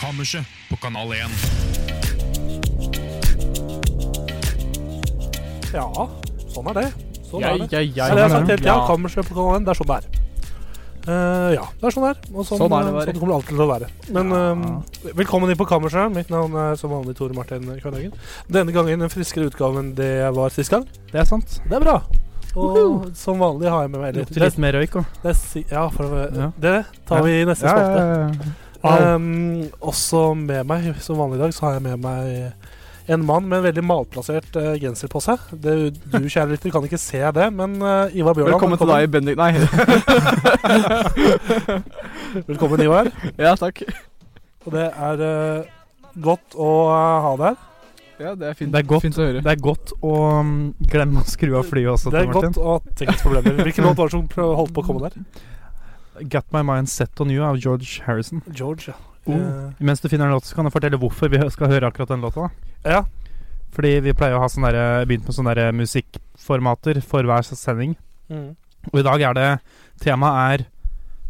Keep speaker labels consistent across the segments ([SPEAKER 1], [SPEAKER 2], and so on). [SPEAKER 1] Kammerset på Kanal 1.
[SPEAKER 2] Ja, sånn er det. Sånn
[SPEAKER 3] Ja,
[SPEAKER 2] er det.
[SPEAKER 3] ja, ja,
[SPEAKER 2] Eller jeg har
[SPEAKER 3] sånn er
[SPEAKER 2] sagt
[SPEAKER 3] det.
[SPEAKER 2] helt, ja,
[SPEAKER 3] Ja.
[SPEAKER 2] kammerset på kanalen, det er sånn det er. Eh, ja, det er sånn det er. Og sånn,
[SPEAKER 3] Sånn er det
[SPEAKER 2] eh,
[SPEAKER 3] bare.
[SPEAKER 2] sånn kommer det alltid til å være. Men eh, velkommen inn på kammerset. Mitt navn er som vanlig Tore Martin Kvernhagen. Denne gangen en friskere utgave enn det jeg var sist gang.
[SPEAKER 3] Det er sant.
[SPEAKER 2] Det er bra. Og som vanlig har jeg med meg
[SPEAKER 3] Det
[SPEAKER 2] litt,
[SPEAKER 3] lukter litt mer røyk òg.
[SPEAKER 2] det, er si- ja, for, å-
[SPEAKER 3] Ja.
[SPEAKER 2] det tar vi i neste
[SPEAKER 3] Ja,
[SPEAKER 2] spalte.
[SPEAKER 3] Au.
[SPEAKER 2] Um, også med meg, som vanlig i dag, så har jeg med meg en mann med en veldig malplassert eh, genser på seg. Det, du, kjære lytter, kan ikke se det, men eh, Ivar Bjørland
[SPEAKER 3] Velkommen til deg, Bendik Nei.
[SPEAKER 2] Velkommen, Ivar.
[SPEAKER 3] ja, takk.
[SPEAKER 2] Og det er eh, godt å eh, ha deg her.
[SPEAKER 4] Ja, det er fint,
[SPEAKER 3] Det er godt.
[SPEAKER 4] fint å høre.
[SPEAKER 3] Det er godt å um, glemme å skru av flyet også,
[SPEAKER 2] Det
[SPEAKER 3] Tor
[SPEAKER 2] er godt
[SPEAKER 3] Martin.
[SPEAKER 2] å ha tekniske Hvilken låt var det som prøv- holdt på å komme der?
[SPEAKER 3] Get My Mind Set On You av George Harrison.
[SPEAKER 2] George, ja.
[SPEAKER 3] Oh.
[SPEAKER 2] Eh,
[SPEAKER 3] Mens du finner en låt, så kan jeg fortelle hvorfor vi hø- skal høre akkurat den låta. da.
[SPEAKER 2] ja.
[SPEAKER 3] Fordi vi pleier å ha sånne der, begynt med sånne der musikkformater for hver sending.
[SPEAKER 2] Mm.
[SPEAKER 3] Og i dag er det Temaet er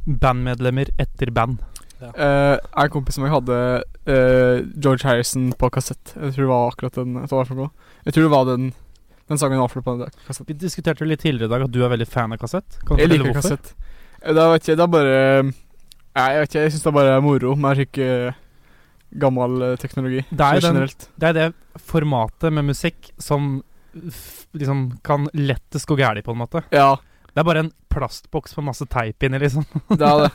[SPEAKER 3] bandmedlemmer etter band.
[SPEAKER 4] Eh, en kompis som jeg hadde eh, George Harrison på kassett. Jeg tror det var akkurat den. Jeg, tar hva for noe. jeg tror det var den Den sangen han avsluttet på den der, kassetten.
[SPEAKER 3] Vi diskuterte litt tidligere i dag at du er veldig fan av kassett. Kan du
[SPEAKER 4] Jeg
[SPEAKER 3] fortelle
[SPEAKER 4] liker
[SPEAKER 3] hvorfor?
[SPEAKER 4] kassett. Eh, Det er, vet ikke, det er bare Nei, jeg vet ikke, jeg syns det er bare moro med slik eh, gammel eh, teknologi.
[SPEAKER 3] Det er jo
[SPEAKER 4] sånn
[SPEAKER 3] den-
[SPEAKER 4] generelt.
[SPEAKER 3] Det er det formatet med musikk som f- liksom kan lettest gå gærent, på en måte.
[SPEAKER 4] Ja,
[SPEAKER 3] Det er bare en plastboks med masse teip inni, liksom.
[SPEAKER 4] det er det.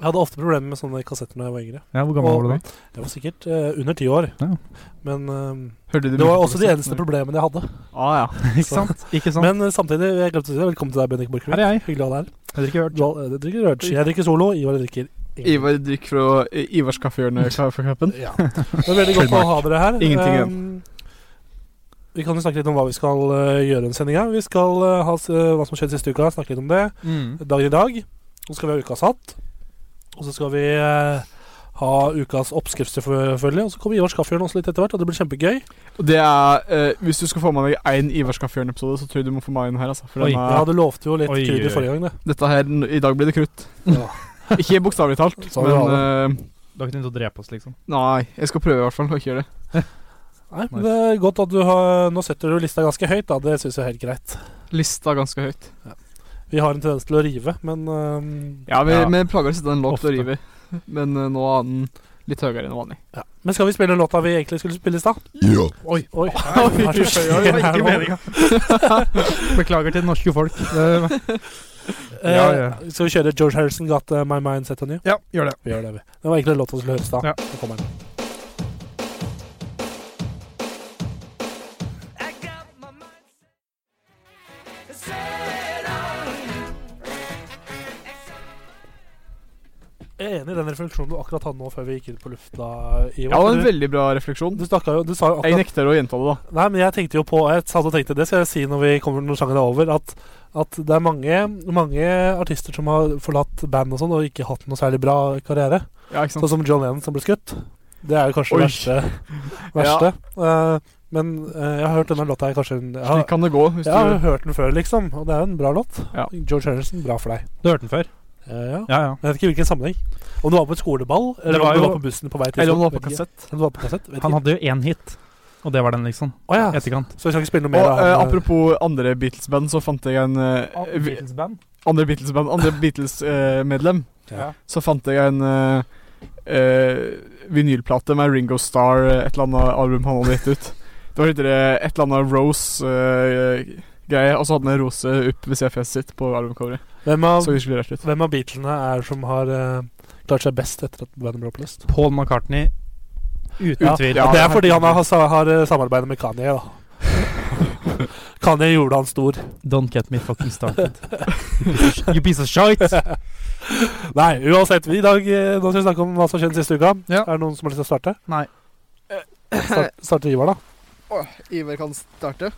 [SPEAKER 2] Jeg hadde ofte problemer med sånne kassetter da jeg var yngre.
[SPEAKER 3] Ja, hvor
[SPEAKER 2] gammel var du
[SPEAKER 3] da?
[SPEAKER 2] Jeg var sikkert eh, under ti år.
[SPEAKER 3] Ja.
[SPEAKER 2] Men eh,
[SPEAKER 4] Hørte du
[SPEAKER 2] det var
[SPEAKER 4] mye på
[SPEAKER 2] også de
[SPEAKER 4] kassett
[SPEAKER 2] eneste
[SPEAKER 4] når-
[SPEAKER 2] problemene jeg hadde.
[SPEAKER 4] Ah, ja.
[SPEAKER 3] Ikke sant? Ikke sant?
[SPEAKER 2] Men eh, samtidig, jeg glemte å si det. Velkommen til deg, Bendik Borchgrevink.
[SPEAKER 3] Her er jeg.
[SPEAKER 2] Hyggelig å ha deg her.
[SPEAKER 3] Jeg har ikke hørt.
[SPEAKER 2] Du har- eh, du drikker rødtski. Jeg drikker solo. Ivar drikker
[SPEAKER 4] Ivar drikker fra eh, Ivars kaffehjørne for kappen.
[SPEAKER 2] Ja. Det er veldig godt å ha dere her.
[SPEAKER 4] Ingenting igjen.
[SPEAKER 2] Um, vi kan jo snakke litt om hva vi skal eh, gjøre den sendinga. Vi skal eh, ha s- eh, hva som har skjedd siste uka, snakke litt om det.
[SPEAKER 3] Mm.
[SPEAKER 2] Dagen i dag. Så skal vi ha ukas hatt. Og så skal vi eh, ha ukas oppskrift, selvfølgelig. Og så kommer Ivars kaffehjørne også litt etter hvert, og det blir kjempegøy.
[SPEAKER 4] Og det er eh, Hvis du skal få med deg én Ivars kaffehjørne-episode, så tror jeg du må få meg en her, altså. For
[SPEAKER 3] Oi.
[SPEAKER 4] den er,
[SPEAKER 2] Ja, du lovte jo litt
[SPEAKER 3] Oi, oi,
[SPEAKER 2] krydder
[SPEAKER 3] oi.
[SPEAKER 2] forrige gang, det.
[SPEAKER 4] Dette her, n- i dag blir det krutt.
[SPEAKER 2] Ja.
[SPEAKER 4] Ikke bokstavelig talt,
[SPEAKER 2] Sånn
[SPEAKER 4] men eh,
[SPEAKER 3] Du har ikke tenkt å drepe oss, liksom?
[SPEAKER 4] Nei, jeg skal prøve i hvert fall å ikke gjøre det.
[SPEAKER 2] Nei, men det er godt at du har Nå setter du lista ganske høyt, da. Det syns jeg er helt greit.
[SPEAKER 4] Lista er ganske høyt.
[SPEAKER 2] Vi har en tendens til å rive, men um,
[SPEAKER 4] Ja, vi,
[SPEAKER 3] Ja.
[SPEAKER 4] vi Eh, plager å sitte den lågt
[SPEAKER 3] Ofte.
[SPEAKER 4] og rive, men eh, nå er den litt høyere enn vanlig.
[SPEAKER 2] Ja. Men skal vi spille den låta vi egentlig skulle spille i stad? Oi, oi.
[SPEAKER 4] Oi,
[SPEAKER 2] Hva er det som skjer
[SPEAKER 3] Det var
[SPEAKER 2] her
[SPEAKER 3] ikke
[SPEAKER 2] nå?
[SPEAKER 3] meninga. Beklager til det norske folk. Det-
[SPEAKER 2] Eh,
[SPEAKER 3] Ja, ja.
[SPEAKER 2] Skal vi kjøre George Harrison Got eh, My Mind Set On You?
[SPEAKER 3] Ja, gjør det.
[SPEAKER 2] Vi gjør det, vi. Det var egentlig den låta som skulle høres da.
[SPEAKER 3] Ja.
[SPEAKER 2] Nå kommer den. Jeg er enig i den refleksjonen du akkurat hadde nå før vi gikk inn på lufta. Ivar.
[SPEAKER 4] Ja, det var en
[SPEAKER 2] du,
[SPEAKER 4] veldig bra refleksjon.
[SPEAKER 2] du, snakka jo, du sa jo
[SPEAKER 4] Jeg
[SPEAKER 2] akkurat
[SPEAKER 4] nekter å gjenta det, da.
[SPEAKER 2] Nei, men jeg tenkte jo på Jeg satt og tenkte, det skal jeg si når vi kommer når sjangeren er over, at, at det er mange, mange artister som har forlatt band og sånn og ikke hatt noe særlig bra karriere.
[SPEAKER 4] Ja, ikke sant?
[SPEAKER 2] Sånn som John Lennon som ble skutt. Det er jo kanskje
[SPEAKER 4] Oi.
[SPEAKER 2] det verste. verste. Eh, men eh, jeg har hørt denne låta her kanskje en- jeg har,
[SPEAKER 4] Slik kan det gå. Hvis
[SPEAKER 2] jeg har jo
[SPEAKER 4] du,
[SPEAKER 2] hørt den før, liksom. Og det er jo en bra låt.
[SPEAKER 4] Ja.
[SPEAKER 2] George Harrison, bra for deg.
[SPEAKER 3] Du hørte den før?
[SPEAKER 2] Eh, ja.
[SPEAKER 3] Ja, ja.
[SPEAKER 2] Jeg vet ikke hvilken sammenheng. Om du var på et skoleball, eller
[SPEAKER 3] Det var
[SPEAKER 2] om du
[SPEAKER 3] jo-
[SPEAKER 2] var på bussen på vei til
[SPEAKER 4] eller om det var
[SPEAKER 2] vet
[SPEAKER 4] på
[SPEAKER 2] ikke.
[SPEAKER 4] kassett.
[SPEAKER 2] Om du var på kassett, vet
[SPEAKER 3] Han
[SPEAKER 2] ikke.
[SPEAKER 3] hadde jo én hit, og det var den, liksom.
[SPEAKER 2] Å ja.
[SPEAKER 3] Etterkant.
[SPEAKER 2] Så vi skal ikke spille noe
[SPEAKER 4] Og
[SPEAKER 2] mer av
[SPEAKER 4] eh,
[SPEAKER 2] han, eh,
[SPEAKER 4] apropos andre Beatles-band, så fant jeg en eh, vi- Andre Beatles-band, andre Beatles-medlem,
[SPEAKER 2] Ja.
[SPEAKER 4] så fant jeg en eh, eh, vinylplate med Ringo Starr, eh, et eller annet album han hadde gitt ut. Det var litt, eh, et eller annet Rose-greie, og så hadde han en rose opp ved siden av fjeset sitt på albumcoveret.
[SPEAKER 2] Hvem av
[SPEAKER 4] Så virkelig rart ut.
[SPEAKER 2] Hvem av Beatlene er som har eh, klart seg best etter at bandet ble oppløst?
[SPEAKER 3] Paul McCartney. Uten
[SPEAKER 2] Ja,
[SPEAKER 3] tvil.
[SPEAKER 4] ja.
[SPEAKER 2] det er fordi han har, sa- har eh, samarbeidet med Kanye, da. Kanye gjorde han stor.
[SPEAKER 3] Don't get me fucking started. you piece of shit!
[SPEAKER 2] Nei, uansett. Vi i dag eh, nå skal vi snakke om hva som skjedde siste uka.
[SPEAKER 3] Ja.
[SPEAKER 2] Er det noen som har lyst til å starte?
[SPEAKER 3] Nei.
[SPEAKER 2] Start, starter Ivar, da.
[SPEAKER 4] Ivar kan starte.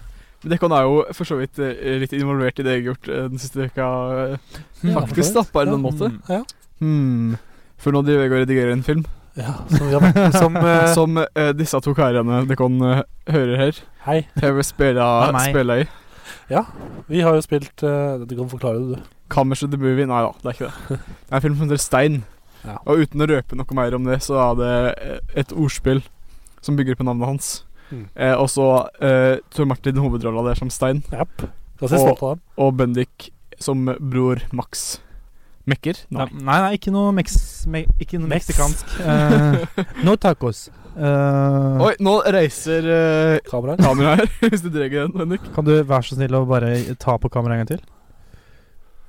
[SPEAKER 4] Dekkan er jo for så vidt eh, litt involvert i det jeg har gjort eh, den siste uka, eh,
[SPEAKER 2] Ja, for
[SPEAKER 4] faktisk,
[SPEAKER 2] så
[SPEAKER 4] da, på en eller annen måte.
[SPEAKER 1] Mm.
[SPEAKER 4] Hmm. For nå driver jeg og redigerer en film
[SPEAKER 2] Ja, som, vi har vært, som eh,
[SPEAKER 4] som eh, disse to karene Dekkan eh, hører her.
[SPEAKER 2] Hei.
[SPEAKER 4] Jeg vil spille,
[SPEAKER 3] Nei, nei.
[SPEAKER 4] spille i
[SPEAKER 2] Vi har jo spilt eh, Du kan forklare det, du.
[SPEAKER 4] Kammers of the Movie. Nei da, det er ikke det. Det er en film som heter Stein.
[SPEAKER 2] Ja.
[SPEAKER 4] Og uten å røpe noe mer om det, så er det eh, et ordspill som bygger på navnet hans.
[SPEAKER 2] Mm.
[SPEAKER 4] Eh, og så eh, Tor Martin hovedrolla der som Stein,
[SPEAKER 2] Japp. Ganske stolt av dem.
[SPEAKER 4] og Bendik som bror Max. Mekker?
[SPEAKER 3] Nei,
[SPEAKER 4] Nei.
[SPEAKER 3] nei, nei ikke noe, mex, me, ikke noe
[SPEAKER 2] Mex.
[SPEAKER 3] meksikansk. Eh, no tacos. Eh,
[SPEAKER 4] Oi, nå reiser eh,
[SPEAKER 2] Kameraer.
[SPEAKER 4] kameraet her, hvis du drar den, Bendik.
[SPEAKER 3] Kan du være så snill å bare ta på kameraet en gang til?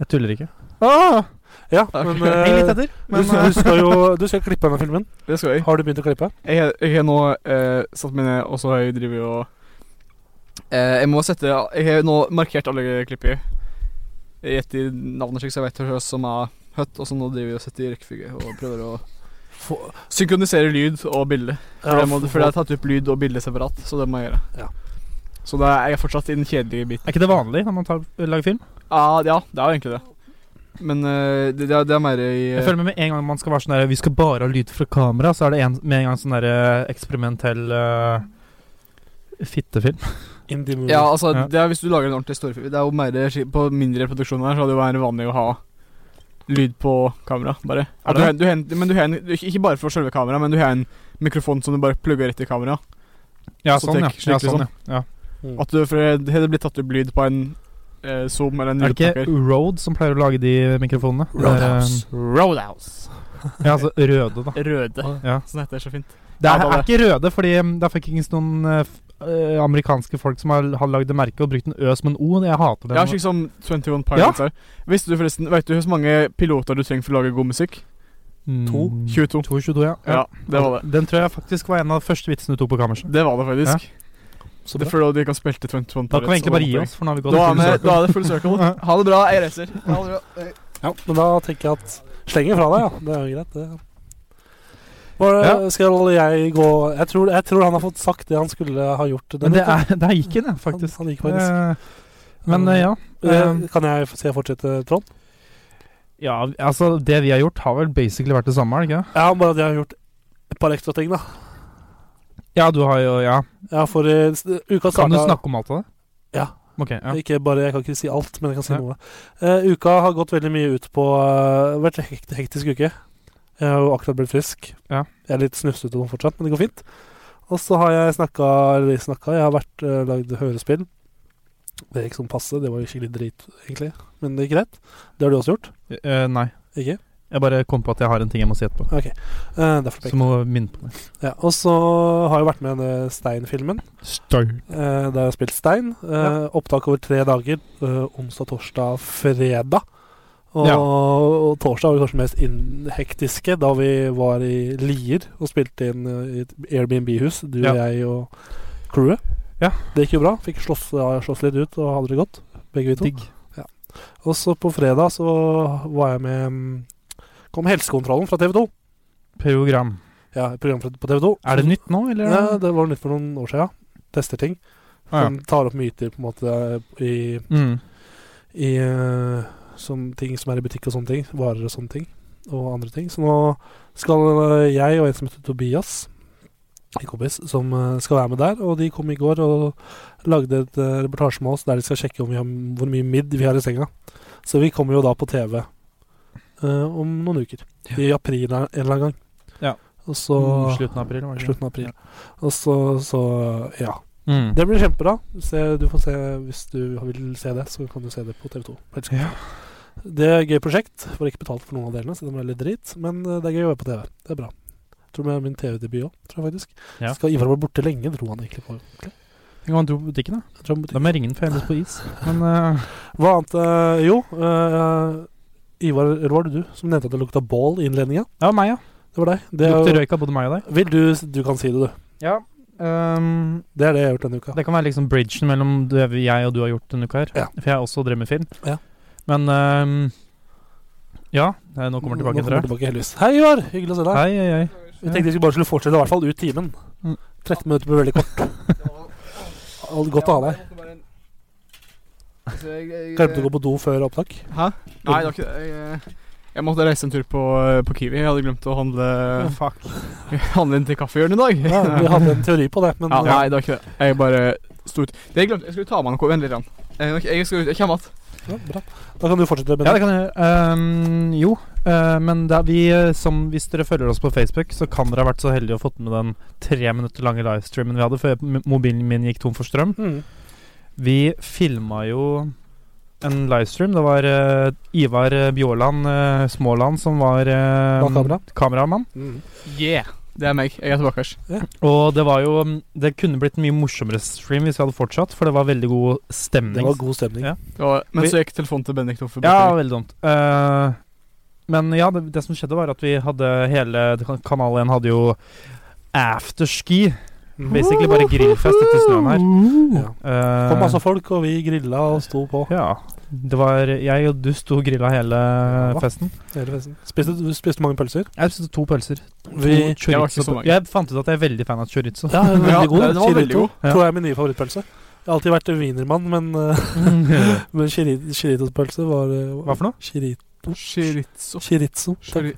[SPEAKER 3] Jeg tuller ikke.
[SPEAKER 4] Ah!
[SPEAKER 2] Ja,
[SPEAKER 4] Takk.
[SPEAKER 2] men,
[SPEAKER 4] Hei,
[SPEAKER 3] Heng
[SPEAKER 2] eh,
[SPEAKER 3] litt etter. Men,
[SPEAKER 2] du, du skal jo du skal klippe denne filmen.
[SPEAKER 4] Det skal jeg.
[SPEAKER 2] Har du begynt å klippe?
[SPEAKER 4] Jeg, jeg har nå eh, satt meg ned, og så har jeg driver jo og eh, Jeg må sette Jeg har nå markert alle klippene. Jeg gjetter navnet slik, så jeg vet hva som er høtt, og så nå driver jeg og setter i rekkefølge og prøver å
[SPEAKER 2] For,
[SPEAKER 4] synkronisere lyd og bilde. For, det, må, for jeg har tatt opp lyd og bilde separat, så det må jeg gjøre.
[SPEAKER 2] Ja.
[SPEAKER 4] Så det er, jeg er fortsatt i den kjedelige biten.
[SPEAKER 3] er ikke det vanlig når man tar, lager film?
[SPEAKER 4] Ah, ja, det er jo egentlig det. Men eh, det, det, er, det er mer i eh,
[SPEAKER 3] Jeg føler med, med en gang man skal være sånn der Vi skal bare ha lyd fra kamera, så er det en, med en gang sånn der eh, eksperimentell eh, fittefilm.
[SPEAKER 2] Indie movie.
[SPEAKER 4] Ja, altså,
[SPEAKER 3] Ja.
[SPEAKER 4] det er hvis du lager en ordentlig storefilm Det er jo mer ski- på mindre produksjoner her, så hadde det jo vært vanlig å ha lyd på kamera, bare.
[SPEAKER 3] Er det?
[SPEAKER 4] At Du, har en- du, har en- men du har en, du, ikke bare for selve kameraet, men du har en mikrofon som du bare plugger rett i kameraet.
[SPEAKER 3] Ja,
[SPEAKER 4] Så
[SPEAKER 3] sånn, ja.
[SPEAKER 4] tek-
[SPEAKER 3] ja,
[SPEAKER 4] skikkelig
[SPEAKER 3] sånn, ja. ja.
[SPEAKER 2] Mm.
[SPEAKER 4] At du, for det hadde blitt tatt opp lyd på en eh, Zoom eller en
[SPEAKER 3] Er det ikke
[SPEAKER 4] lydpakker.
[SPEAKER 3] Road som pleier å lage de mikrofonene? Det er, eh,
[SPEAKER 2] Roadhouse.
[SPEAKER 4] Roadhouse.
[SPEAKER 3] Ja, altså røde, da.
[SPEAKER 4] Røde.
[SPEAKER 3] Ja.
[SPEAKER 4] Sånn heter det så fint.
[SPEAKER 3] Det er,
[SPEAKER 4] Ja,
[SPEAKER 3] er
[SPEAKER 4] bare-
[SPEAKER 3] ikke røde, fordi um, det er fuckings noen eh, f- eh, amerikanske folk som har, har lagd det merket og brukt en Ø som en O. Jeg hater det.
[SPEAKER 4] Ja, slik som 21 Pilots er. Visste du forresten Vet du hvor mange piloter du trenger for å lage god musikk?
[SPEAKER 3] Mm,
[SPEAKER 2] To.
[SPEAKER 4] 22.
[SPEAKER 3] 22, ja.
[SPEAKER 4] Ja, det var det.
[SPEAKER 3] Den tror jeg faktisk var en av de første vitsene du tok på kammerset.
[SPEAKER 4] Det var det faktisk.
[SPEAKER 2] Så
[SPEAKER 4] Det er
[SPEAKER 2] bra.
[SPEAKER 4] fordi de kan spille til 21 Pilots.
[SPEAKER 3] Da kan vi
[SPEAKER 4] og
[SPEAKER 3] egentlig bare gi
[SPEAKER 4] håper jeg-
[SPEAKER 3] oss, for nå har vi gått
[SPEAKER 4] Da er,
[SPEAKER 3] full
[SPEAKER 4] vi,
[SPEAKER 3] circle.
[SPEAKER 4] da er det full circle. Ha det bra, jeg reiser. Ha det bra.
[SPEAKER 2] Ja, men da tenker jeg at Sleng den fra deg, ja. Det er jo greit, det. Bare,
[SPEAKER 3] Ja.
[SPEAKER 2] Skal jeg gå jeg tror, jeg tror han har fått sagt det han skulle ha gjort.
[SPEAKER 3] Men det
[SPEAKER 2] uka.
[SPEAKER 3] er, der gikk den, ja, faktisk.
[SPEAKER 2] Han, han gikk faktisk.
[SPEAKER 3] Eh, Men eh, ja.
[SPEAKER 2] Eh, kan jeg få se fortsette, Trond?
[SPEAKER 3] Ja, altså Det vi har gjort, har vel basically vært det samme? er det ikke?
[SPEAKER 2] Ja, bare at jeg har gjort et par ekstra ting, da.
[SPEAKER 3] Ja, du har jo Ja.
[SPEAKER 2] Ja, for eh, s- uka
[SPEAKER 3] Kan du
[SPEAKER 2] starta-
[SPEAKER 3] snakke om alt av det?
[SPEAKER 2] Ja.
[SPEAKER 3] Ok, ja.
[SPEAKER 2] Ikke bare, Jeg kan ikke si alt, men jeg kan si
[SPEAKER 3] Nei.
[SPEAKER 2] noe. Eh, uka har gått veldig mye ut på uh, vært en hekt, hektisk uke. Jeg har jo akkurat blitt frisk.
[SPEAKER 3] Ja.
[SPEAKER 2] Jeg er litt snufsete nå fortsatt, men det går fint. Og så har jeg snakka Eller snakka, jeg har vært uh, lagd hørespill. Det gikk som passe. Det var jo skikkelig drit, egentlig. Men det gikk greit. Det har du også gjort?
[SPEAKER 3] Eh, nei.
[SPEAKER 2] Ikke?
[SPEAKER 3] Jeg bare kom på at jeg har en ting jeg må si etterpå.
[SPEAKER 2] Eh, derfor
[SPEAKER 3] Så
[SPEAKER 2] pek.
[SPEAKER 3] må jeg minne på det.
[SPEAKER 2] Ja, og så har jeg vært med i denne Stein-filmen. Eh, der jeg har spilt Stein. Eh, Opptak over tre dager. Eh, onsdag, torsdag, fredag. Og,
[SPEAKER 3] Ja.
[SPEAKER 2] og torsdag var det kanskje mest inn- hektiske, da vi var i Lier og spilte inn eh, i et Airbnb-hus, du og
[SPEAKER 3] Ja.
[SPEAKER 2] jeg og crewet.
[SPEAKER 3] Ja.
[SPEAKER 2] Det gikk jo bra. Fikk slåss, ja, slåss litt ut og hadde det godt, begge vi to.
[SPEAKER 3] Digg.
[SPEAKER 2] Og så på fredag så var jeg med mm, Kom helsekontrollen fra TV 2.
[SPEAKER 3] Program.
[SPEAKER 2] Ja, et program fra- på TV 2.
[SPEAKER 3] Er det nytt nå, eller?
[SPEAKER 2] Ja, det var nytt for noen år siden. Tester ting.
[SPEAKER 3] Ah,
[SPEAKER 2] Som tar opp myter på en måte i
[SPEAKER 3] ja. Mm.
[SPEAKER 2] i eh, sånn ting som er i butikk og sånne ting. Varer og sånne ting. Og andre ting. Så nå skal eh, jeg og en som heter Tobias, en kompis, som eh, skal være med der. Og de kom i går og lagde et eh, reportasje med oss der de skal sjekke om vi har, hvor mye midd vi har i senga. Så vi kommer jo da på TV eh, om noen uker. I april en eller annen gang.
[SPEAKER 3] Ja.
[SPEAKER 2] Og så
[SPEAKER 3] Mm, slutten av april, var det ikke?
[SPEAKER 2] Slutten av april. Og så, så ja.
[SPEAKER 3] Mm.
[SPEAKER 2] Det blir kjempebra. Se, du får se, hvis du vil se det, så kan du se det på TV2.
[SPEAKER 3] Ja.
[SPEAKER 2] Det er et gøy prosjekt. Får ikke betalt for noen av delene, så det må være litt drit. Men eh, det er gøy å være på TV. Det er bra. Tror det er min TV-debut òg, tror jeg faktisk.
[SPEAKER 3] Ja.
[SPEAKER 2] Skal Ivar være borte lenge, dro han egentlig på. egentlig.
[SPEAKER 3] Jeg kan dro på butikken, da.
[SPEAKER 2] Jeg tror han
[SPEAKER 3] Da
[SPEAKER 2] betyr-
[SPEAKER 3] må jeg ringe den, for jeg er litt på is. Men eh,
[SPEAKER 2] Hva annet eh, Jo, eh, Ivar, eller var det du som nevnte at det lukta bål i innledninga?
[SPEAKER 3] det var meg, ja.
[SPEAKER 2] Det var deg.
[SPEAKER 3] Det
[SPEAKER 2] Det er,
[SPEAKER 3] lukter
[SPEAKER 2] jo-
[SPEAKER 3] røyk av både meg og deg.
[SPEAKER 2] vil du Du kan si det, du.
[SPEAKER 3] Ja. ehm,
[SPEAKER 2] Det er det jeg har gjort denne uka.
[SPEAKER 3] det kan være liksom bridgen mellom det vi- jeg og du har gjort denne uka her.
[SPEAKER 2] Ja.
[SPEAKER 3] For jeg har også drevet med film.
[SPEAKER 2] Ja.
[SPEAKER 3] Men ehm, Ja, eh, nå kommer han tilbake,
[SPEAKER 2] kommer
[SPEAKER 3] tror
[SPEAKER 2] han
[SPEAKER 3] jeg.
[SPEAKER 2] tilbake heldigvis. Hei, Ivar! Hyggelig å se deg.
[SPEAKER 3] Hei, hei, hei.
[SPEAKER 2] Vi tenkte vi skulle bare skulle fortsette i hvert fall ut timen.
[SPEAKER 3] Mm.
[SPEAKER 2] 13 minutter ble veldig kort. Alt Godt å ha deg. Glemte å gå på do før opptak.
[SPEAKER 4] Hæ? Nei, det var ikke det. Jeg, eh, jeg måtte reise en tur på, eh, på Kiwi. Jeg hadde glemt å handle
[SPEAKER 3] fuck.
[SPEAKER 4] Handle inn til kaffehjørnet i dag.
[SPEAKER 2] Ja, vi hadde en teori på det, men
[SPEAKER 4] Ja, nei, det var ikke det. Jeg bare sto ut. Det jeg glemte Jeg skulle ta med noe. Vent litt. grann. Eh, ok, Jeg skal ut. Jeg kommer att.
[SPEAKER 2] ja, bra. Da kan du fortsette med
[SPEAKER 3] Ja, det
[SPEAKER 2] det.
[SPEAKER 3] kan jeg gjøre. Ehm, jo, eh, men det er vi eh, som Hvis dere følger oss på Facebook, så kan dere ha vært så heldige å fått med den tre minutter lange livestreamen vi hadde før m- mobilen min gikk tom for strøm.
[SPEAKER 2] Mm.
[SPEAKER 3] Vi filma jo en livestream. Det var eh, Ivar eh, Bjåland eh, Småland som var eh,
[SPEAKER 2] Bak kamera.
[SPEAKER 3] kameramann.
[SPEAKER 2] Mm.
[SPEAKER 4] Yeah. Det er meg. Jeg er tilbake. ass.
[SPEAKER 3] Og det var jo mm, Det kunne blitt en mye morsommere stream hvis vi hadde fortsatt, for det var veldig god stemning.
[SPEAKER 2] Det var god stemning.
[SPEAKER 3] Ja.
[SPEAKER 4] Det var- Men
[SPEAKER 3] Vi-
[SPEAKER 4] så gikk telefonen til Bendik Toffe.
[SPEAKER 3] Ja, veldig dumt. Eh, men ja, det, det som skjedde, var at vi hadde hele det kan- Kanal 1 hadde jo afterski. Basically bare grillfest etter snøen her.
[SPEAKER 2] Ja. Det
[SPEAKER 3] Eh,
[SPEAKER 2] kom altså masse folk, og vi grilla og sto på
[SPEAKER 3] ja. Det var Jeg og du sto og grilla hele
[SPEAKER 2] Ja.
[SPEAKER 3] festen.
[SPEAKER 2] hele festen. Spiste, du spiste mange pølser.
[SPEAKER 3] Jeg spiste to pølser.
[SPEAKER 2] Vi,
[SPEAKER 3] To
[SPEAKER 4] Jeg var ikke så
[SPEAKER 3] chorizo-
[SPEAKER 4] mange.
[SPEAKER 3] jeg fant ut at jeg er veldig fan av chorizo.
[SPEAKER 2] ja, veldig
[SPEAKER 4] Ja,
[SPEAKER 2] god.
[SPEAKER 4] den var veldig
[SPEAKER 2] Chirito.
[SPEAKER 4] god.
[SPEAKER 3] Ja.
[SPEAKER 2] Tror jeg er min nye favorittpølse. Jeg har alltid vært en wienermann, men, uh, men chiri- chiritos-pølse var eh,
[SPEAKER 3] Hva for noe?
[SPEAKER 2] Chiri,
[SPEAKER 4] Chorizo.
[SPEAKER 2] chirizo. Takk.
[SPEAKER 4] Chori-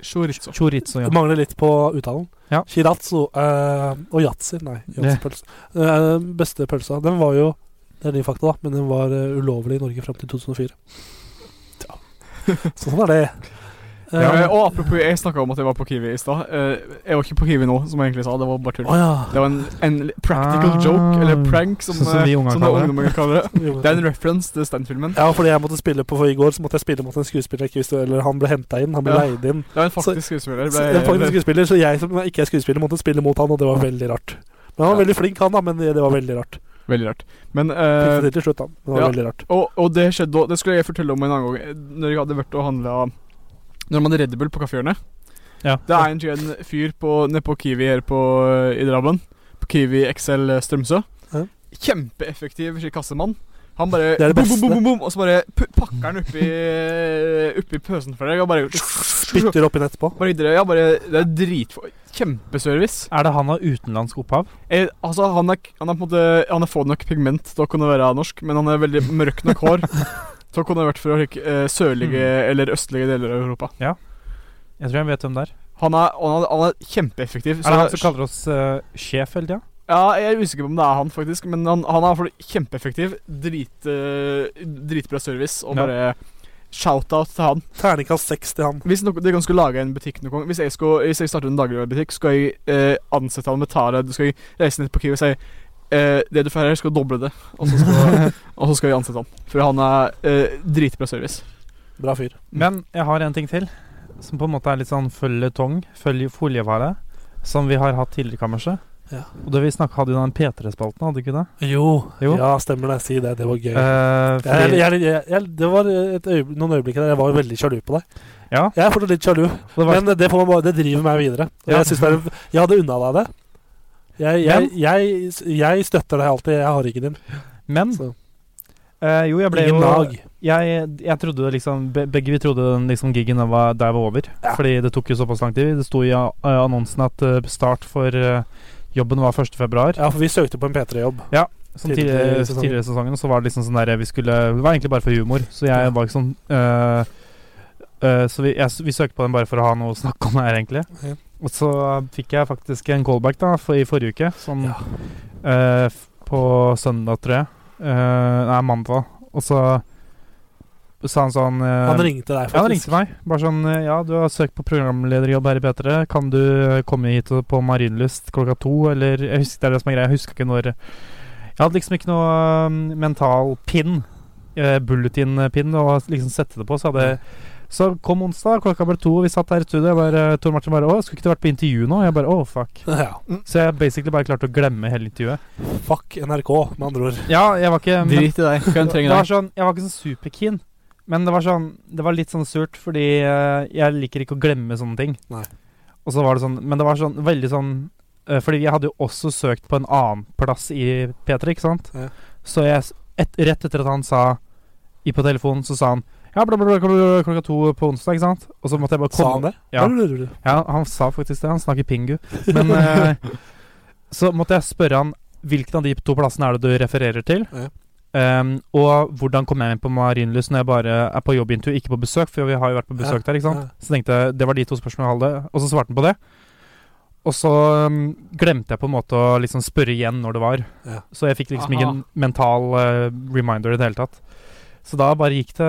[SPEAKER 4] Chorizo.
[SPEAKER 3] Chorizo, ja.
[SPEAKER 2] Det mangler litt på uttalen.
[SPEAKER 3] Ja.
[SPEAKER 2] Shiratsu eh, og yatzy. Nei, yatzipølse. Eh, Den beste pølsa. Den var jo Det er nye fakta, da, men den var eh, ulovlig i Norge fram til 2004. Ja. Sånn er det. Eh,
[SPEAKER 4] Ja, eh, og apropos, jeg snakka om at jeg var på Kiwi i stad. Eh, Jeg var ikke på Kiwi nå, som jeg egentlig sa. Det var bare tull.
[SPEAKER 2] Å ja.
[SPEAKER 4] Det var en, en practical
[SPEAKER 3] Ah.
[SPEAKER 4] joke, eller prank, som,
[SPEAKER 3] Sånn som
[SPEAKER 4] eh,
[SPEAKER 3] vi unger
[SPEAKER 4] som
[SPEAKER 3] kaller det.
[SPEAKER 4] ungdommen kaller det.
[SPEAKER 2] Jo,
[SPEAKER 4] Det er en reference til standfilmen.
[SPEAKER 2] ja, fordi jeg måtte spille på for i går, så måtte jeg spille mot en skuespiller jeg ikke visste Eller han ble henta inn, han ble
[SPEAKER 4] Ja.
[SPEAKER 2] leid inn.
[SPEAKER 4] Det var en
[SPEAKER 2] Så-
[SPEAKER 4] faktisk skuespiller.
[SPEAKER 2] Så, en faktisk
[SPEAKER 4] Ble,
[SPEAKER 2] skuespiller, så jeg som ikke er skuespiller, måtte spille mot han, og det var veldig rart. Men han var
[SPEAKER 4] Ja.
[SPEAKER 2] veldig flink, han, da, men det det var veldig rart.
[SPEAKER 4] veldig rart. Men
[SPEAKER 2] Fikk
[SPEAKER 4] eh,
[SPEAKER 2] det til til slutt, da. men Det var
[SPEAKER 4] ja.
[SPEAKER 2] veldig rart.
[SPEAKER 4] og, og det skjedde også- Det skulle jeg fortelle om en annen gang. eh, Når jeg hadde vært og handla Når man hadde Red Bull på kaffehjørnet.
[SPEAKER 3] ja.
[SPEAKER 4] Det er en, en fyr på, nede på Kiwi her på, eh, i Drammen. På Kiwi XL Strømsø.
[SPEAKER 2] Ja.
[SPEAKER 4] Kjempeeffektiv slik kassemann. Han bare
[SPEAKER 2] Det er det
[SPEAKER 4] bom,
[SPEAKER 2] beste.
[SPEAKER 4] bom, bom, bom, Og så bare pu- pakker han oppi, eh, oppi pøsen for deg. Og bare,
[SPEAKER 2] Spytter opp inn etterpå.
[SPEAKER 4] bare, gidder- ja, bare Det er dritfor Kjempeservice.
[SPEAKER 3] Er det han av utenlandsk opphav?
[SPEAKER 4] Eh, altså, han er, han er på en måte Han er få nok pigment til å kunne være norsk, men han er veldig mørkt nok hår til å kunne vært fra eh, sørlige
[SPEAKER 3] Mm.
[SPEAKER 4] eller østlige deler av Europa.
[SPEAKER 3] Jeg tror jeg vet hvem det er.
[SPEAKER 4] Han er, og han er, han er kjempeeffektiv.
[SPEAKER 3] Er det han som kaller oss eh, sjef hele tida?
[SPEAKER 4] ja, jeg er usikker på om det er han, faktisk, men han, han er i hvert fall kjempeeffektiv. Drit, eh, dritbra service, og
[SPEAKER 3] Ja.
[SPEAKER 4] bare shout-out til han.
[SPEAKER 2] Terningkast seks til han.
[SPEAKER 4] Hvis noen, de kan skulle lage en butikk noen gang Hvis jeg, skulle, hvis jeg starter en dagligvarebutikk, skal jeg eh, ansette han med Tara. Du skal jeg reise ned på Kiwi og si eh, Det du får her, skal doble det. Og så skal, og så skal jeg ansette han. For han er eh, dritbra service.
[SPEAKER 2] Bra fyr.
[SPEAKER 3] Men jeg har en ting til, som på en måte er litt sånn føljetong, følge foljevare, som vi har hatt tidligere i kammerset.
[SPEAKER 2] Ja.
[SPEAKER 3] Og det vi snakket, hadde jo den P3-spalten, hadde ikke det?
[SPEAKER 2] Jo.
[SPEAKER 3] Jo.
[SPEAKER 2] Ja, stemmer det. Si det. Det var gøy.
[SPEAKER 3] Eh,
[SPEAKER 2] jeg,
[SPEAKER 3] fordi,
[SPEAKER 2] jeg, jeg, jeg, det var et øyeb- noen øyeblikk der jeg var veldig sjalu på deg.
[SPEAKER 3] Ja.
[SPEAKER 2] Jeg er fortsatt litt sjalu,
[SPEAKER 3] det var,
[SPEAKER 2] men det, får man bare, det driver meg videre. Og
[SPEAKER 3] Ja.
[SPEAKER 2] Jeg, synes det er, en- jeg hadde unna deg det. Jeg, jeg, jeg, jeg støtter deg alltid. Jeg har ikke din.
[SPEAKER 3] men
[SPEAKER 2] Så.
[SPEAKER 3] eh, jo, Mm. jeg ble
[SPEAKER 2] Ingen
[SPEAKER 3] jo
[SPEAKER 2] nag.
[SPEAKER 3] jeg, jeg trodde liksom be- Begge vi trodde den liksom gigen den var, der var over.
[SPEAKER 2] Ja.
[SPEAKER 3] Fordi det tok jo såpass lang tid. Det sto i eh, annonsen at eh, start for eh, jobben var 1. februar.
[SPEAKER 2] Ja, for vi søkte på en P3-jobb.
[SPEAKER 3] Som
[SPEAKER 2] Tidligere
[SPEAKER 3] tidligere,
[SPEAKER 2] sesongen.
[SPEAKER 3] tidligere i sesongen så var det liksom sånn der vi skulle Det var egentlig bare for humor, så jeg
[SPEAKER 2] Ja.
[SPEAKER 3] var ikke sånn øh, øh, Så vi, jeg, vi søkte på den bare for å ha noe å snakke om her, egentlig.
[SPEAKER 2] Ja.
[SPEAKER 3] Og så fikk jeg faktisk en callback da for, i forrige uke, sånn
[SPEAKER 2] Ja.
[SPEAKER 3] øh, f- på søndag, tror jeg. Øh, nei, mandag. Og så sa han sånn øh,
[SPEAKER 2] Han ringte deg,
[SPEAKER 3] ja, han
[SPEAKER 2] faktisk.
[SPEAKER 3] ringte meg. Bare sånn øh, Ja, du har søkt på programlederjobb her i P3. Kan du øh, komme hit og- på Marienlyst klokka to, eller Jeg husker det er det som er greia. Jeg husker ikke når Jeg hadde liksom ikke noe øh, mental pin, øh, bulletin-pin, å liksom sette det på, så hadde jeg så kom onsdag, klokka ble to, og vi satt her i studio. Jeg bare, Tor Martin bare 'Å, skulle ikke du vært på intervju nå?' Jeg bare 'Å, fuck'.
[SPEAKER 2] Ja.
[SPEAKER 3] Så jeg basically bare klarte å glemme hele intervjuet.
[SPEAKER 2] Fuck NRK, med andre ord.
[SPEAKER 3] Ja, jeg var ikke men-
[SPEAKER 4] Drit i deg. Hvem
[SPEAKER 3] det
[SPEAKER 4] trenger
[SPEAKER 3] var
[SPEAKER 4] deg?
[SPEAKER 3] sånn, jeg var ikke sånn superkeen, men det var sånn Det var litt sånn surt, fordi eh, jeg liker ikke å glemme sånne ting.
[SPEAKER 2] Nei.
[SPEAKER 3] Og så var det sånn Men det var sånn veldig sånn eh, Fordi jeg hadde jo også søkt på en annen plass i P3, ikke sant?
[SPEAKER 2] Ja.
[SPEAKER 3] Så jeg s- et, Rett etter at han sa i på telefonen, så sa han Ja, bla, bla, bla, bla, bla, klokka to på onsdag, ikke sant? Og så måtte jeg bare komme
[SPEAKER 2] Sa han det?
[SPEAKER 3] Ja.
[SPEAKER 2] Da lurer du.
[SPEAKER 3] Ja, han sa faktisk det. Han snakker pingu. Men eh, så måtte jeg spørre han hvilken av de to plassene er det du refererer til?
[SPEAKER 2] Ja.
[SPEAKER 3] Ehm, og hvordan kom jeg inn på Marienlyst når jeg bare er på jobbintervju, ikke på besøk? For vi har jo vært på besøk
[SPEAKER 2] Ja,
[SPEAKER 3] der, ikke sant?
[SPEAKER 2] ja.
[SPEAKER 3] Så tenkte jeg, det var de to spørsmålene jeg hadde, og så svarte han på det. Og så ehm, glemte jeg på en måte å liksom spørre igjen når det var.
[SPEAKER 2] Ja.
[SPEAKER 3] Så jeg fikk liksom
[SPEAKER 4] Aha.
[SPEAKER 3] ingen mental eh, reminder i det hele tatt. Så da bare gikk det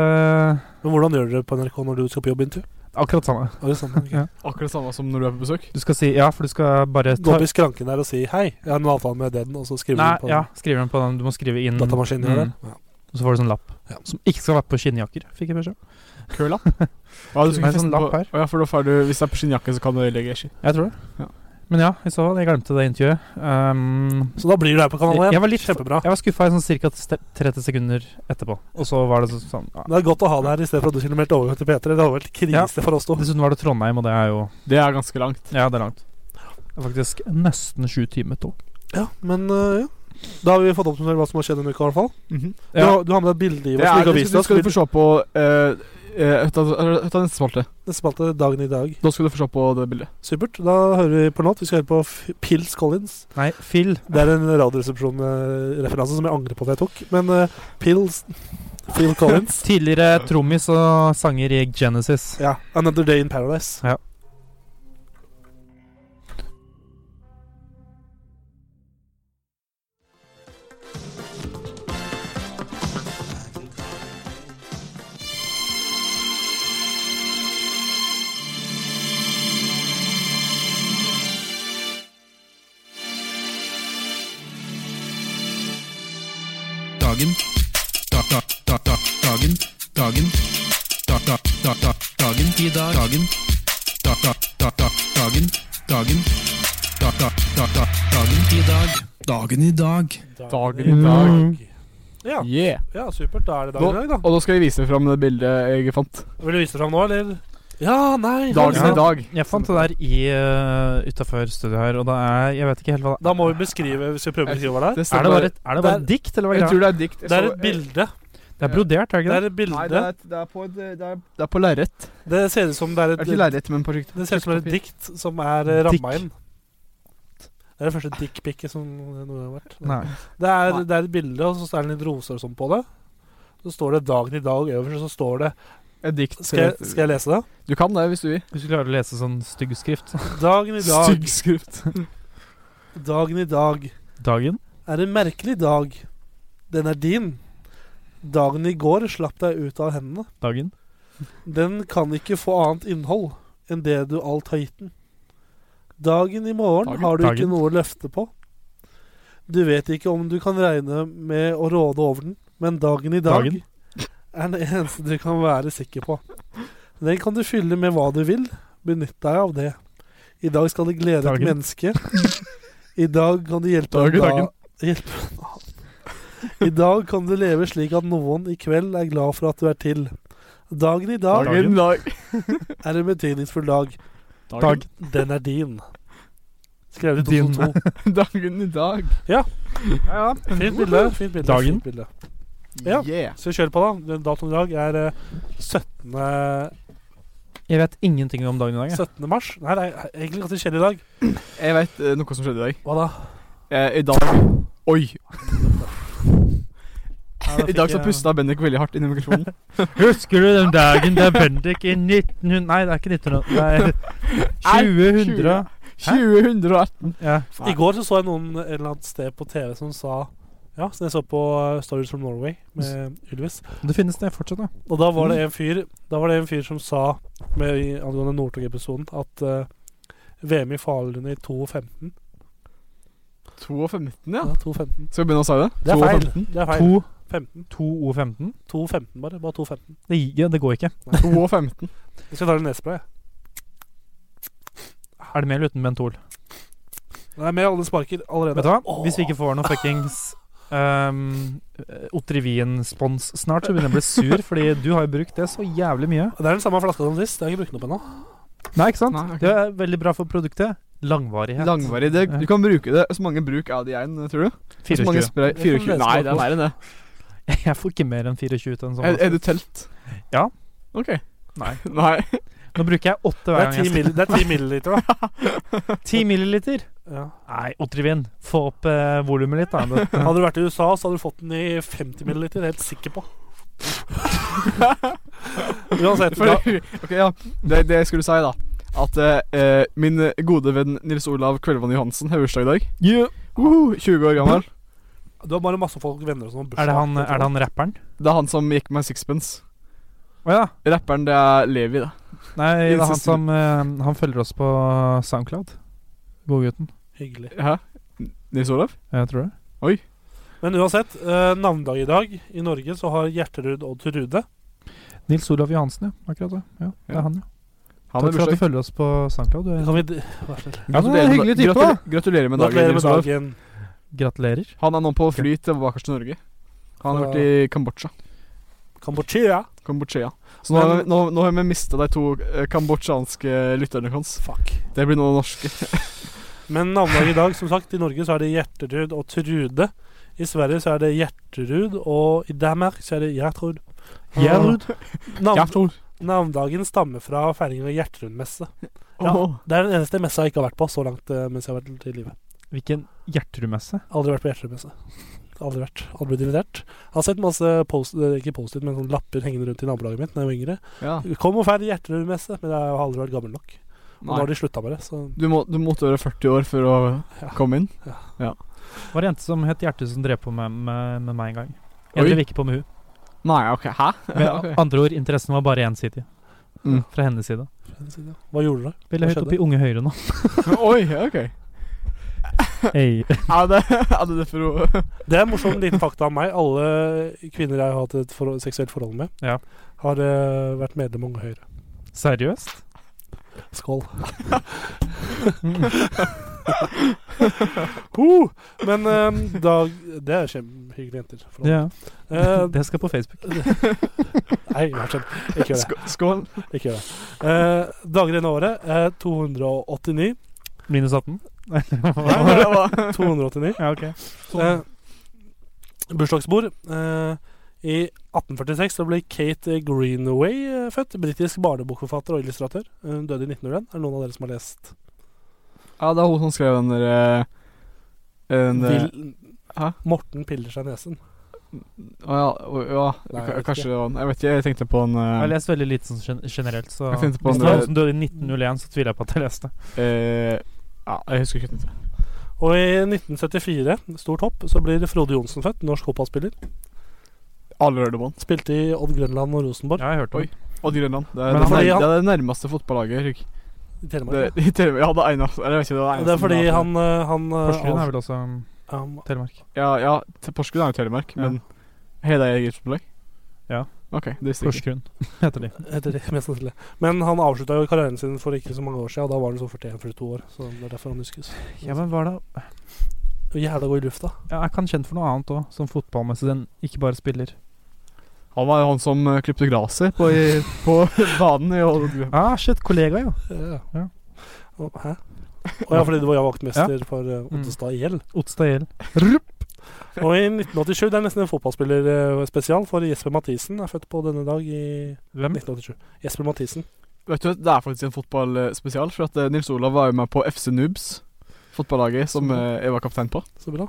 [SPEAKER 2] Men hvordan gjør dere det på NRK når du skal på jobbintervju?
[SPEAKER 3] akkurat samme.
[SPEAKER 2] Er det sånn?
[SPEAKER 3] Ja.
[SPEAKER 4] Akkurat samme som når du er på besøk.
[SPEAKER 3] Du skal si ja, for du skal bare
[SPEAKER 2] Gå
[SPEAKER 3] ta
[SPEAKER 2] opp i skranken der og si 'hei, jeg har en avtale med den', og så skriver
[SPEAKER 3] Nei,
[SPEAKER 2] du på
[SPEAKER 3] ja, skriver den på den. Du må skrive inn
[SPEAKER 2] datamaskinen.
[SPEAKER 3] Mm.
[SPEAKER 2] eller? Ja.
[SPEAKER 3] Og så får du sånn lapp.
[SPEAKER 2] Ja.
[SPEAKER 3] Som ikke skal være på skinnjakker, fikk jeg beskjed om.
[SPEAKER 4] Kølapp. Ja, du
[SPEAKER 3] Nei,
[SPEAKER 4] skal
[SPEAKER 3] sånn
[SPEAKER 4] feste på
[SPEAKER 3] lapp her.
[SPEAKER 4] Å ja, for da får du Hvis det er på skinnjakke, så kan du legge ski.
[SPEAKER 3] Jeg tror det.
[SPEAKER 4] Ja.
[SPEAKER 3] Men ja, i så fall. Jeg glemte det intervjuet. Um,
[SPEAKER 2] Så da blir du her på kanalen
[SPEAKER 3] Jeg-
[SPEAKER 2] igjen.
[SPEAKER 3] jeg var litt-
[SPEAKER 2] Kjempebra.
[SPEAKER 3] jeg var skuffa i sånn ca. 30 sekunder etterpå. Og så var det så- sånn ja.
[SPEAKER 2] Det er godt å ha deg her i stedet for at du skulle meldt overgang til P3. Det hadde vært krise for oss to.
[SPEAKER 3] Dessuten var det Trondheim, og det er jo
[SPEAKER 4] Det er ganske langt.
[SPEAKER 3] Ja, det er langt. Det er faktisk nesten sju timer tog.
[SPEAKER 2] Ja, men øh, ja. Da har vi fått oppsummert hva som har skjedd denne uka, i hvert fall.
[SPEAKER 4] Mhm.
[SPEAKER 2] Du,
[SPEAKER 3] Ja.
[SPEAKER 2] har- du har med deg bilde i
[SPEAKER 4] Det
[SPEAKER 2] oss som
[SPEAKER 4] er,
[SPEAKER 2] ikke har
[SPEAKER 4] det
[SPEAKER 2] vist
[SPEAKER 4] skal,
[SPEAKER 2] oss.
[SPEAKER 4] skal du få
[SPEAKER 2] Vil-
[SPEAKER 4] se på eh, eh, ut av ut av neste spalte.
[SPEAKER 2] Det spalte dagen i dag.
[SPEAKER 4] Da skal du få se på det bildet.
[SPEAKER 2] Supert. Da hører vi på låt. Vi skal høre på F- Pils Collins.
[SPEAKER 3] Nei, Phil.
[SPEAKER 2] Det er en Radioresepsjon-referanse som jeg angrer på at jeg tok. Men øh, Pils Phil Collins.
[SPEAKER 3] Tidligere trommis og sanger i Genesis.
[SPEAKER 2] ja. Another Day in Paradise.
[SPEAKER 1] Dagen. Da, da, da, da, dagen. Dagen. Da, da, da, da, dagen. I dag. Dagen. Da, da, da, da, dagen. Dagen. Da, da, da, da, dagen. I dag. Dagen i dag.
[SPEAKER 4] Dagen i dag.
[SPEAKER 2] Ja,
[SPEAKER 4] Yeah.
[SPEAKER 2] ja, supert. Da er det dagen i dag,
[SPEAKER 4] Nå,
[SPEAKER 2] da.
[SPEAKER 4] og da skal jeg vise fram det bildet jeg fant.
[SPEAKER 2] Vil du vise det fram nå, eller? Ja, nei
[SPEAKER 4] Dagen
[SPEAKER 3] Ja.
[SPEAKER 4] i dag.
[SPEAKER 3] Jeg fant det der i uh, utafor studioet her, og det er Jeg vet ikke helt hva det
[SPEAKER 2] Da må vi beskrive Hvis vi prøver å beskrive hva det er.
[SPEAKER 3] er.
[SPEAKER 4] stemmer.
[SPEAKER 3] Det bare, et- er det bare et dikt, eller hva er
[SPEAKER 4] Jeg
[SPEAKER 3] greia?
[SPEAKER 4] tror det er et dikt. Jeg
[SPEAKER 2] Det er
[SPEAKER 4] så-
[SPEAKER 2] et bilde.
[SPEAKER 3] Det er brodert, er det
[SPEAKER 2] Det
[SPEAKER 3] ikke
[SPEAKER 2] er
[SPEAKER 3] det?
[SPEAKER 2] et
[SPEAKER 4] Nei, det
[SPEAKER 2] bilde.
[SPEAKER 4] er, det er på et- det er, det er på lerret.
[SPEAKER 2] Det ser ut som det er
[SPEAKER 4] Er det
[SPEAKER 2] et
[SPEAKER 4] ikke lerret, men på trygt
[SPEAKER 2] Det ser ut som det er et dikt som er ramma inn. Det er det første dickpicet som noen har vært.
[SPEAKER 3] Nei.
[SPEAKER 2] Det er,
[SPEAKER 4] Nei.
[SPEAKER 2] det er et bilde, og så er det litt roser og sånn på det. Så står det 'Dagen i dag' øverst, og så står det
[SPEAKER 4] Et dikt.
[SPEAKER 2] Skal jeg, skal jeg lese det?
[SPEAKER 4] Du kan det hvis du vil.
[SPEAKER 3] Hvis du klarer å lese sånn stygg skrift.
[SPEAKER 2] Dagen i dag,
[SPEAKER 4] Stygg skrift.
[SPEAKER 2] dagen i dag
[SPEAKER 3] Dagen?
[SPEAKER 2] er en merkelig dag. Den er din. Dagen i går slapp deg ut av hendene.
[SPEAKER 3] Dagen?
[SPEAKER 2] Den kan ikke få annet innhold enn det du alt har gitt den. Dagen i morgen
[SPEAKER 4] Dagen,
[SPEAKER 2] har du
[SPEAKER 3] dagen.
[SPEAKER 2] ikke noe å løfte på. Du vet ikke om du kan regne med å råde over den, men dagen i dag
[SPEAKER 3] Dagen.
[SPEAKER 2] er den eneste du kan være sikker på. Den kan du fylle med hva du vil. Benytt deg av det. I dag skal det glede
[SPEAKER 3] Dagen.
[SPEAKER 2] et menneske. I dag kan du hjelpe
[SPEAKER 4] Dagen,
[SPEAKER 2] en da-
[SPEAKER 4] dagen.
[SPEAKER 2] Hjelpe en annen. I dag kan du leve slik at noen i kveld er glad for at du er til. Dagen i dag
[SPEAKER 4] Dagen i dag.
[SPEAKER 2] er en betydningsfull dag.
[SPEAKER 3] Dag.
[SPEAKER 2] Den er din. Skrevet i
[SPEAKER 3] Din.
[SPEAKER 2] 2002.
[SPEAKER 4] Dagen i dag.
[SPEAKER 3] Ja,
[SPEAKER 2] Fint bilde. Fint bilde.
[SPEAKER 3] Dagen.
[SPEAKER 2] Fint bilde. Ja.
[SPEAKER 4] Yeah.
[SPEAKER 2] Så kjør på, da. Den Datoen i dag er eh, 17.
[SPEAKER 3] Jeg vet ingenting om dagen i dag. Jeg.
[SPEAKER 2] 17. mars. Nei, det er egentlig ganske kjedelig i dag.
[SPEAKER 4] Jeg veit eh, noe som skjedde i dag.
[SPEAKER 2] Hva da?
[SPEAKER 4] Eh, I dag Oi!
[SPEAKER 2] Ja, da
[SPEAKER 4] I dag
[SPEAKER 2] fikk
[SPEAKER 4] så
[SPEAKER 2] jeg-
[SPEAKER 4] pusta Bendik veldig hardt inn i mikrofonen.
[SPEAKER 3] Husker du den dagen da Bendik i 1900 Nei, det er ikke 1900. Det
[SPEAKER 4] Nei,
[SPEAKER 3] er
[SPEAKER 4] 20.
[SPEAKER 3] 2000.
[SPEAKER 4] 2018.
[SPEAKER 3] Ja.
[SPEAKER 2] I går så, så jeg noen et eller annet sted på TV som sa Ja, som jeg så på eh, Stories from Norway med Ylvis.
[SPEAKER 3] Det finnes det fortsatt, ja.
[SPEAKER 2] Og da
[SPEAKER 3] Mm.
[SPEAKER 2] var det en fyr Da var det en fyr som sa med, i- angående Northug-episoden at eh, VM i Falun i 2.15
[SPEAKER 4] 2.15, ja.
[SPEAKER 2] Ja, 2.15.
[SPEAKER 4] Skal vi begynne å si det?
[SPEAKER 2] Det er feil.
[SPEAKER 4] 2.15.
[SPEAKER 2] Det er feil.
[SPEAKER 3] 2
[SPEAKER 2] 15.
[SPEAKER 3] 2 O15.
[SPEAKER 2] 2.15 bare. Bare 2.15.
[SPEAKER 3] Det, gir- ja, det går ikke.
[SPEAKER 4] 2.15.
[SPEAKER 2] Jeg skal ta litt nesespray. jeg.
[SPEAKER 3] Er det med eller uten mentol?
[SPEAKER 2] Nei, med alle sparker allerede.
[SPEAKER 3] Vet du hva?
[SPEAKER 2] Åh.
[SPEAKER 3] Hvis vi ikke får noe fuckings um, Otrivien-spons snart, så begynner jeg å bli sur, fordi du har jo brukt det så jævlig mye.
[SPEAKER 2] Det er den samme flaska som sist. Jeg har ikke brukt den opp ennå.
[SPEAKER 3] Nei, ikke sant?
[SPEAKER 4] Nei, ok.
[SPEAKER 3] Det er veldig bra for produktet. Langvarighet.
[SPEAKER 4] Langvarig. Det, du kan bruke det. Så mange bruk er det igjen, tror du? Så mange
[SPEAKER 3] 24.
[SPEAKER 4] spray
[SPEAKER 2] Det kan
[SPEAKER 4] 24.
[SPEAKER 2] lese
[SPEAKER 4] Nei,
[SPEAKER 2] bak
[SPEAKER 4] det er
[SPEAKER 2] på.
[SPEAKER 4] mer enn det.
[SPEAKER 3] Jeg får ikke mer enn 24 til en sånn.
[SPEAKER 4] Er, er
[SPEAKER 3] altså.
[SPEAKER 4] det telt?
[SPEAKER 3] Ja.
[SPEAKER 4] OK.
[SPEAKER 3] Nei.
[SPEAKER 4] Nei.
[SPEAKER 3] Nå bruker jeg åtte
[SPEAKER 2] Det
[SPEAKER 3] hver
[SPEAKER 2] er
[SPEAKER 3] gang.
[SPEAKER 2] ti
[SPEAKER 3] jeg
[SPEAKER 2] milli- det er ti milliliter, da.
[SPEAKER 3] skal- 10 milliliter?
[SPEAKER 2] Ja.
[SPEAKER 3] Nei, Otrivin, få opp eh, volumet litt, da. Det-
[SPEAKER 2] Hadde du vært i USA, så hadde du fått den i 50 milliliter. Helt sikker på. Uansett.
[SPEAKER 4] For,
[SPEAKER 2] Ja.
[SPEAKER 4] ok, ja. Det, det jeg skulle si, da. At eh, min gode venn Nils Olav Kvelvan Johansen har bursdag i dag.
[SPEAKER 3] Yeah.
[SPEAKER 4] Uhu, 20 år gammel.
[SPEAKER 2] Du har bare masse folk, venner og sånn.
[SPEAKER 3] Er det han, er det han rapperen?
[SPEAKER 4] Det er han som gikk med sixpence.
[SPEAKER 3] Å ja.
[SPEAKER 4] Rapperen, det er Levi, da.
[SPEAKER 3] Nei, det er han
[SPEAKER 4] Incest-
[SPEAKER 3] som eh, Han følger oss på SoundCloud. Godgutten.
[SPEAKER 2] Hyggelig.
[SPEAKER 4] Hæ? Nils Olav?
[SPEAKER 3] Jeg tror det.
[SPEAKER 2] Men uansett, eh, navnedag i dag i Norge så har Hjerterud Odd til Rude.
[SPEAKER 3] Nils Olav Johansen, ja. Akkurat det. Ja, det
[SPEAKER 4] Ja.
[SPEAKER 3] er han, ja. Takk
[SPEAKER 4] Han har
[SPEAKER 3] for at du
[SPEAKER 4] bursdag.
[SPEAKER 3] følger oss på SoundCloud. Du-
[SPEAKER 2] Kan vi d- Vær så snill.
[SPEAKER 3] Ja, han er en hyggelig type, da.
[SPEAKER 4] gratulerer, gratulerer med dagen,
[SPEAKER 2] Gratulerer med
[SPEAKER 4] Nils Olav.
[SPEAKER 2] dagen.
[SPEAKER 3] Gratulerer.
[SPEAKER 4] Han er nå på fly tilbake til Norge. Han har
[SPEAKER 2] Fra-
[SPEAKER 4] vært i Kambodsja.
[SPEAKER 2] Kambodsja.
[SPEAKER 4] Kambodsja. Så nå, har
[SPEAKER 2] Men-
[SPEAKER 4] vi- nå, nå har vi mista de to eh, kambodsjanske lytterne hans.
[SPEAKER 2] Fuck.
[SPEAKER 4] Det blir nå norske.
[SPEAKER 2] Men navnedag i dag, som sagt, i Norge så er det Hjerterud og Trude. I Sverige så er det Hjerterud, og i Danmark så er det Gjertrud. Og
[SPEAKER 3] Gjertrud.
[SPEAKER 2] Navn,
[SPEAKER 4] tror
[SPEAKER 2] navndagen stammer fra feiringen av Gjertrudmesse. Ja.
[SPEAKER 4] Åh.
[SPEAKER 2] Det er den eneste messa jeg ikke har vært på så langt eh, mens jeg har vært i livet.
[SPEAKER 3] Hvilken hjerterumesse.
[SPEAKER 2] Aldri vært på Gjertrudmesse. Aldri vært. Aldri blitt invitert. Jeg har sett masse post, eh, ikke post-it, men sånne lapper hengende rundt i nabolaget mitt da jeg var yngre.
[SPEAKER 4] Ja.
[SPEAKER 2] Kom og feir Gjertrudmesse, men jeg har aldri vært gammel nok. Og nå
[SPEAKER 4] Nei.
[SPEAKER 2] har de slutta med det, så
[SPEAKER 4] Du, må, du måtte være 40 år for å
[SPEAKER 2] Ja.
[SPEAKER 4] komme inn.
[SPEAKER 3] Det var en jente som het Hjerte, som drev på med, med, med meg en gang.
[SPEAKER 4] Oi.
[SPEAKER 3] Jeg drev ikke på med hun.
[SPEAKER 4] Nei, ok. Hæ?
[SPEAKER 3] Med
[SPEAKER 4] Ok.
[SPEAKER 3] andre ord, interessen var bare ensidig.
[SPEAKER 4] Mm.
[SPEAKER 3] Fra hennes side.
[SPEAKER 2] Hva gjorde du?
[SPEAKER 3] Ville
[SPEAKER 2] Hva
[SPEAKER 3] høyt opp
[SPEAKER 2] skjedde?
[SPEAKER 3] i Unge Høyre nå.
[SPEAKER 4] Oi, ok.
[SPEAKER 3] Hey.
[SPEAKER 4] Er det, er det det for å
[SPEAKER 2] Det er en morsom liten fakta om meg. Alle kvinner jeg har hatt et forhold, seksuelt forhold med,
[SPEAKER 3] Ja.
[SPEAKER 2] har eh, vært medlem av Unge Høyre.
[SPEAKER 3] Seriøst?
[SPEAKER 2] Skål.
[SPEAKER 3] Mm.
[SPEAKER 2] Ho! Men eh, dag Det er kjempehyggelige jenter. for alle.
[SPEAKER 3] Ja.
[SPEAKER 2] Eh,
[SPEAKER 3] Det skal på Facebook.
[SPEAKER 2] nei, vær så snill. Ikke gjør det.
[SPEAKER 4] Skå- Skål.
[SPEAKER 2] Ikke gjør det. Eh, dager innen året eh, er 289.
[SPEAKER 3] Minus 18?
[SPEAKER 4] Nei, det var-
[SPEAKER 2] 289.
[SPEAKER 3] ja, ok.
[SPEAKER 2] Eh, bursdagsbord. Eh, I 1846 så ble Kate Greenaway eh, født. Britisk barnebokforfatter og illustratør. Hun døde i 1901. Er det noen av dere som har lest
[SPEAKER 4] Ja, det er hun som skrev den der eh, den, eh,
[SPEAKER 2] Vil,
[SPEAKER 4] Hæ?
[SPEAKER 2] Morten piller seg i nesen.
[SPEAKER 4] Å ja, å, ja.
[SPEAKER 2] Nei, jeg
[SPEAKER 4] K-
[SPEAKER 2] vet
[SPEAKER 4] kanskje
[SPEAKER 2] ikke.
[SPEAKER 4] det var den. Jeg vet ikke, jeg tenkte på en
[SPEAKER 3] Jeg har
[SPEAKER 4] eh,
[SPEAKER 3] lest veldig lite sånn gen generelt, så
[SPEAKER 4] Jeg
[SPEAKER 3] Hvis
[SPEAKER 4] tenkte på
[SPEAKER 3] det
[SPEAKER 4] en,
[SPEAKER 3] var
[SPEAKER 4] eh,
[SPEAKER 3] noen som døde i 1901, så tviler jeg på at jeg leste.
[SPEAKER 4] eh, Ja, jeg husker ikke. den.
[SPEAKER 2] Og i 1974, stort hopp, så blir Frode Johnsen født. Norsk fotballspiller.
[SPEAKER 4] Alle hører det på den.
[SPEAKER 2] Spilte i Odd Grønland og Rosenborg.
[SPEAKER 3] Ja, jeg hørte om
[SPEAKER 4] Oi.
[SPEAKER 3] det.
[SPEAKER 4] Odd Grønland. Det er,
[SPEAKER 3] Men
[SPEAKER 4] det,
[SPEAKER 2] han-
[SPEAKER 4] nær,
[SPEAKER 2] fordi han-
[SPEAKER 4] det er det nærmeste fotballaget. Erik.
[SPEAKER 2] I Telemark.
[SPEAKER 4] Det, i TV, ja, det er eneste Eller jeg vet ikke, det er
[SPEAKER 2] Det,
[SPEAKER 4] eneste
[SPEAKER 2] er fordi
[SPEAKER 4] navnet.
[SPEAKER 2] han, eh, han eh,
[SPEAKER 3] Porsgrunn
[SPEAKER 2] av-
[SPEAKER 3] er vel også um,
[SPEAKER 2] han-
[SPEAKER 3] Telemark.
[SPEAKER 4] Ja, ja T- Porsgrunn er jo Telemark,
[SPEAKER 3] Ja.
[SPEAKER 4] men har de eget fotballag?
[SPEAKER 3] Ja.
[SPEAKER 4] OK, det visste jeg ikke.
[SPEAKER 3] Porsgrunn heter de.
[SPEAKER 2] heter det, mest sannsynlig. Men han avslutta jo karrieren sin for ikke så mange år siden, og da var han sånn 41-42 år. Så det er derfor han huskes.
[SPEAKER 3] Ja, men hva er det
[SPEAKER 2] Og Jævla god i lufta.
[SPEAKER 3] ja, Jeg kan kjenne for noe annet òg, som fotballmessig. Den ikke bare spiller.
[SPEAKER 4] Han var jo han som eh, klipte gresset på, i- på banen i Old
[SPEAKER 3] Ah, shit, kollega, jo.
[SPEAKER 2] Ja.
[SPEAKER 3] Ja.
[SPEAKER 2] Og- Hæ? Og ja, fordi du var jo vaktmester for eh, Ottestad IL.
[SPEAKER 3] Otstad IL.
[SPEAKER 2] Og i 1987, det er nesten en fotballspillerspesial, for Jesper Mathisen er født på denne dag i
[SPEAKER 3] Hvem?
[SPEAKER 2] 1987. Jesper Mathisen.
[SPEAKER 4] Vet du, hva, Det er faktisk en fotballspesial, for at eh, Nils Olav var jo med på FC Noobs. Fotballaget som eh, jeg var kaptein på.
[SPEAKER 2] Så bra.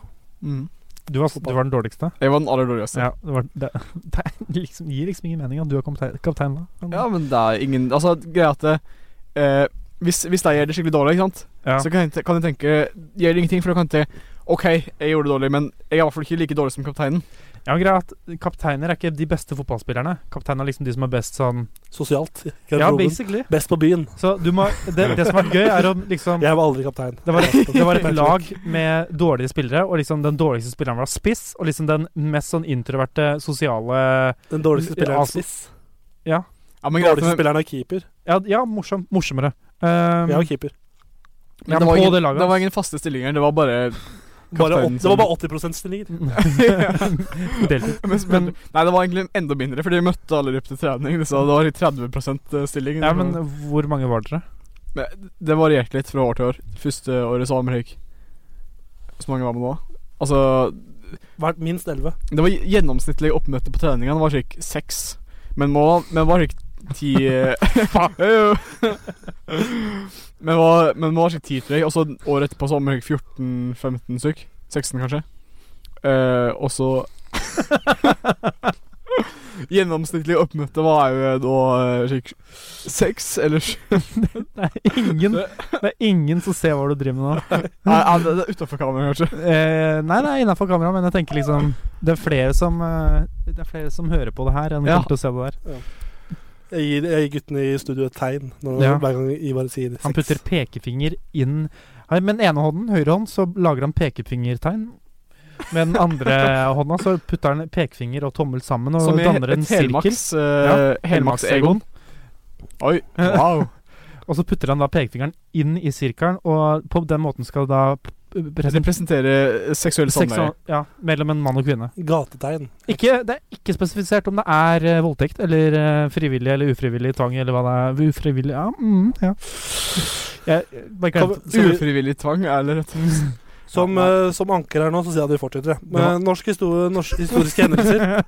[SPEAKER 3] Du var, du var den dårligste?
[SPEAKER 4] Jeg var den aller dårligste.
[SPEAKER 3] Mm. Ja. Det, var, det, det er liksom, gir liksom ingen mening at du er kaptein, kaptein da. Men-
[SPEAKER 4] Ja, men det er ingen Altså, greia at eh, hvis, hvis de gjør det skikkelig dårlig, ikke sant,
[SPEAKER 3] Ja.
[SPEAKER 4] så kan jeg, te- kan jeg tenke Gjør det ingenting, for da kan jeg tenke OK, jeg gjorde det dårlig, men jeg er i hvert fall ikke like dårlig som kapteinen.
[SPEAKER 3] Ja, men greia er at Kapteiner er ikke de beste fotballspillerne. Kapteiner er liksom de som er best sånn
[SPEAKER 2] Sosialt. i
[SPEAKER 3] Ja,
[SPEAKER 2] garderoben.
[SPEAKER 3] basically.
[SPEAKER 2] Best på byen.
[SPEAKER 3] Så du må Det, det som er gøy, er å liksom
[SPEAKER 2] Jeg var aldri kaptein.
[SPEAKER 3] det var, et, det var et lag med dårlige spillere, og liksom den dårligste spilleren var spiss. Og liksom den mest sånn introverte sosiale
[SPEAKER 2] Den dårligste spilleren er
[SPEAKER 3] Altså,
[SPEAKER 2] spiss.
[SPEAKER 4] Ja, men
[SPEAKER 2] Den
[SPEAKER 4] greia
[SPEAKER 2] dårligste
[SPEAKER 4] at-
[SPEAKER 2] spilleren er keeper.
[SPEAKER 3] Ja, ja morsom, morsommere. Um,
[SPEAKER 2] Jeg var keeper.
[SPEAKER 4] men
[SPEAKER 3] men
[SPEAKER 4] det, var
[SPEAKER 3] på
[SPEAKER 4] ingen,
[SPEAKER 3] det laget
[SPEAKER 4] det var ingen faste stillinger, det var bare
[SPEAKER 2] Bare åt-
[SPEAKER 4] kapteinen
[SPEAKER 2] det var
[SPEAKER 4] som-
[SPEAKER 2] bare 80 stillinger.
[SPEAKER 3] Deltid.
[SPEAKER 4] men, men, Nei, det var egentlig enda mindre, for de møtte alle opp til trening. Så det var i 30 stilling.
[SPEAKER 3] Ja, men hvor mange var dere?
[SPEAKER 4] Men det varierte litt fra år til år. Første året så var vi ikke Så mange var med nå. Altså
[SPEAKER 2] Vært minst 11.
[SPEAKER 4] Det var gjennomsnittlig oppmøte på treninga. Det var slik seks. Men nå men var slik ti eh, Faen, jo. Men var, men var slik ti, tror jeg. Og så året etterpå så var vi 14-15 stykk. 16, kanskje. Eh, og så Gjennomsnittlig oppmøte var jo da eh, slik seks eller sju.
[SPEAKER 3] Det er ingen, det er ingen som ser hva du driver med nå.
[SPEAKER 4] Nei, nei, det er utafor kameraet, kanskje.
[SPEAKER 3] Eh, nei, det er innafor kamera, men jeg tenker liksom Det er flere som, eh, det er flere som hører på det her, enn
[SPEAKER 4] Ja.
[SPEAKER 3] kommer til å se det der.
[SPEAKER 2] Jeg gir, jeg gir guttene i studio et tegn når,
[SPEAKER 3] Ja.
[SPEAKER 2] hver gang Ivar sier
[SPEAKER 3] Han
[SPEAKER 2] seks.
[SPEAKER 3] putter pekefinger inn Nei, Med den ene hånden, høyre hånd, så lager han pekefingertegn. Med den andre hånda så putter han pekefinger og tommel sammen og
[SPEAKER 4] Som i
[SPEAKER 3] danner en
[SPEAKER 4] et
[SPEAKER 3] sirkel.
[SPEAKER 4] helmaks uh, Helmaks-egon. Oi, wow.
[SPEAKER 3] Og så putter han da pekefingeren inn i sirkelen, og på den måten skal det da p- presentere
[SPEAKER 4] Representere seksuell samleie.
[SPEAKER 3] seksual- ja, mellom en mann og kvinne.
[SPEAKER 2] Gatetegn.
[SPEAKER 3] Ikke, det er ikke spesifisert om det er eh, voldtekt eller eh, frivillig eller ufrivillig tvang eller hva det er. Ufrivillig Ja. Mm, ja. Jeg, jeg bare
[SPEAKER 2] Kan
[SPEAKER 3] glemte.
[SPEAKER 2] vi- skal vi-
[SPEAKER 4] Ufrivillig tvang, eller rett og slett
[SPEAKER 2] Som,
[SPEAKER 4] Ja,
[SPEAKER 2] eh, som anker her nå, så sier jeg at vi fortsetter. jeg. Men eh,
[SPEAKER 3] Ja.
[SPEAKER 2] norsk histori norsk historiske hendelser.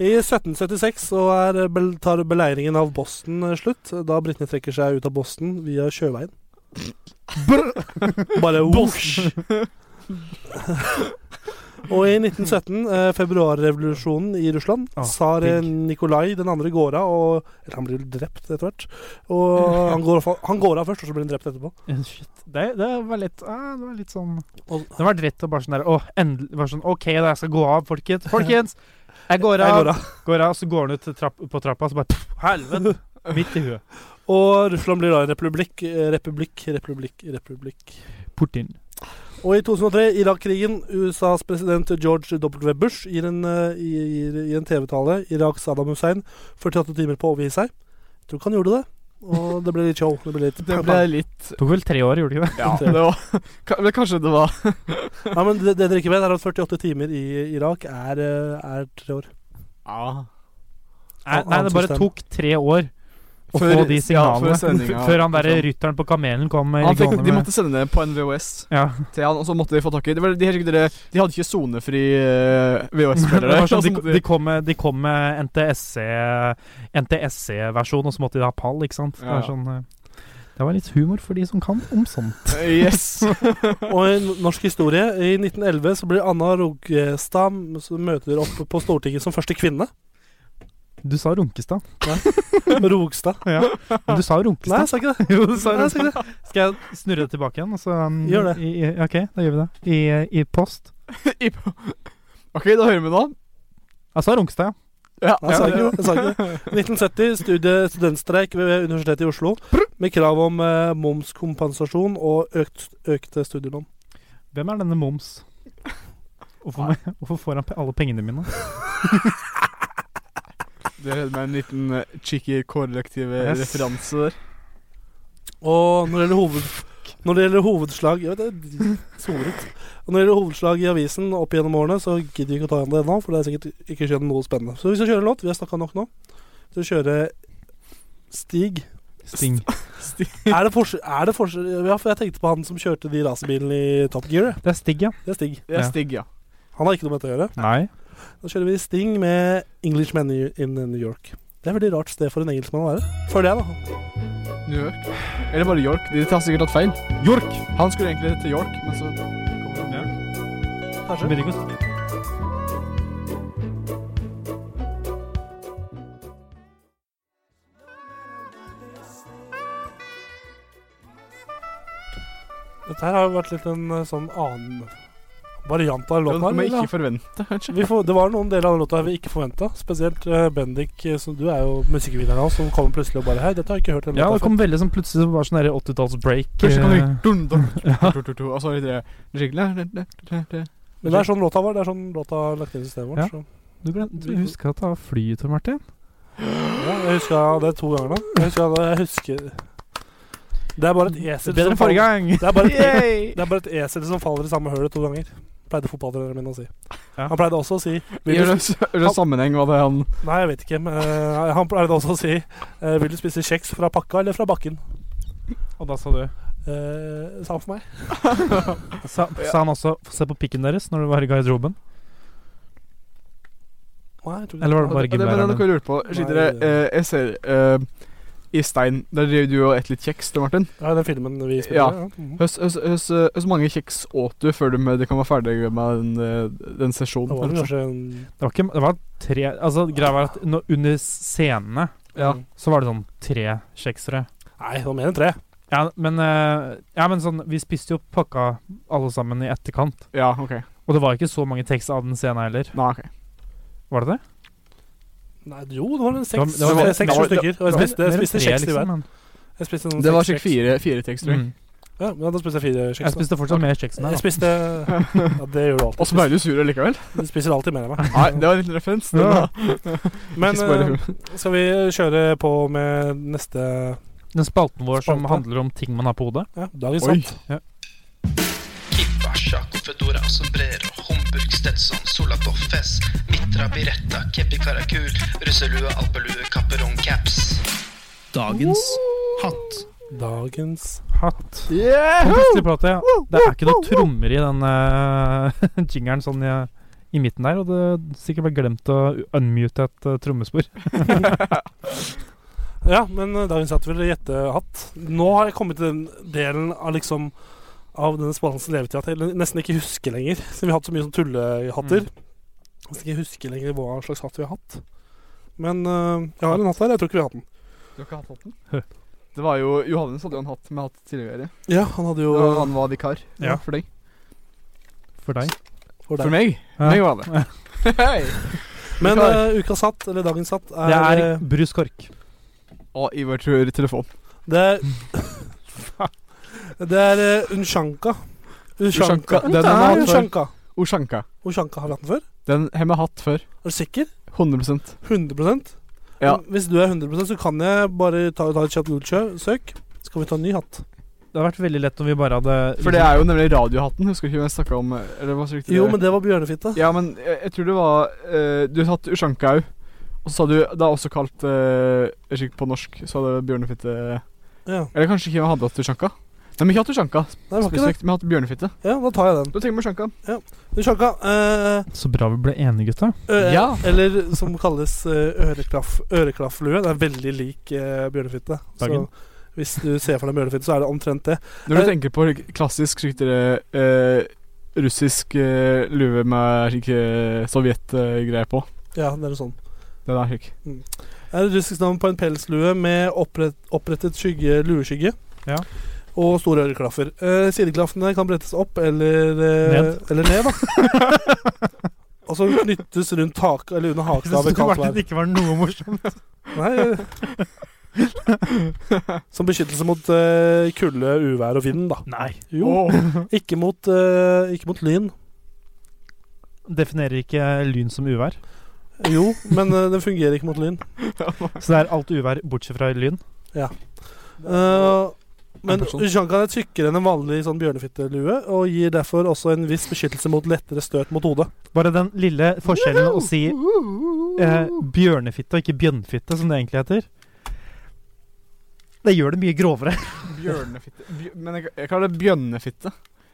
[SPEAKER 2] I 1776 så er, eh, bel- tar beleiringen av Boston eh, slutt. Da britene trekker seg ut av Boston via sjøveien. Bare whoosh! Og i 1917, eh, februarrevolusjonen i Russland,
[SPEAKER 3] Ah,
[SPEAKER 2] tsar eh,
[SPEAKER 3] digg.
[SPEAKER 2] Nikolai den andre går av og Eller han blir drept etter hvert. Og han går, av- han går av først, og så blir han drept etterpå.
[SPEAKER 3] Eh, Shit. Det, det var litt ah, Det var litt sånn
[SPEAKER 2] Og-
[SPEAKER 3] Det var dritt å bare sånn der Å, endelig bare sånn OK, da, jeg skal gå av, folkens. Folkens! Jeg går
[SPEAKER 2] Jeg
[SPEAKER 3] av.
[SPEAKER 2] går av.
[SPEAKER 3] Går av, så går han ut til trapp, på trappa, så bare pff, Helvete! Midt i huet.
[SPEAKER 2] Og Russland blir da en republikk, eh, republikk, republikk, republikk.
[SPEAKER 3] Putin.
[SPEAKER 2] Og i 2003, Irak-krigen, USAs president George W. Bush gir en, eh, gir, gir en TV-tale Iraks Saddam Hussein 48 timer på å overgi seg. Jeg tror ikke han gjorde det. Og det ble litt show. Det ble litt
[SPEAKER 4] Det ble litt
[SPEAKER 3] Tok vel tre år, gjorde det ikke det?
[SPEAKER 4] Ja, det var Ka- men Kanskje det var
[SPEAKER 2] Ja, men det, det dere ikke vet, er at 48 timer i Irak er, eh, er tre år.
[SPEAKER 4] ja.
[SPEAKER 3] Nei, nei, det bare
[SPEAKER 2] Annet system.
[SPEAKER 3] tok tre år å
[SPEAKER 4] Før-
[SPEAKER 3] få de
[SPEAKER 4] ja,
[SPEAKER 3] signalene.
[SPEAKER 4] før sendinga.
[SPEAKER 3] før han derre rytteren på kamelen kom.
[SPEAKER 4] Han fikk,
[SPEAKER 3] gående
[SPEAKER 4] de
[SPEAKER 3] med-
[SPEAKER 4] måtte sende det på en VHS
[SPEAKER 3] ja.
[SPEAKER 4] til han, og så måtte de få tak i det var, de, helt sikkert dere- de hadde ikke sonefri eh,
[SPEAKER 3] Det
[SPEAKER 4] VHS-spillere.
[SPEAKER 3] var sånn,
[SPEAKER 4] og så
[SPEAKER 3] de, de
[SPEAKER 4] måtte de-
[SPEAKER 3] kom med, de kom med NTSC NTSC-versjon, og så måtte de ha pall, ikke sant? Det,
[SPEAKER 4] Ja.
[SPEAKER 3] er sånn, eh, det var litt humor for de som kan om sånt.
[SPEAKER 4] eh, Yes.
[SPEAKER 2] Og i n- norsk historie, i 1911 så blir Anna Rogstad som møter opp på Stortinget som første kvinne.
[SPEAKER 3] Du sa Runkestad.
[SPEAKER 2] Rogstad.
[SPEAKER 3] Ja. Men du sa
[SPEAKER 2] Nei, jeg
[SPEAKER 3] Runkestad.
[SPEAKER 2] sa ikke det.
[SPEAKER 3] jo, du sa
[SPEAKER 2] Nei, jeg sa
[SPEAKER 3] Runkestad.
[SPEAKER 2] ikke det.
[SPEAKER 3] Skal jeg snurre det tilbake igjen? og så, um,
[SPEAKER 2] Gjør det.
[SPEAKER 3] I, i, ok, da gjør vi det. I, i post.
[SPEAKER 4] I- OK, da hører vi nå.
[SPEAKER 3] Jeg sa Runkestad, ja.
[SPEAKER 4] Ja, altså,
[SPEAKER 2] Nei, jeg sa ikke, jeg sa ikke. 1970, studie, studentstreik ved Universitetet i Oslo med krav om eh, momskompensasjon og økt, økte studielån.
[SPEAKER 3] Hvem er denne Moms? Hvorfor, hvorfor får han pe- alle pengene mine?
[SPEAKER 4] Det redder meg en liten eh, cheeky korrektiv eh,
[SPEAKER 3] Yes.
[SPEAKER 4] referanse der.
[SPEAKER 2] Og når det gjelder, hoved, når det gjelder hovedslag ja, det er soret. Og når det gjelder hovedslag i avisen opp gjennom årene, så gidder vi ikke å ta igjen det ennå, for det er sikkert ikke skjedd noe spennende. Så vi skal kjøre en låt. Vi har snakka nok nå. Så kjøre Stig.
[SPEAKER 3] Sting.
[SPEAKER 2] Er det forskjell er det forskjell- Ja, for jeg tenkte på han som kjørte de racerbilene i Top Gear.
[SPEAKER 3] Det er Stig, ja.
[SPEAKER 2] Det er Stig.
[SPEAKER 4] Det er
[SPEAKER 3] Ja.
[SPEAKER 4] Stig, ja.
[SPEAKER 2] Han har ikke noe med dette å gjøre.
[SPEAKER 3] Nei.
[SPEAKER 2] Da kjører vi Sting med 'Englishman in New York'. Det er et veldig rart sted for en engelskmann å være. Føler jeg, da.
[SPEAKER 4] New York. Eller bare York. De tar sikkert tatt feil. York! Han skulle egentlig til York, men så kom han.
[SPEAKER 3] Kanskje. Begynner ikke å spille.
[SPEAKER 2] Dette her har jo vært litt en eh, sånn annen variant av
[SPEAKER 4] Det
[SPEAKER 2] låten
[SPEAKER 4] kan man
[SPEAKER 2] her.
[SPEAKER 4] ikke
[SPEAKER 2] eller?
[SPEAKER 4] forvente, kanskje.
[SPEAKER 2] Vi får, det var noen deler av den låta vi ikke forventa. Spesielt eh, Bendik, eh, som du er jo musikkvinneren hans, som kommer plutselig og bare Hei, dette har jeg ikke hørt den
[SPEAKER 3] Ja,
[SPEAKER 2] låta
[SPEAKER 3] det kom veldig sånn plutselig som var sånn derre 80-talls-break.
[SPEAKER 4] Først kan
[SPEAKER 3] eh,
[SPEAKER 4] du dun, dun, dun, dun, dun, Og så litt det skikkelig
[SPEAKER 2] før. Men det er sånn låta var. Det er sånn låta har lagt inn i systemet vårt.
[SPEAKER 3] Ja.
[SPEAKER 2] Så.
[SPEAKER 3] Du, ble- du huska å ta flyet til Martin?
[SPEAKER 2] Ja, jeg huska det to ganger nå. Jeg husker, jeg husker Det er bare et esel
[SPEAKER 3] Bedre enn
[SPEAKER 2] faller-
[SPEAKER 3] forrige gang!
[SPEAKER 2] Det er bare et
[SPEAKER 3] Yay!
[SPEAKER 2] Det er bare et esel som faller i samme hølet to ganger. Pleide fotballtreneren min å si.
[SPEAKER 3] Ja.
[SPEAKER 2] Han pleide også å si vil
[SPEAKER 4] Gjør
[SPEAKER 2] du,
[SPEAKER 4] det s- gjør det sammenheng hva det er han
[SPEAKER 2] sp- Nei, jeg vet ikke. Men, eh, han pleide også å si eh, Vil du spise kjeks fra pakka eller fra bakken?
[SPEAKER 3] Og da sa du
[SPEAKER 2] Eh, sa han for meg.
[SPEAKER 3] Sa, sa han også 'få se på pikken deres' når du var i garderoben?
[SPEAKER 2] Nei, jeg tror ikke
[SPEAKER 3] Eller var det bare
[SPEAKER 4] Ja, det- men det er
[SPEAKER 3] gimlærerne?
[SPEAKER 4] noe jeg lurer på. Skyter
[SPEAKER 2] Nei,
[SPEAKER 4] jeg, eh, jeg ser eh, i stein Der driver du og et litt kjeks, det, Martin.
[SPEAKER 2] Ja, den filmen vi spilte.
[SPEAKER 4] Ja.
[SPEAKER 2] Ja. Mhm.
[SPEAKER 4] Høs, høs, høs, eh, høs mange kjeks åt du før du med, de kan være ferdig med den, eh, den
[SPEAKER 2] Da
[SPEAKER 4] sesjonen?
[SPEAKER 2] var det
[SPEAKER 4] eller?
[SPEAKER 2] kanskje en
[SPEAKER 3] Det var ikke Det var tre Altså, greia var at nå- under scenene
[SPEAKER 4] Ja.
[SPEAKER 3] så var det sånn tre kjeksere.
[SPEAKER 2] Nei, det var mer enn tre.
[SPEAKER 3] Ja, men eh, Ja, men sånn Vi spiste jo pakka alle sammen i etterkant.
[SPEAKER 4] ja, ok.
[SPEAKER 3] Og det var ikke så mange tekster av den scenen heller.
[SPEAKER 4] Nei, ok.
[SPEAKER 3] Var det det?
[SPEAKER 2] Nei, jo, det var en
[SPEAKER 3] var-
[SPEAKER 2] seks
[SPEAKER 3] det var-
[SPEAKER 2] tre-
[SPEAKER 4] det
[SPEAKER 2] seks
[SPEAKER 4] var-
[SPEAKER 2] sju stykker. Og
[SPEAKER 3] Mer-
[SPEAKER 2] jeg spiste, jeg
[SPEAKER 3] mer enn
[SPEAKER 2] spiste
[SPEAKER 3] tre,
[SPEAKER 2] kjeks i
[SPEAKER 3] liksom,
[SPEAKER 2] hver.
[SPEAKER 3] men-
[SPEAKER 2] Jeg spiste sånn
[SPEAKER 4] Det var
[SPEAKER 2] seks
[SPEAKER 4] sikkert
[SPEAKER 2] kjeks.
[SPEAKER 4] fire, fire tekster.
[SPEAKER 3] Mm.
[SPEAKER 2] Ja, men da spiste jeg fire kjeks.
[SPEAKER 3] Jeg
[SPEAKER 2] da.
[SPEAKER 3] spiste fortsatt mer kjeks enn deg. da.
[SPEAKER 2] Jeg spiste Ja, det gjør du
[SPEAKER 4] Og så
[SPEAKER 2] alltid.
[SPEAKER 4] ble du sur likevel?
[SPEAKER 2] Du spiser alltid mer enn meg.
[SPEAKER 4] Nei, det var en liten referens. Den,
[SPEAKER 3] Ja.
[SPEAKER 4] da.
[SPEAKER 2] Men
[SPEAKER 4] Ikke spoil
[SPEAKER 2] eh, skal vi kjøre på med neste
[SPEAKER 3] Den spalten vår som
[SPEAKER 2] Spalte.
[SPEAKER 3] handler om ting man har på hodet.
[SPEAKER 2] ja, Dagens
[SPEAKER 4] Oi.
[SPEAKER 2] sant.
[SPEAKER 5] Kipasha, Fedora, Sombrero, Homburg, Stetson, Solakoff, Fess, Mitra, Biretta, Kepi Karakul, russelue, alpelue, kapperong, caps.
[SPEAKER 1] Dagens hatt.
[SPEAKER 2] Dagens
[SPEAKER 3] Hatt.
[SPEAKER 4] Yeah!
[SPEAKER 3] Fantastisk plate. ja. Det er ikke noe trommer i den uh, jingeren sånn i, i midten der, og det sikkert ble glemt å unmute et eh, trommespor.
[SPEAKER 2] Ja, men eh, dagens hatt vil gjette hatt. Nå har jeg kommet til den delen av liksom av denne spalten som lever til at jeg nesten ikke husker lenger. Siden vi har hatt så mye sånn tullehatter. Nesten ikke husker lenger hva slags hatt vi har hatt. Men eh, jeg har en hatt her. Jeg tror ikke vi har hatt den.
[SPEAKER 4] Du har ikke hatt hatten? Det var jo, Johannes hadde jo en hatt med hatt tidligere.
[SPEAKER 2] Ja, han hadde jo
[SPEAKER 4] Og han var vikar
[SPEAKER 3] Ja.
[SPEAKER 4] for deg.
[SPEAKER 3] For deg.
[SPEAKER 2] for deg.
[SPEAKER 4] For meg?
[SPEAKER 3] Ja.
[SPEAKER 4] Meg var det. Hei!
[SPEAKER 2] Men
[SPEAKER 4] Klar.
[SPEAKER 2] eh, ukas hatt, eller dagens hatt, er
[SPEAKER 3] Det er
[SPEAKER 2] eh,
[SPEAKER 3] Bruce Kork.
[SPEAKER 4] Og Ivar tror telefon.
[SPEAKER 2] Det er, det er eh, Unshanka. Unshanka.
[SPEAKER 4] Unshanka. Den har
[SPEAKER 2] Nei,
[SPEAKER 4] vi hatt før.
[SPEAKER 2] Unshanka.
[SPEAKER 4] Oshanka.
[SPEAKER 2] Unshanka har vi hatt den før?
[SPEAKER 4] Den har vi hatt før.
[SPEAKER 2] Er du sikker?
[SPEAKER 4] 100
[SPEAKER 2] 100
[SPEAKER 4] Ja.
[SPEAKER 2] Hvis du er 100 så kan jeg bare ta, ta et kjapt Google-søk. Skal vi ta en ny hatt?
[SPEAKER 3] Det hadde vært veldig lett om vi bare hadde
[SPEAKER 4] For det er jo nemlig radiohatten. Husker du ikke hvem jeg snakka om? Eller hva riktig
[SPEAKER 2] Jo, men det var bjørnefitte.
[SPEAKER 4] Ja, men jeg, jeg tror det var eh, Du hadde hatt Ushanka òg. Og så sa du Det er også kalt eh, jeg husker ikke på norsk så hadde bjørnefitte
[SPEAKER 2] Ja.
[SPEAKER 4] Eller kanskje ikke vi hadde hatt Ushanka? Nei, men ikke hatt Ushanka.
[SPEAKER 2] Nei, det var ikke det.
[SPEAKER 4] Spesifikt, vi har hatt bjørnefitte.
[SPEAKER 2] Ja, da tar jeg den.
[SPEAKER 4] Da trenger vi Ushanka.
[SPEAKER 2] Unshanka. eh,
[SPEAKER 3] liksom, Så bra vi ble enige, gutta.
[SPEAKER 2] ø-
[SPEAKER 4] Ja.
[SPEAKER 2] Eller som kalles eh, øreklaff, øreklafflue. Det er veldig lik eh, bjørnefitte. Så
[SPEAKER 3] Dagen.
[SPEAKER 2] hvis du ser for deg bjørnefitte, så er det omtrent det.
[SPEAKER 4] Når du
[SPEAKER 2] Eh,
[SPEAKER 4] tenker på slik klassisk slik dere, eh, russisk eh, lue med slik eh, sovjetgreier på
[SPEAKER 2] Ja, det er sånn.
[SPEAKER 4] Det der slik
[SPEAKER 2] er et russisk navn på en pelslue med opprett, opprettet skygge, lueskygge.
[SPEAKER 3] Ja.
[SPEAKER 2] Og store øreklaffer. Eh, sideklaffene kan brettes opp eller, eh,
[SPEAKER 3] Ned.
[SPEAKER 2] eller ned. da Og så knyttes rundt tak, eller under hakestaven. kaldt vær.
[SPEAKER 3] ikke var noe morsomt.
[SPEAKER 2] Nei, eh. Som beskyttelse mot eh, kulde, uvær og vind, da.
[SPEAKER 3] Nei.
[SPEAKER 2] Jo. Ikke mot, eh, ikke mot lyn.
[SPEAKER 3] Definerer ikke lyn som uvær.
[SPEAKER 2] Jo, men eh, den fungerer ikke mot lyn.
[SPEAKER 3] Så det er alt uvær bortsett fra lyn.
[SPEAKER 2] Eh, men
[SPEAKER 4] En person.
[SPEAKER 2] ushankan er tykkere enn en vanlig sånn bjørnefittelue, og gir derfor også en viss beskyttelse mot lettere støt mot hodet.
[SPEAKER 3] Bare den lille forskjellen å si eh, bjørnefitte og ikke bjønnfitte, som det egentlig heter. Det gjør det mye grovere.
[SPEAKER 4] Bjørnefitte Bjør- Men jeg, jeg kaller det bjønnefitte.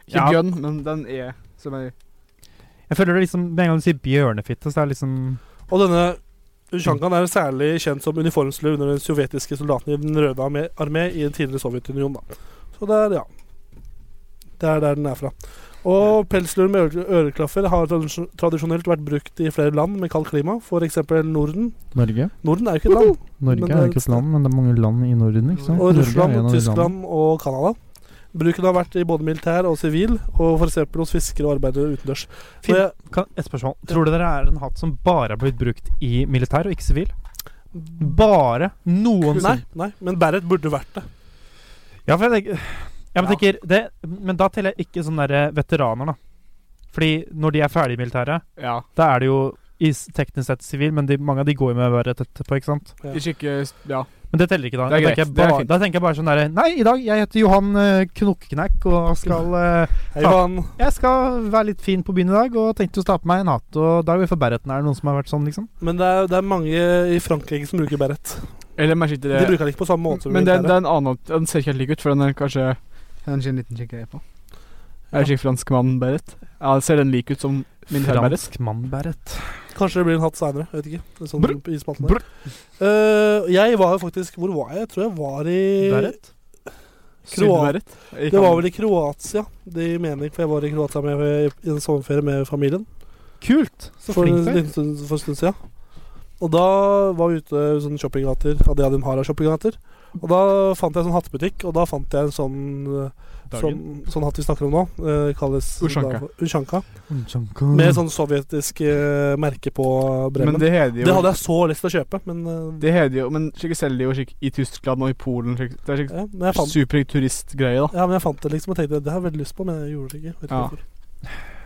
[SPEAKER 4] Ikke
[SPEAKER 3] Ja.
[SPEAKER 4] bjønn, men den er som er
[SPEAKER 3] Jeg føler det liksom Med en gang du sier bjørnefitte, så er det liksom
[SPEAKER 2] Og denne ushankan er særlig kjent som uniformslue under den sovjetiske soldaten i Den røde armé, armé i den tidligere Sovjetunionen. Da. Så det er, ja Det er der den er fra. Og pelslue med øre- øreklaffer har tradisjon- tradisjonelt vært brukt i flere land med kaldt klima, f.eks. Norden.
[SPEAKER 3] Norge.
[SPEAKER 2] Norden er jo ikke et land.
[SPEAKER 3] Norge
[SPEAKER 2] Men det er
[SPEAKER 3] er ikke
[SPEAKER 2] et
[SPEAKER 3] et land, men det er mange land i Norden. ikke sant?
[SPEAKER 2] Og
[SPEAKER 3] Norge er en av
[SPEAKER 2] Russland,
[SPEAKER 3] de landene.
[SPEAKER 2] Tyskland og Canada. Bruken har vært i både militær og sivil, og f.eks. hos fiskere og arbeidere utendørs. Så
[SPEAKER 3] Finn-
[SPEAKER 2] jeg-
[SPEAKER 3] Kan, et spørsmål. Tror dere det er en hatt som bare er blitt brukt i militær og ikke sivil? Bare
[SPEAKER 2] Nei,
[SPEAKER 3] noensinne?
[SPEAKER 2] nei, men Barrett burde vært det.
[SPEAKER 3] Ja, for jeg tenker, ja, men, tenker det, men da teller jeg ikke sånne der veteraner, da. Fordi når de er ferdig i militæret,
[SPEAKER 4] Ja.
[SPEAKER 3] da er det jo i s- teknisk sett sivil, men de, mange av de går jo med verret etterpå, ikke sant?
[SPEAKER 2] Ja.
[SPEAKER 4] Ikke ikke eh, Ja.
[SPEAKER 3] Men det teller ikke, da. Da
[SPEAKER 4] Det er
[SPEAKER 3] tenker
[SPEAKER 4] greit.
[SPEAKER 3] jeg
[SPEAKER 4] Det er
[SPEAKER 3] bare-
[SPEAKER 4] fint.
[SPEAKER 3] da tenker jeg bare sånn derre Nei, i dag, jeg heter Johan uh, Knokkeknekk, og skal eh,
[SPEAKER 2] Hei, Johan.
[SPEAKER 3] Jeg skal være litt fin på byen i dag, og tenkte å ta på meg en hatt, og da er vi for Berreten. Er det noen som har vært sånn, liksom?
[SPEAKER 2] Men det er, det er mange i Frankrike som bruker Beret.
[SPEAKER 4] Eller mer sikkert
[SPEAKER 2] De
[SPEAKER 4] det
[SPEAKER 2] bruker det ikke på samme måte som
[SPEAKER 4] Men det,
[SPEAKER 2] militæret.
[SPEAKER 4] det er en annen Den ser ikke helt lik ut, for den er kanskje Den ser en liten kikk på. Er det ikke franskmann Beret? Ja, ser den lik ut som min herr Beret?
[SPEAKER 3] Fransk mann, Beret.
[SPEAKER 2] Kanskje det blir en hatt seinere. Vet ikke. Det er Sånn
[SPEAKER 4] Brr.
[SPEAKER 2] i spalten der. Eh, jeg var jo faktisk Hvor var jeg? Jeg tror jeg var i
[SPEAKER 3] Beret?
[SPEAKER 4] Syd-Beret?
[SPEAKER 2] Det var vel i Kroatia. Det mener jeg, for jeg var i Kroatia med, i en sommerferie med familien.
[SPEAKER 3] Kult! Så
[SPEAKER 2] for en
[SPEAKER 3] flink du er.
[SPEAKER 2] liten stund, for en stund siden. Og da var vi ute i sånne shoppinggater. Adiadim Hara shoppinggater. Og da fant jeg en sånn hattebutikk, og da fant jeg en sånn eh, sånn, sånn hatt vi snakker om nå. eh, kalles
[SPEAKER 4] Ushanka.
[SPEAKER 2] da for- Ushanka.
[SPEAKER 3] Unjanka.
[SPEAKER 2] Med sånn sovjetisk eh, merke på
[SPEAKER 4] Men
[SPEAKER 2] bremmen. Det,
[SPEAKER 4] det heter jo
[SPEAKER 2] hadde jeg så lyst til å kjøpe, men, eh,
[SPEAKER 4] Det heter jo Men slik selger de jo slik i Tyskland og i Polen. Slik, det er slik
[SPEAKER 2] ja, men jeg fant
[SPEAKER 4] super turistgreie, da.
[SPEAKER 2] ja, men jeg fant det liksom og tenkte det har jeg veldig lyst på, men jeg gjorde det ikke. Vet ikke
[SPEAKER 4] Ja.
[SPEAKER 2] hvorfor.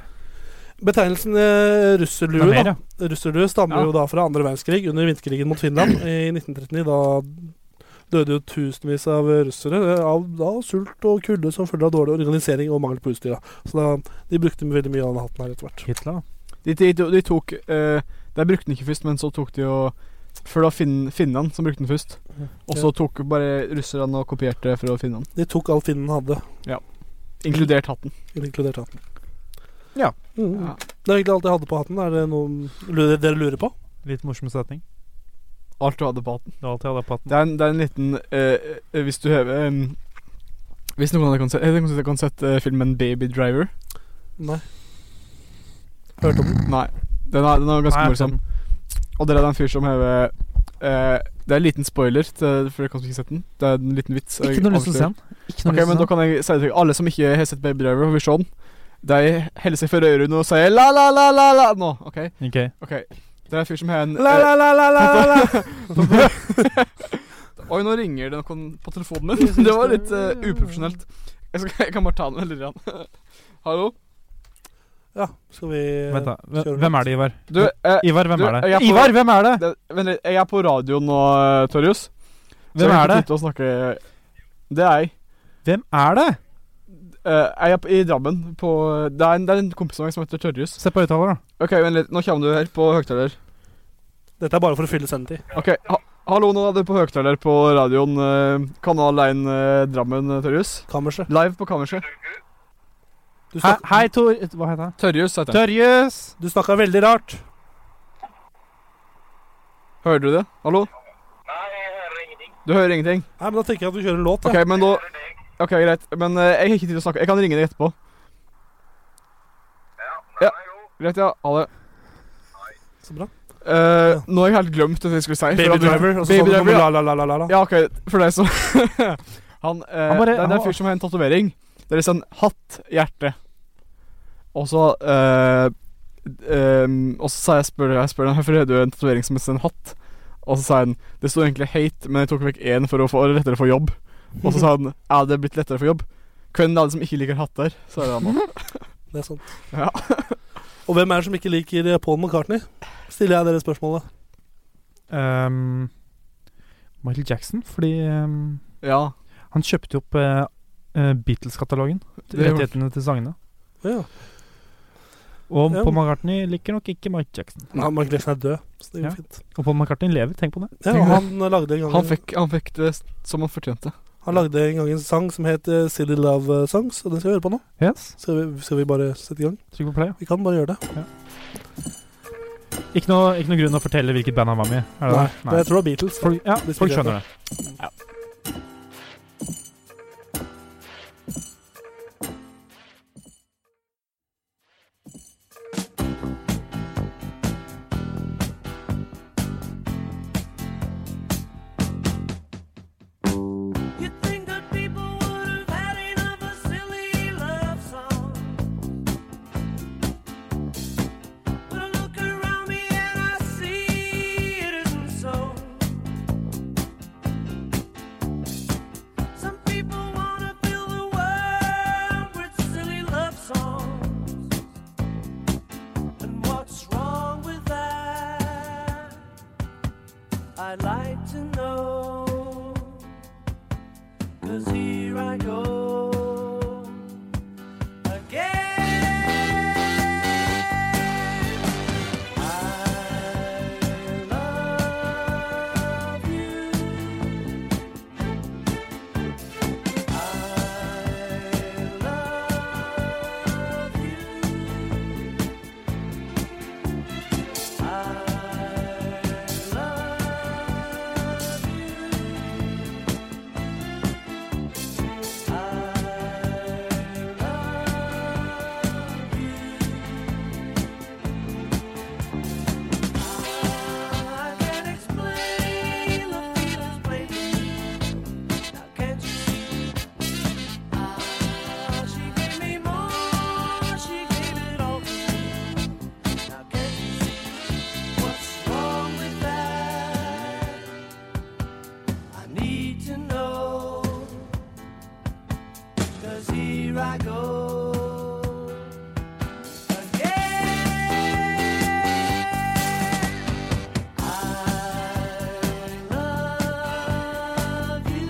[SPEAKER 2] Betegnelsen eh, russerlue, da.
[SPEAKER 3] ja.
[SPEAKER 2] Russerlue stammer
[SPEAKER 4] Ja.
[SPEAKER 2] jo da fra andre verdenskrig, under vinterkrigen mot Finland i 1939. Da døde jo tusenvis av russere eh, av da, sult og kulde som følge av dårlig organisering og mangel på utstyr. da. Så da, de brukte veldig mye av den hatten her etter hvert.
[SPEAKER 3] Hitler.
[SPEAKER 4] De, de, de tok eh, De brukte den ikke først, men så tok de jo Før det var fin, finnene som brukte den først. Og så tok bare russerne og kopierte fra finnene.
[SPEAKER 2] De tok alt finnen hadde,
[SPEAKER 4] Inkludert hatten.
[SPEAKER 2] inkludert hatten.
[SPEAKER 3] Ja.
[SPEAKER 2] Mm.
[SPEAKER 4] Ja.
[SPEAKER 2] Det er egentlig alt jeg hadde på hatten. Er det noe lurer- dere lurer på?
[SPEAKER 3] Litt morsom setning.
[SPEAKER 4] Alt du hadde på hatten.
[SPEAKER 3] Det er alt jeg hadde på hatten.
[SPEAKER 4] Det er en, det er en liten eh, eh, Hvis du hever em, Hvis noen av dere kan se- eh, noen av dere kan sette eh, filmen Baby Driver
[SPEAKER 2] Nei. Hørte om den?
[SPEAKER 4] Nei. Den er, den er ganske
[SPEAKER 3] Nei, jeg
[SPEAKER 4] morsom.
[SPEAKER 3] vet den.
[SPEAKER 4] Og der er det en fyr som hever eh, Det er en liten spoiler, til, for dere kan ikke sette den. Det er en liten vits. jeg
[SPEAKER 3] Ikke noe lyst til å
[SPEAKER 4] avslører.
[SPEAKER 3] se den. Ikke noe
[SPEAKER 4] Ok, men
[SPEAKER 3] lyst til å
[SPEAKER 4] da
[SPEAKER 3] se den.
[SPEAKER 4] kan jeg si det til alle som ikke har sett Baby Driver, vil se den. De heller seg for ørene og sier la, la, la, la, la nå. OK?
[SPEAKER 3] Ok.
[SPEAKER 4] ok Det er en fyr som har en
[SPEAKER 2] La, la, la, la, la, la, la.
[SPEAKER 4] eh, Oi, nå ringer det noen på telefonen min. det var litt eh, uprofesjonelt. Jeg, skal, jeg kan bare ta den veldig rann. Hallo?
[SPEAKER 2] Ja, skal vi
[SPEAKER 3] Vent, da. Hve-
[SPEAKER 2] kjører
[SPEAKER 3] Hvem er det, Ivar?
[SPEAKER 4] Du, eh,
[SPEAKER 3] Ivar, hvem
[SPEAKER 4] du,
[SPEAKER 3] er
[SPEAKER 4] jeg er
[SPEAKER 3] det?
[SPEAKER 4] på-
[SPEAKER 3] Ivar, hvem er det?
[SPEAKER 4] det, vent litt. Jeg er på radio nå, eh, Torjus. Så
[SPEAKER 3] Hvem
[SPEAKER 4] jeg
[SPEAKER 3] er
[SPEAKER 4] kan
[SPEAKER 3] det?
[SPEAKER 4] sitte og snakke Det er jeg.
[SPEAKER 3] Hvem er det?
[SPEAKER 4] Eh, jeg er på, i Drammen. På, det, er en, det er en kompis av meg som heter Torjus.
[SPEAKER 3] Se på høyttaler, da.
[SPEAKER 4] OK, vent litt. Nå kommer du her på høyttaler.
[SPEAKER 2] Dette er bare for å fylle sendetid.
[SPEAKER 4] Ok, ha hallo, nå er det på høgtaler på radioen eh, Kanal 1 eh, Drammen, eh, Tørjus.
[SPEAKER 2] Kammerset.
[SPEAKER 4] Live på kammerset.
[SPEAKER 2] Du
[SPEAKER 3] Hei,
[SPEAKER 2] snakker-
[SPEAKER 3] hei Tor... Hva heter han?
[SPEAKER 4] Tørjus heter han.
[SPEAKER 3] Tørjus!
[SPEAKER 2] Du snakka veldig rart.
[SPEAKER 4] Hører du det? Hallo? Nei, jeg hører ingenting.
[SPEAKER 2] Nei, men Da tenker jeg at du kjører en låt.
[SPEAKER 4] Du
[SPEAKER 2] da.
[SPEAKER 4] hører ingenting? Ok, men da Ok, greit. Men eh, jeg har ikke tid til å snakke. Jeg kan ringe deg etterpå. Ja, greit, ja. Ha det.
[SPEAKER 2] Så bra.
[SPEAKER 4] Eh, Nå har jeg helt glemt det jeg skulle si.
[SPEAKER 2] Baby
[SPEAKER 4] For at-
[SPEAKER 2] Driver. Og så
[SPEAKER 4] Baby
[SPEAKER 2] sånn
[SPEAKER 4] Driver, ja.
[SPEAKER 2] la, la, la, la, la, la.
[SPEAKER 4] Ja, ok, for deg så Han, eh,
[SPEAKER 3] Han bare-
[SPEAKER 4] Det er
[SPEAKER 3] han-
[SPEAKER 4] en fyr som har en tatovering. Det er liksom hatt, hjerte. Og så eh, ehm, Og så sa jeg spør jeg spør han hvorfor har du en tatovering som heter en hatt. Og så sa han det sto egentlig hate, men jeg tok vekk én for å få det lettere å få jobb. Og så sa han er det blitt lettere å få jobb? Hvem er det som ikke liker hatter? Så er det han da.
[SPEAKER 2] Det er sant.
[SPEAKER 4] Ja.
[SPEAKER 2] og hvem er det som ikke liker eh, Paul McCartney? Stiller jeg dere spørsmålet.
[SPEAKER 3] Ehm, Michael Jackson, fordi ehm,
[SPEAKER 4] Ja,
[SPEAKER 3] han kjøpte opp eh, eh, Beatles-katalogen.
[SPEAKER 4] Det gjorde han.
[SPEAKER 3] Rettighetene til sangene.
[SPEAKER 2] Ja.
[SPEAKER 3] Og
[SPEAKER 2] Ja.
[SPEAKER 3] Paul McCartney liker nok ikke Michael Jackson.
[SPEAKER 2] Han, Michael Jackson er død, så det går
[SPEAKER 3] Ja.
[SPEAKER 2] fint.
[SPEAKER 3] Og Paul McCartney lever, tenk på det.
[SPEAKER 2] Ja, og han eh, lagde en gang
[SPEAKER 4] han fikk, han fikk det som han fortjente.
[SPEAKER 2] han lagde en, gang en sang som het eh, Silly Love eh, Songs, og den skal vi høre på nå.
[SPEAKER 3] Yes,
[SPEAKER 2] Skal vi, skal vi bare sette i gang?
[SPEAKER 3] trykk på play.
[SPEAKER 2] Vi kan bare gjøre det.
[SPEAKER 3] Ikke noe, ikke noe grunn å fortelle hvilket band han var med i. Er det
[SPEAKER 2] Nei,
[SPEAKER 3] det?
[SPEAKER 2] men Jeg tror det var Beatles.
[SPEAKER 3] Folk, ja,
[SPEAKER 2] Hvis
[SPEAKER 3] folk
[SPEAKER 2] ikke-
[SPEAKER 3] skjønner det.
[SPEAKER 6] You'd think that people would have had enough of silly love songs, but I look around me and I see it isn't so. Some people wanna fill the world with silly love songs, and what's wrong with that? I'd like to know. Cause here I go again. I love you. I love Cause here I go again. I love you.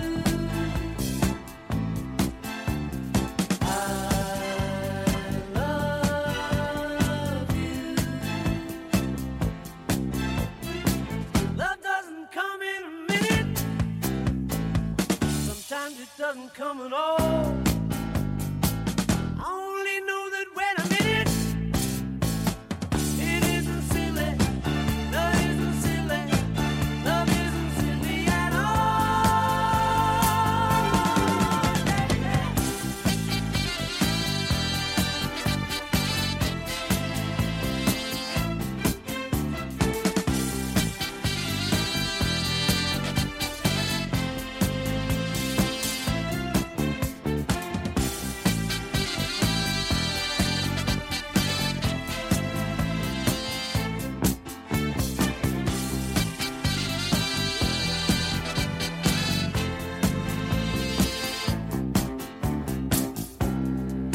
[SPEAKER 6] I love you. Love doesn't come in a minute. Sometimes it doesn't come at all. I only know that when I'm in it, it isn't silly. Love isn't silly. Love isn't silly at all.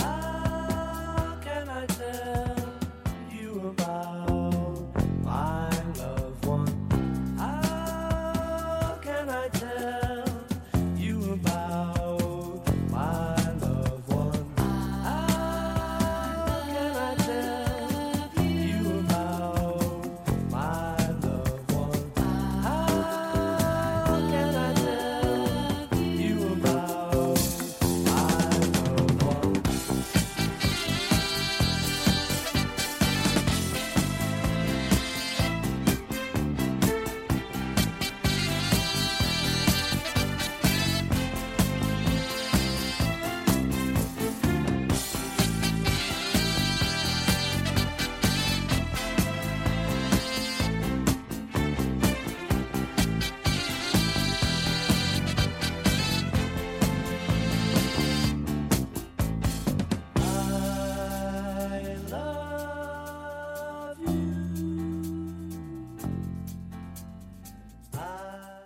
[SPEAKER 6] How can I tell you about my loved one? How can I tell you about my loved one? How can I tell you about my loved one? How can I tell you about my loved one? I love you. I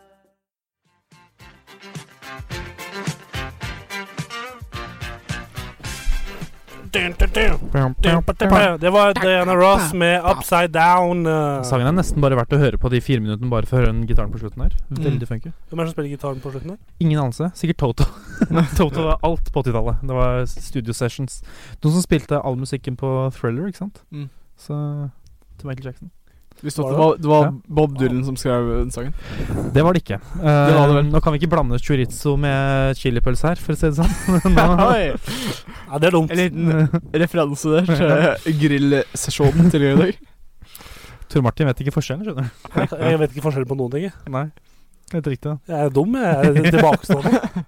[SPEAKER 2] Det var eh, Diana Ross med 'Upside Down'. eh.
[SPEAKER 3] Sangen er nesten bare verdt å høre på de fire minuttene bare for å høre den gitaren på slutten her.
[SPEAKER 4] Mm.
[SPEAKER 3] Veldig funky.
[SPEAKER 2] Hvem er det som spiller gitaren på slutten? her?
[SPEAKER 3] Ingen anelse. Sikkert Toto. Toto var alt på 80-tallet. Det var studio sessions. Noen som spilte all musikken på Thriller, ikke sant?
[SPEAKER 4] Mm.
[SPEAKER 3] Så til Michael Jackson.
[SPEAKER 4] Visste du at
[SPEAKER 2] Var
[SPEAKER 4] det var, det var
[SPEAKER 3] Ja.
[SPEAKER 4] Bob Dylan som skrev den sangen?
[SPEAKER 3] Det var det ikke.
[SPEAKER 4] var det
[SPEAKER 3] Eh,
[SPEAKER 4] vel.
[SPEAKER 3] nå kan vi ikke blande chorizo med chilipølse her, for å si det sånn. nå,
[SPEAKER 4] Oi,
[SPEAKER 2] Ja, det er dumt.
[SPEAKER 4] en liten referanse der til grillsesjonen tidligere i dag.
[SPEAKER 3] Tor Martin vet ikke forskjellen, skjønner du.
[SPEAKER 2] Jeg, jeg vet ikke forskjellen på noen ting. jeg.
[SPEAKER 3] Nei. Helt riktig. da.
[SPEAKER 2] Jeg er dum. Jeg er tilbakestående.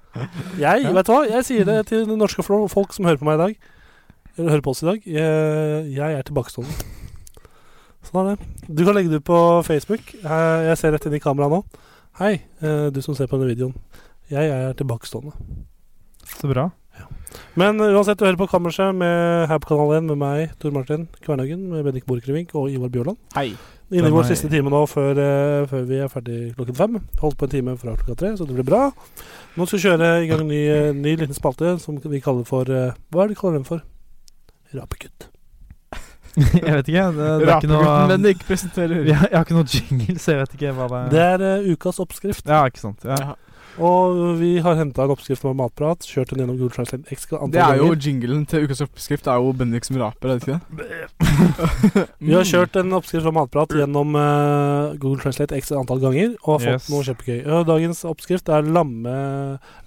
[SPEAKER 2] Jeg, vet du hva? jeg sier det til det norske flo- folk som hører på meg i dag. Eller hører på oss i dag. Jeg, jeg er tilbakestående. Sånn er det. Du kan legge det ut på Facebook. Eh, Jeg ser rett inn i kameraet nå. Hei, eh, du som ser på denne videoen. Jeg er tilbakestående.
[SPEAKER 3] Så bra.
[SPEAKER 2] Men uansett, du hører på Kammerset med her på Kanal 1 med meg, Tor Martin Kvernhaugen, med Bendik Borchgrevink og Ivar Bjørland.
[SPEAKER 4] Hei.
[SPEAKER 2] Inne i
[SPEAKER 3] Den
[SPEAKER 2] vår
[SPEAKER 3] er-
[SPEAKER 2] siste time nå før, eh, før vi er ferdig klokken fem. Holdt på en time fra klokka tre, så det blir bra. Nå skal vi kjøre i gang en ny, eh, ny liten spalte som vi kaller for eh, Hva er det du kaller den for? Rapekutt.
[SPEAKER 3] jeg vet ikke. Det, det er ikke noe
[SPEAKER 4] Rapegutten Bendik presenterer
[SPEAKER 3] jeg, jeg har ikke noe jingle, så jeg vet ikke hva det
[SPEAKER 2] Det er eh, ukas oppskrift.
[SPEAKER 3] Ja, ikke sant. Ja.
[SPEAKER 4] Ja.
[SPEAKER 2] Og vi har henta en oppskrift med matprat, kjørt den gjennom Google Translate X antall
[SPEAKER 4] Det er jo
[SPEAKER 2] ganger.
[SPEAKER 4] jinglen til ukas oppskrift. Det er jo Bendik som raper, er det ikke det?
[SPEAKER 2] Vi
[SPEAKER 3] Mm.
[SPEAKER 2] har kjørt en oppskrift fra Matprat gjennom eh, Google Translate x antall ganger og har fått
[SPEAKER 3] Yes.
[SPEAKER 2] noe kjempegøy. Og Dagens oppskrift er lamme,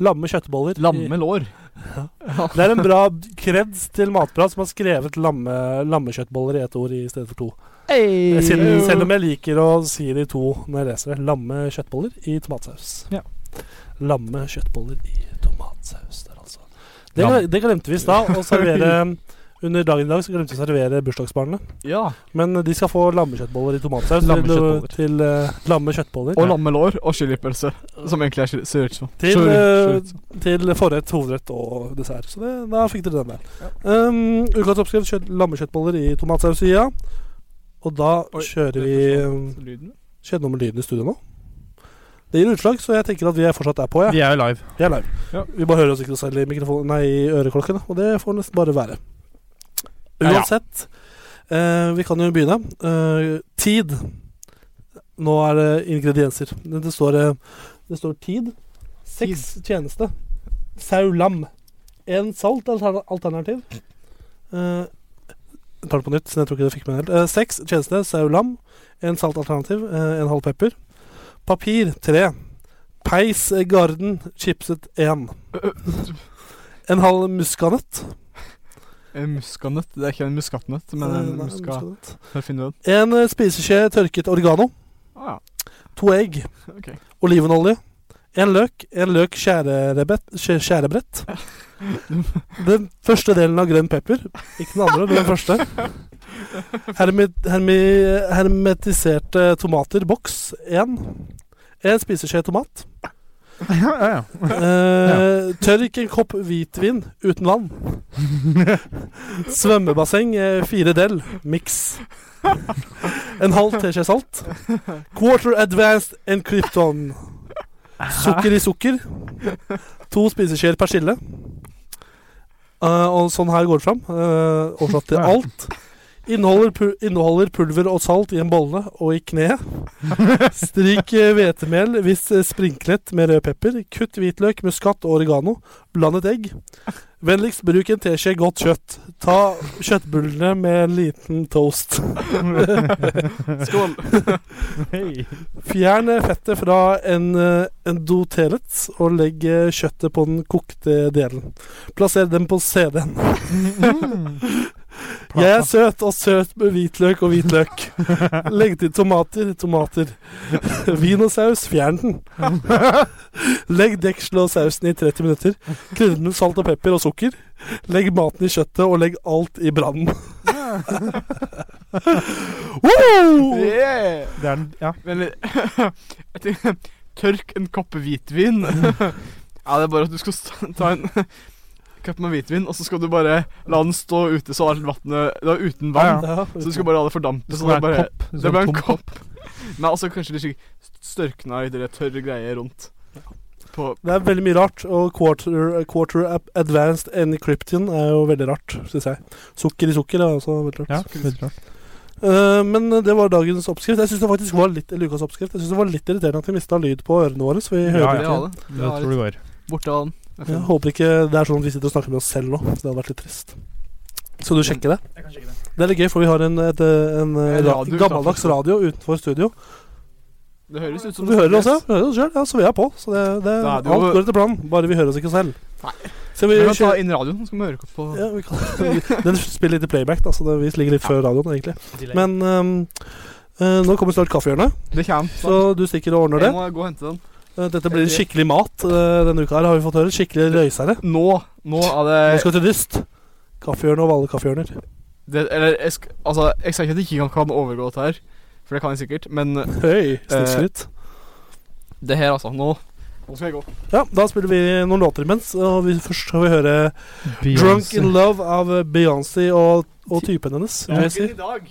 [SPEAKER 2] lamme kjøttboller. i-
[SPEAKER 4] Lamme lår.
[SPEAKER 2] Det er en bra kreds til Matprat som har skrevet lamme, lammekjøttboller i ett ord i stedet for to. Siden, selv om jeg liker å si det i to når jeg leser det. Lamme kjøttboller i tomatsaus.
[SPEAKER 3] Ja.
[SPEAKER 2] Lamme kjøttboller i tomatsaus der, altså. Det, gle- det glemte vi i stad å servere under dagen i dag. Så glemte vi å servere bursdagsbarnet.
[SPEAKER 4] Ja.
[SPEAKER 2] Men de skal få lammekjøttboller i tomatsaus
[SPEAKER 3] Lammekjøttboller.
[SPEAKER 2] til, til eh, lamme kjøttboller.
[SPEAKER 4] Og lamme lår og chilipølse. Som egentlig er chili- chorizo.
[SPEAKER 2] Til,
[SPEAKER 4] Chori-
[SPEAKER 2] eh,
[SPEAKER 4] chorizo.
[SPEAKER 2] til forrett, hovedrett og dessert. Så det, da fikk dere den der. Um, ukas oppskrift kjøtt, lammekjøttboller i tomatsaus. Ja. Og da
[SPEAKER 4] Oi,
[SPEAKER 2] kjører
[SPEAKER 4] det
[SPEAKER 2] vi
[SPEAKER 4] forsvant
[SPEAKER 2] um,
[SPEAKER 4] lyden.
[SPEAKER 2] Skjedde noe med lyden i studio nå? Det gir utslag, så jeg tenker at vi er fortsatt er på. Ja.
[SPEAKER 3] Vi er jo live.
[SPEAKER 2] Vi er live.
[SPEAKER 4] Ja.
[SPEAKER 2] Vi bare hører oss ikke selv i, mikrofonen- nei, i øreklokken, og det får nesten bare være. Uansett, eh, vi kan jo begynne. Eh, tid. Nå er det ingredienser. Det, det, står, eh, det står tid. Seks tjeneste. Sau lam. En salt alter- alternativ. Eh, jeg tar det på nytt, siden jeg tror ikke det fikk med helt. Eh, seks tjeneste. Sau lam. En salt alternativ. Eh, en halv pepper. Papir tre. Peis eh, Garden chipset 1. En halv muskanøtt.
[SPEAKER 4] En muskanøtt. Det er ikke en muskatnøtt, men
[SPEAKER 2] Eh,
[SPEAKER 4] en
[SPEAKER 2] nei,
[SPEAKER 4] muska...
[SPEAKER 2] muskanøtt.
[SPEAKER 4] Hør, finner du den?
[SPEAKER 2] En eh, spiseskje tørket oregano.
[SPEAKER 4] Ah, ja.
[SPEAKER 2] To egg.
[SPEAKER 4] Ok.
[SPEAKER 2] Olivenolje. En løk. En løk skjærerebett- skjæ- skjærebrett. Den første delen av grønn pepper. Ikke den andre, men den første. Hermi, hermi, hermetiserte tomater. Boks 1. En spiseskje tomat.
[SPEAKER 3] ja, ja, ja.
[SPEAKER 2] Eh, tørk en kopp hvitvin uten vann. Svømmebasseng, eh, fire del, miks. En halv teskje salt. Quarter advanced and krypton. Sukker i sukker. To spiseskjeer persille. Eh, og sånn her går det fram. Eh, oversatt til
[SPEAKER 3] Ja.
[SPEAKER 2] alt. Inneholder, pul inneholder pulver og salt i en bolle og i kneet. Stryk eh, hvetemel hvis eh, sprinklet med rød pepper. Kutt hvitløk, muskat og oregano. Bland et egg. Vennligst bruk en teskje godt kjøtt. Ta kjøttbullene med en liten toast.
[SPEAKER 4] Skål!
[SPEAKER 3] Hei.
[SPEAKER 2] Fjern eh, fettet fra en, eh, en dotelet og legg eh, kjøttet på den kokte delen. Plasser dem på CD-en. Jeg er søt og søt med hvitløk og hvitløk. Legg til tomater, tomater. Vin og saus, fjern den. Legg dekselet og sausen i 30 minutter. Krydre med salt og pepper og sukker. Legg maten i kjøttet, og legg alt i brannen. Woo!
[SPEAKER 4] Yeah!
[SPEAKER 3] Det er den Ja.
[SPEAKER 4] Men jeg tenker, Tørk en kopp hvitvin. ja, det er bare at du skal sta- ta en kopp med hvitvin, og så skal du bare la den stå ute så alt vannet Det er uten vann.
[SPEAKER 2] Ja,
[SPEAKER 4] Så du skal bare la det fordampe.
[SPEAKER 3] Det
[SPEAKER 4] Så det
[SPEAKER 3] skal være
[SPEAKER 4] bare
[SPEAKER 3] en kopp.
[SPEAKER 4] Det ble en
[SPEAKER 3] tom
[SPEAKER 4] kopp. Men altså kanskje litt slik størkna i det tørre greier rundt. På
[SPEAKER 2] Det er veldig mye rart, og quarter, quarter Ab- advanced encryption er jo veldig rart, syns jeg. Sukker i sukker er også veldig rart.
[SPEAKER 3] Ja, veldig rart.
[SPEAKER 2] Eh, men det var dagens oppskrift. Jeg syns det faktisk var litt Lukas oppskrift. Jeg synes det var litt irriterende at vi mista lyd på ørene våre. Så vi
[SPEAKER 3] Ja,
[SPEAKER 2] hører
[SPEAKER 4] det
[SPEAKER 2] ikke.
[SPEAKER 4] var det.
[SPEAKER 3] Det tror du går.
[SPEAKER 4] Borte av den. Det er
[SPEAKER 2] Jeg
[SPEAKER 4] fint.
[SPEAKER 2] håper ikke det er sånn at vi sitter og snakker med oss selv nå. Så det hadde vært litt trist. Skal du
[SPEAKER 4] Mm.
[SPEAKER 2] sjekke det? Det er litt gøy, for vi har en, et, eh, en, eh,
[SPEAKER 4] En
[SPEAKER 2] ra-
[SPEAKER 4] radio
[SPEAKER 2] gammeldags
[SPEAKER 4] utenfor.
[SPEAKER 2] radio utenfor studio.
[SPEAKER 4] Det høres ut
[SPEAKER 2] Så
[SPEAKER 4] som
[SPEAKER 2] vi hører oss, ja. Vi hører oss selv, ja, så vi er på. Så det, det,
[SPEAKER 4] Da er det jo-
[SPEAKER 2] alt går etter planen. Bare vi hører oss ikke selv.
[SPEAKER 4] Nei.
[SPEAKER 2] Så
[SPEAKER 4] Vi
[SPEAKER 2] vi,
[SPEAKER 4] kan ta
[SPEAKER 2] kjører,
[SPEAKER 4] inn radioen, så skal vi høre på
[SPEAKER 2] ja, vi kan, den spiller litt i playback, da, så det, vi ligger litt før radioen, egentlig. Men ehm, eh, nå kommer snart kaffehjørnet,
[SPEAKER 4] Det kommer. snart.
[SPEAKER 2] så du stikker og ordner det.
[SPEAKER 4] Jeg må gå og hente den.
[SPEAKER 2] Eh, Dette blir skikkelig mat eh, denne uka her, har vi fått høre. Skikkelig røysere.
[SPEAKER 4] Nå. Nå er det,
[SPEAKER 2] Nå skal til dyst. Kaffehjørne og alle kaffehjørner.
[SPEAKER 4] det Eller jeg, sk- altså, jeg sier ikke at jeg ikke kan, kan overgå dette her, for det kan jeg sikkert, men
[SPEAKER 2] Høy, snikskryt.
[SPEAKER 4] det her, altså. Nå Nå skal jeg gå.
[SPEAKER 2] Ja, da spiller vi noen låter imens, og vi først skal vi høre
[SPEAKER 3] Beyoncé.
[SPEAKER 2] 'Drunk in Love' av Beyoncé og, og typen hennes. Jay-Z.
[SPEAKER 4] i dag.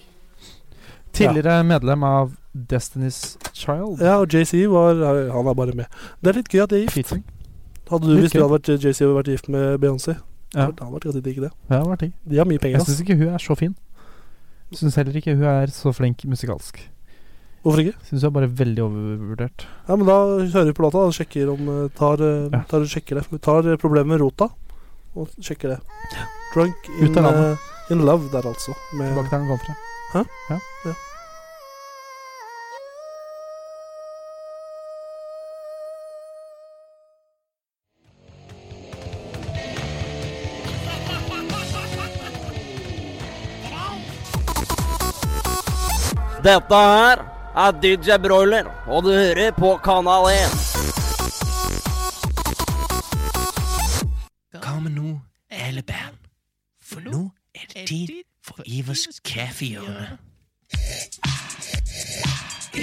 [SPEAKER 3] Tidligere medlem av Destiny's Child.
[SPEAKER 2] Ja, og JC var Han er bare med. Det er litt gøy at de er gift.
[SPEAKER 3] Featuring.
[SPEAKER 2] Hadde du,
[SPEAKER 3] Litt
[SPEAKER 2] hvis du
[SPEAKER 3] gøy.
[SPEAKER 2] hadde vært JC og vært gift med Beyoncé
[SPEAKER 3] Ja.
[SPEAKER 2] Det hadde vært ganske digg, det.
[SPEAKER 3] Ja, det var ting.
[SPEAKER 2] De har mye penger,
[SPEAKER 3] Jeg
[SPEAKER 2] ass.
[SPEAKER 3] syns ikke hun er så fin. Syns heller ikke hun er så flink musikalsk.
[SPEAKER 2] Hvorfor ikke?
[SPEAKER 3] Syns hun er bare veldig overvurdert.
[SPEAKER 2] Ja, men da hører vi på låta da, og sjekker om eh, Tar, eh,
[SPEAKER 3] Ja.
[SPEAKER 2] tar, sjekker det. Vi tar eh, problemet med rota og sjekker det. Drunk in,
[SPEAKER 3] Ut av landet.
[SPEAKER 2] eh, in love der, altså. Med
[SPEAKER 3] Bak der den kom fra.
[SPEAKER 7] Dette her er DJ Broiler, og du hører på Kanal 1.
[SPEAKER 8] Hva med nå, hele band? For nå er det tid for Ivers kaffehjørne.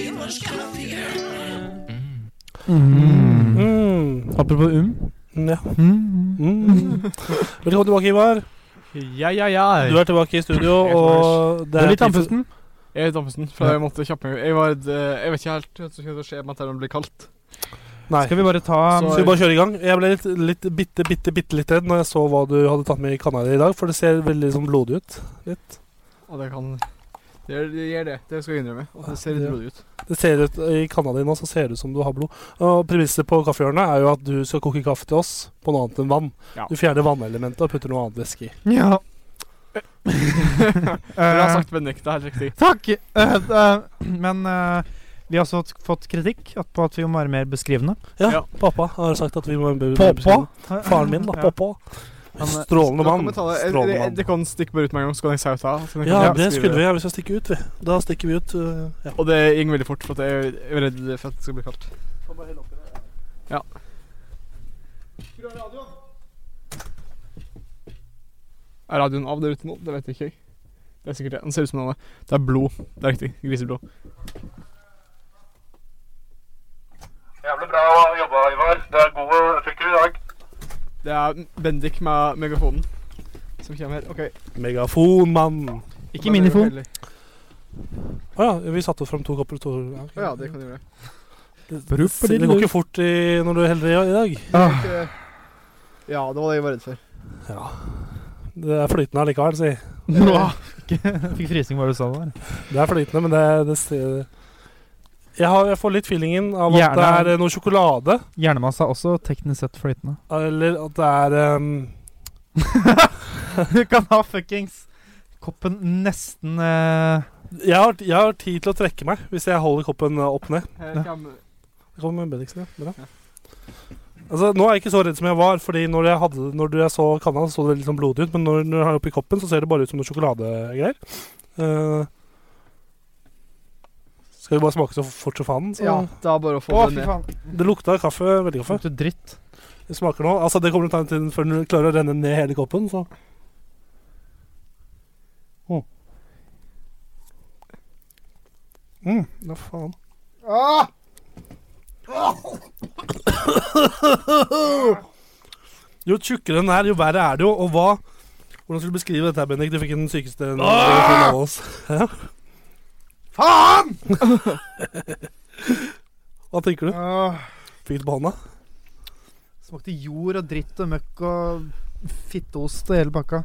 [SPEAKER 8] Ivers kaffehjørne.
[SPEAKER 2] mm.
[SPEAKER 3] Apropos um.
[SPEAKER 2] Ja.
[SPEAKER 3] Mm.
[SPEAKER 2] Mm. Velkommen tilbake, Ivar.
[SPEAKER 4] Ja, ja, ja.
[SPEAKER 2] Du er tilbake i studio,
[SPEAKER 4] Helt
[SPEAKER 2] og det
[SPEAKER 3] Det
[SPEAKER 2] er
[SPEAKER 3] er litt andpusten.
[SPEAKER 4] Jeg er Dampusten, for jeg måtte kjappe meg Jeg var redd eh, Jeg vet ikke helt hva som skulle skje med at det ble kaldt.
[SPEAKER 2] Nei.
[SPEAKER 3] Skal vi bare ta um,
[SPEAKER 4] Så-
[SPEAKER 2] Skal vi bare kjøre i gang? Jeg ble litt, litt bitte, bitte, bitte litt redd når jeg så hva du hadde tatt med i Canada i dag, for det ser veldig sånn blodig ut. Litt.
[SPEAKER 4] Og det kan Det gjør det. Gjør det. det skal jeg innrømme. Og det ser litt
[SPEAKER 2] Ja.
[SPEAKER 4] blodig ut.
[SPEAKER 2] Det ser ut I Canada nå så ser det ut som du har blod. Og Premisset på kaffehjørnet er jo at du skal koke kaffe til oss på noe annet enn vann.
[SPEAKER 4] Ja.
[SPEAKER 2] Du fjerner vannelementet og putter noe annet væske i.
[SPEAKER 3] Ja.
[SPEAKER 4] Dere har
[SPEAKER 3] Eh,
[SPEAKER 4] sagt benekta, helt riktig.
[SPEAKER 3] Takk! Eh, eh, men eh, vi har også fått kritikk at- på at vi må være mer beskrivende.
[SPEAKER 2] Ja,
[SPEAKER 4] Ja.
[SPEAKER 2] pappa har sagt at vi må Faren min, da.
[SPEAKER 3] Ja.
[SPEAKER 2] Pappa.
[SPEAKER 3] Han, eh,
[SPEAKER 2] Strålende
[SPEAKER 4] Da kan
[SPEAKER 2] mann.
[SPEAKER 4] vi ta det- Eh,
[SPEAKER 2] Strålende
[SPEAKER 4] det-
[SPEAKER 2] mann.
[SPEAKER 4] Det kan stikke bare ut med en gang, så kan jeg saute av. så kan jeg
[SPEAKER 2] Ja,
[SPEAKER 4] kan
[SPEAKER 2] det
[SPEAKER 4] skrive
[SPEAKER 2] skulle vi. Ja, vi skal stikke ut, vi. Da stikker vi ut. øh, Ja.
[SPEAKER 4] Og det gikk veldig fort, for at jeg jeg er redd for at det skal bli kaldt. Ja. Er radioen av der ute nå? Det vet jeg ikke. jeg. Det er sikkert det. Den ser ut som den er. Det er blod. Det er riktig. Griseblod.
[SPEAKER 9] Jævlig bra jobba, Ivar. Du er god og effektiv i dag.
[SPEAKER 4] Det er Bendik med megafonen som kommer her. OK.
[SPEAKER 2] Megafonmann.
[SPEAKER 3] Ikke minifon.
[SPEAKER 4] Å
[SPEAKER 2] Å ja, vi satte fram to kopper. To, ja, ok.
[SPEAKER 4] ja, det kan du gjøre.
[SPEAKER 2] det, det går ikke fort i, når du heller i, i dag.
[SPEAKER 3] Ah,
[SPEAKER 4] Ja, det var det jeg var redd for.
[SPEAKER 2] Ja. Det er flytende allikevel, si.
[SPEAKER 3] nå. Jeg Fikk frysning hva du sa der.
[SPEAKER 2] Det er flytende, men det, det ser- jeg, har, jeg får litt feelingen av at
[SPEAKER 3] Gjerne.
[SPEAKER 2] det er eh, noe sjokolade.
[SPEAKER 3] Hjernemasse er også teknisk sett flytende.
[SPEAKER 2] Eller at det er ehm,
[SPEAKER 3] Du kan ha fuckings koppen nesten eh,
[SPEAKER 2] jeg, har, jeg har tid til å trekke meg hvis jeg holder koppen eh, opp ned.
[SPEAKER 4] Her kommer
[SPEAKER 2] Det kommer Bendiksen, ja. Bra. Altså, nå er jeg ikke så redd som jeg var, Fordi når jeg, hadde, når du- jeg så kanna, så det litt sånn blodig ut. Men når, når du har det oppi koppen, så ser det bare ut som noe sjokoladegreier. Eh, skal vi bare smake så fort som faen? Så.
[SPEAKER 4] Ja, det er bare Sånn. å få
[SPEAKER 3] Å, fy
[SPEAKER 4] det ned.
[SPEAKER 3] faen.
[SPEAKER 2] Det lukta kaffe. Veldig kaffe.
[SPEAKER 3] Fikk du dritt?
[SPEAKER 2] Det smaker nå. Altså, det kommer til å ta en tid før den klarer å renne ned hele koppen, så mm. Mm, ja, faen. Jo tjukkere den er, jo verre er det jo. Og hva Hvordan skulle du beskrive dette, her, Bendik? Du fikk den sykeste ah! av oss. Ja.
[SPEAKER 4] Faen!
[SPEAKER 2] Hva tenker du?
[SPEAKER 3] Åh,
[SPEAKER 2] Fikk du på hånda?
[SPEAKER 3] smakte jord og dritt og møkk og fitteost og hele pakka.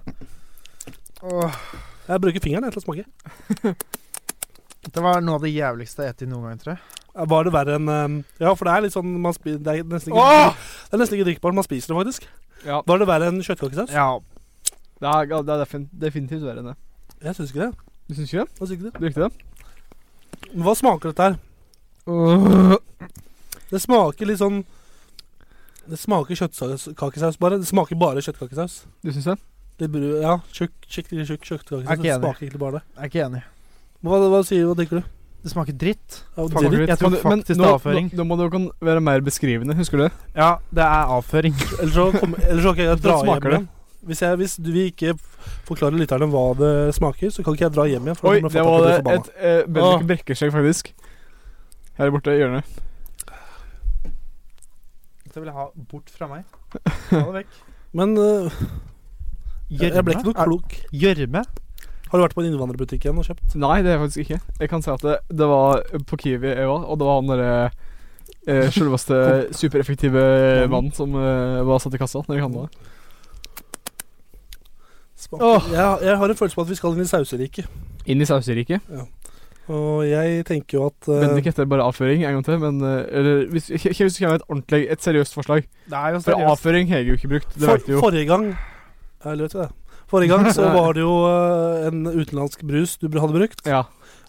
[SPEAKER 3] Åh,
[SPEAKER 2] Jeg bruker fingeren jeg, til å smake.
[SPEAKER 3] det var noe av det jævligste jeg har spist noen gang, tror jeg.
[SPEAKER 2] Var det verre enn eh, Ja, for det er litt sånn man spi, Det er nesten ikke,
[SPEAKER 4] Åh!
[SPEAKER 2] det er nesten ikke drikkbart. Man spiser det faktisk.
[SPEAKER 4] Ja,
[SPEAKER 2] Var det verre enn kjøttkakesaus?
[SPEAKER 3] Ja.
[SPEAKER 4] det er, det er defin- definitivt verre enn det.
[SPEAKER 2] Jeg syns ikke det.
[SPEAKER 4] Du syns ikke det?
[SPEAKER 2] Jeg syns ikke det.
[SPEAKER 4] Du likte det?
[SPEAKER 2] Hva smaker dette her? Det smaker litt sånn Det smaker kjøttkakesaus bare. Det smaker bare kjøttkakesaus.
[SPEAKER 4] Du syns det?
[SPEAKER 2] Litt bru, ja, tjukk, skikkelig tjukk kjøttkakesaus.
[SPEAKER 3] Er ikke
[SPEAKER 2] Det
[SPEAKER 3] enig.
[SPEAKER 2] smaker egentlig bare det.
[SPEAKER 3] Jeg er ikke enig.
[SPEAKER 2] Men Hva, hva sier du? Hva tenker du?
[SPEAKER 3] Det smaker dritt.
[SPEAKER 2] Ja,
[SPEAKER 4] Faen,
[SPEAKER 2] dritt.
[SPEAKER 4] Margaret,
[SPEAKER 3] Jeg tror
[SPEAKER 4] kan du- men
[SPEAKER 3] faktisk
[SPEAKER 4] nå-
[SPEAKER 3] det er avføring.
[SPEAKER 4] Nå, nå må du kan være mer beskrivende, husker du det?
[SPEAKER 3] Ja, det er avføring.
[SPEAKER 2] Ellers så kommer ellers så kan ikke jeg dra
[SPEAKER 4] Da smaker
[SPEAKER 2] hjem
[SPEAKER 4] det.
[SPEAKER 2] igjen. Hvis, jeg, hvis du vil ikke forklarer lytterne hva det smaker, så kan ikke jeg dra hjem igjen. For da
[SPEAKER 4] Oi,
[SPEAKER 2] kommer
[SPEAKER 4] det
[SPEAKER 2] folk
[SPEAKER 4] var
[SPEAKER 2] til å
[SPEAKER 4] det.
[SPEAKER 2] bli forbanna.
[SPEAKER 4] Et eh, Bendik brekker seg faktisk. Her borte i hjørnet.
[SPEAKER 3] Det vil jeg ha bort fra meg. Ta det vekk.
[SPEAKER 2] Men øh, jeg, jeg ble ikke noe
[SPEAKER 3] Er-
[SPEAKER 2] klok.
[SPEAKER 3] Gjørme?
[SPEAKER 2] Har du vært på en innvandrerbutikk igjen og kjøpt?
[SPEAKER 4] Nei, det er jeg faktisk ikke. Jeg kan si at det, det var på Kiwi jeg var, og det var han derre eh, selveste supereffektive mannen som eh, var satt i kassa når jeg handla.
[SPEAKER 2] Smaker- Jeg, jeg har en følelse på at vi skal inn i sauseriket.
[SPEAKER 4] Inn i sauseriket.
[SPEAKER 2] Og jeg tenker jo at øh,
[SPEAKER 4] Bendik heter bare avføring en gang til, men eh, eller, hvis, ikke hvis du kommer med et ordentlig, et seriøst forslag.
[SPEAKER 3] Det er jo
[SPEAKER 4] For avføring har jeg jo ikke brukt, det
[SPEAKER 2] For,
[SPEAKER 4] vet du jo.
[SPEAKER 2] Forrige gang Eller vet du det? Forrige gang så var det jo eh, en utenlandsk brus du hadde brukt.
[SPEAKER 4] Ja.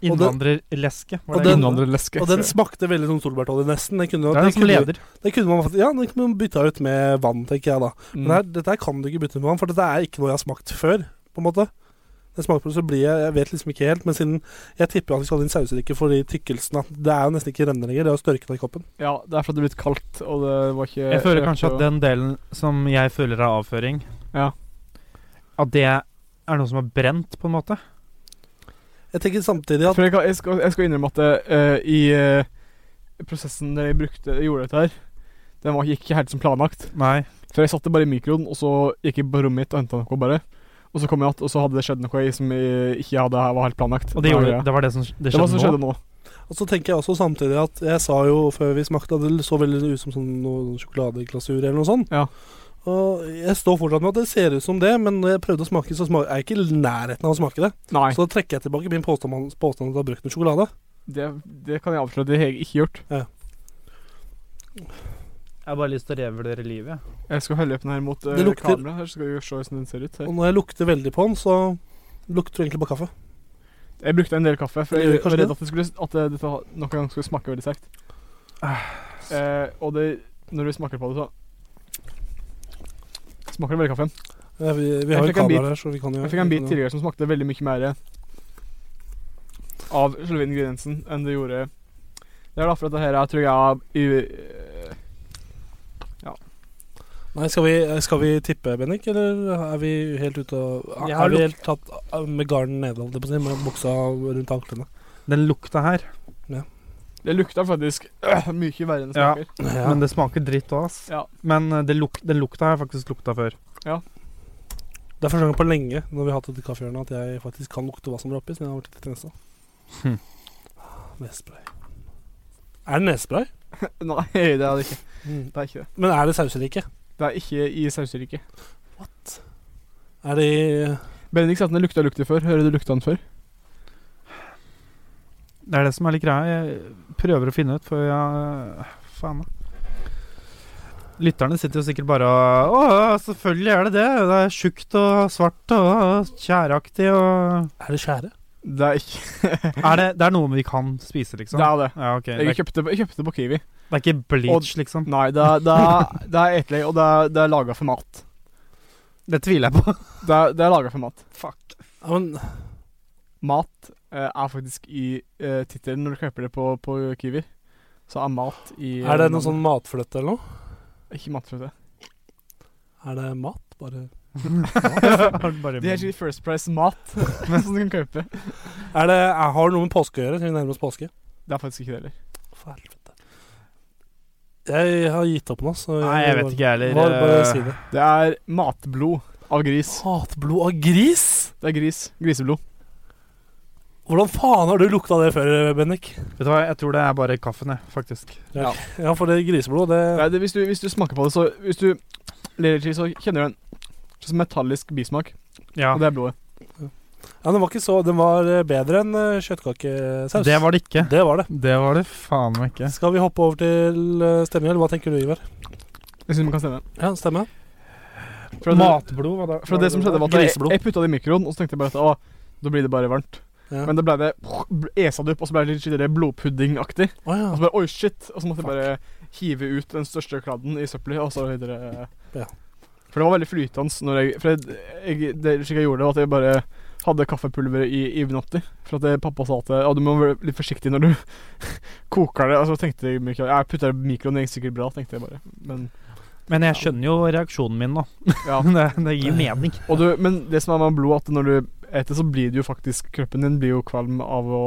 [SPEAKER 3] Innvandrerleske. var
[SPEAKER 2] og
[SPEAKER 3] det
[SPEAKER 2] den-
[SPEAKER 4] Innvandrerleske.
[SPEAKER 2] Og den smakte veldig som solbærtolje, nesten. Den
[SPEAKER 3] det
[SPEAKER 2] kunne,
[SPEAKER 3] er
[SPEAKER 2] den
[SPEAKER 3] den som
[SPEAKER 2] kunne,
[SPEAKER 3] leder.
[SPEAKER 2] den kunne man faktisk Ja, den kunne man bytta ut med vann, tenker jeg da. Men
[SPEAKER 4] Mm.
[SPEAKER 2] her, dette her kan du ikke bytte med vann, for dette er ikke noe jeg har smakt før. På en måte Den smaker på det, så blir jeg Jeg vet liksom ikke helt, men siden jeg tipper at vi skal ha inn sauserikke fordi tykkelsen at Det er jo nesten ikke rennende lenger, det er jo størkna i koppen.
[SPEAKER 4] Ja, det er fordi det er blitt kaldt, og det var ikke
[SPEAKER 3] Jeg føler
[SPEAKER 4] Eh, rett
[SPEAKER 3] kanskje at
[SPEAKER 4] å-
[SPEAKER 3] den delen som jeg føler er avføring,
[SPEAKER 4] Ja.
[SPEAKER 3] at det er noe som er brent, på en måte.
[SPEAKER 2] Jeg tenker samtidig at
[SPEAKER 4] For jeg, kan, jeg, skal, jeg skal innrømme at eh, i eh, prosessen der jeg brukte, jeg gjorde dette her, den var ikke helt som planlagt.
[SPEAKER 3] Nei.
[SPEAKER 4] For jeg satte bare i mikroen, og så gikk jeg på rommet mitt og henta noe, bare. Og så kom jeg att, og så hadde det skjedd noe jeg, som jeg ikke hadde var helt planlagt.
[SPEAKER 3] Og det, gjorde,
[SPEAKER 4] ja.
[SPEAKER 3] det var det som det
[SPEAKER 4] Det var
[SPEAKER 3] skjedde,
[SPEAKER 4] det som skjedde nå.
[SPEAKER 2] Og så tenker jeg også samtidig at jeg sa jo før vi smakte at det så veldig ut som sånn noe sjokoladeglasur eller noe sånt.
[SPEAKER 4] Ja.
[SPEAKER 2] Og jeg står fortsatt med at det ser ut som det, men når jeg prøvde å smake, så sma- er jeg ikke i nærheten av å smake det.
[SPEAKER 4] Nei,
[SPEAKER 2] Så da trekker jeg tilbake min påstand om påstand om at det er brukt noe sjokolade.
[SPEAKER 4] det, det kan jeg avsløre. Det har jeg ikke gjort.
[SPEAKER 3] Jeg har bare lyst til å revurdere livet. jeg.
[SPEAKER 4] Jeg skal holde på den her mot eh,
[SPEAKER 2] Det lukter-
[SPEAKER 4] kameraet, her, så skal vi se hvordan den ser ut.
[SPEAKER 2] Og
[SPEAKER 4] Her.
[SPEAKER 2] når jeg lukter veldig på den, så lukter det egentlig bare kaffe.
[SPEAKER 4] Jeg brukte en del kaffe, for jeg
[SPEAKER 2] Gjør
[SPEAKER 4] var
[SPEAKER 2] kanskje
[SPEAKER 4] redd
[SPEAKER 2] det?
[SPEAKER 4] at, det skulle, at det, dette noen gang skulle smake veldig sterkt.
[SPEAKER 3] Ah.
[SPEAKER 4] Eh, og det, når du smaker på det, så smaker det veldig kaffe.
[SPEAKER 2] Ja, Vi, vi
[SPEAKER 4] Jeg
[SPEAKER 2] har jo
[SPEAKER 4] fikk en bit.
[SPEAKER 2] kamera her, så vi kan jo
[SPEAKER 4] Jeg fikk en bit
[SPEAKER 2] vi kan jo-
[SPEAKER 4] tidligere som smakte veldig mye mer av selve ingrediensen enn det gjorde Det er da for at det her er, tror jeg eh, i,
[SPEAKER 2] Nei, skal vi, skal vi tippe, Bennik, eller er vi helt ute av
[SPEAKER 3] Jeg har
[SPEAKER 2] Er vi helt tatt av- med garden nede, holdt jeg på å si, med buksa rundt anklene?
[SPEAKER 3] Den lukta her.
[SPEAKER 4] Det lukta faktisk øh, mye verre enn det
[SPEAKER 3] Ja.
[SPEAKER 4] smaker.
[SPEAKER 3] Men det smaker dritt òg, ass.
[SPEAKER 4] Ja.
[SPEAKER 3] Men eh, det luk den lukta har jeg faktisk lukta før.
[SPEAKER 2] Det er første gang på lenge når vi har hatt dette kaffehjørnet at jeg faktisk kan lukte hva som er oppi, siden jeg har vært litt trensa.
[SPEAKER 3] Hm.
[SPEAKER 2] Nesespray. Er det nesespray?
[SPEAKER 4] Nei, det er det ikke.
[SPEAKER 2] Mm.
[SPEAKER 4] Det er ikke det.
[SPEAKER 2] Men er det saus eller ikke?
[SPEAKER 4] Det er ikke i sauseriket.
[SPEAKER 2] Er det
[SPEAKER 4] Benedikt sa at den lukta lukter før. Hører du lukta den før?
[SPEAKER 3] Det er det som er litt greia. Jeg prøver å finne ut, for jeg eh, Faen, da. Lytterne sitter jo sikkert bare og Å, selvfølgelig er det det! Det er tjukt og svart og tjæreaktig og
[SPEAKER 2] Er det skjære?
[SPEAKER 3] Sånn.
[SPEAKER 4] Det er ikke
[SPEAKER 3] er det, det er noe vi kan spise, liksom?
[SPEAKER 4] Det er det.
[SPEAKER 3] Ja, ok. Det
[SPEAKER 4] Jeg
[SPEAKER 3] er,
[SPEAKER 4] kjøpte, jeg kjøpte det på Kiwi.
[SPEAKER 3] det er ikke bleach, liksom?
[SPEAKER 4] Nei, det er, det er, det er etelig, og det er, det er laga for mat.
[SPEAKER 3] Det tviler jeg på.
[SPEAKER 4] Det er, det er laga for mat.
[SPEAKER 2] Ja, men
[SPEAKER 4] Mat eh, er faktisk i eh, tittelen når du kjøper det på, på Kiwi. Så er mat i eh,
[SPEAKER 2] er det noe sånn matfløte eller noe?
[SPEAKER 4] Ikke matfrøte.
[SPEAKER 2] Er det mat? Bare
[SPEAKER 3] Bare-
[SPEAKER 4] Det er ikke First Price mat som du kan kjøpe.
[SPEAKER 2] Er det, er, Har det noe med påske å gjøre? Siden vi nærmer oss påske.
[SPEAKER 4] Det er faktisk ikke det heller.
[SPEAKER 2] For helvete. Jeg har gitt opp nå, så
[SPEAKER 3] Nei, jeg vet ikke, jeg heller. eh.
[SPEAKER 2] Bare, bare si det.
[SPEAKER 4] Det er matblod av gris.
[SPEAKER 2] Hatblod av gris?
[SPEAKER 4] Det er gris. Griseblod.
[SPEAKER 2] Hvordan faen har du lukta det før, Bennik?
[SPEAKER 3] Vet du hva, jeg tror det er bare kaffen, jeg, faktisk.
[SPEAKER 4] Ja.
[SPEAKER 2] Ja, for det griseblod, det
[SPEAKER 4] Nei, det, hvis, du, hvis du smaker på det, så Hvis du ler til, så kjenner du en sånn metallisk bismak.
[SPEAKER 3] Ja,
[SPEAKER 4] Og det er blodet.
[SPEAKER 2] Ja, den var ikke så Den var eh, bedre enn eh, kjøttkakesaus.
[SPEAKER 3] det var det ikke.
[SPEAKER 2] Det var det.
[SPEAKER 3] Det var det faen meg ikke.
[SPEAKER 2] Skal vi hoppe over til eh, stemning, eller hva tenker du, Ivar?
[SPEAKER 4] Jeg synes man kan stemme.
[SPEAKER 2] Ja, stemme.
[SPEAKER 4] For det,
[SPEAKER 3] Matblod, hva da?
[SPEAKER 4] for det som skjedde, var at jeg,
[SPEAKER 2] Griseblod.
[SPEAKER 4] jeg putta det i mikroen, og så tenkte jeg bare at å, da blir det bare varmt.
[SPEAKER 2] Ja.
[SPEAKER 4] Men da ble det esa det opp, og så ble det litt skikkelig blodpuddingaktig.
[SPEAKER 2] Å ja.
[SPEAKER 4] Og så bare oi, shit. Og så måtte jeg bare hive ut den største kladden i søppelet, og så videre. eh.
[SPEAKER 2] Ja.
[SPEAKER 4] For det var veldig flytende når jeg For jeg, jeg, det slik jeg gjorde, var at jeg bare hadde kaffepulveret i, i Vinotti. For at det, pappa sa at ja, du må være litt forsiktig når du koker det. Og så tenkte jeg mye, jeg putter det i mikroen, det gikk sikkert bra, tenkte jeg bare. Men,
[SPEAKER 3] Men jeg skjønner jo reaksjonen min, da.
[SPEAKER 4] ja.
[SPEAKER 3] Det, det gir mening.
[SPEAKER 4] og du, men det som er med blod, at når du eter, så blir det jo faktisk Kroppen din blir jo kvalm av å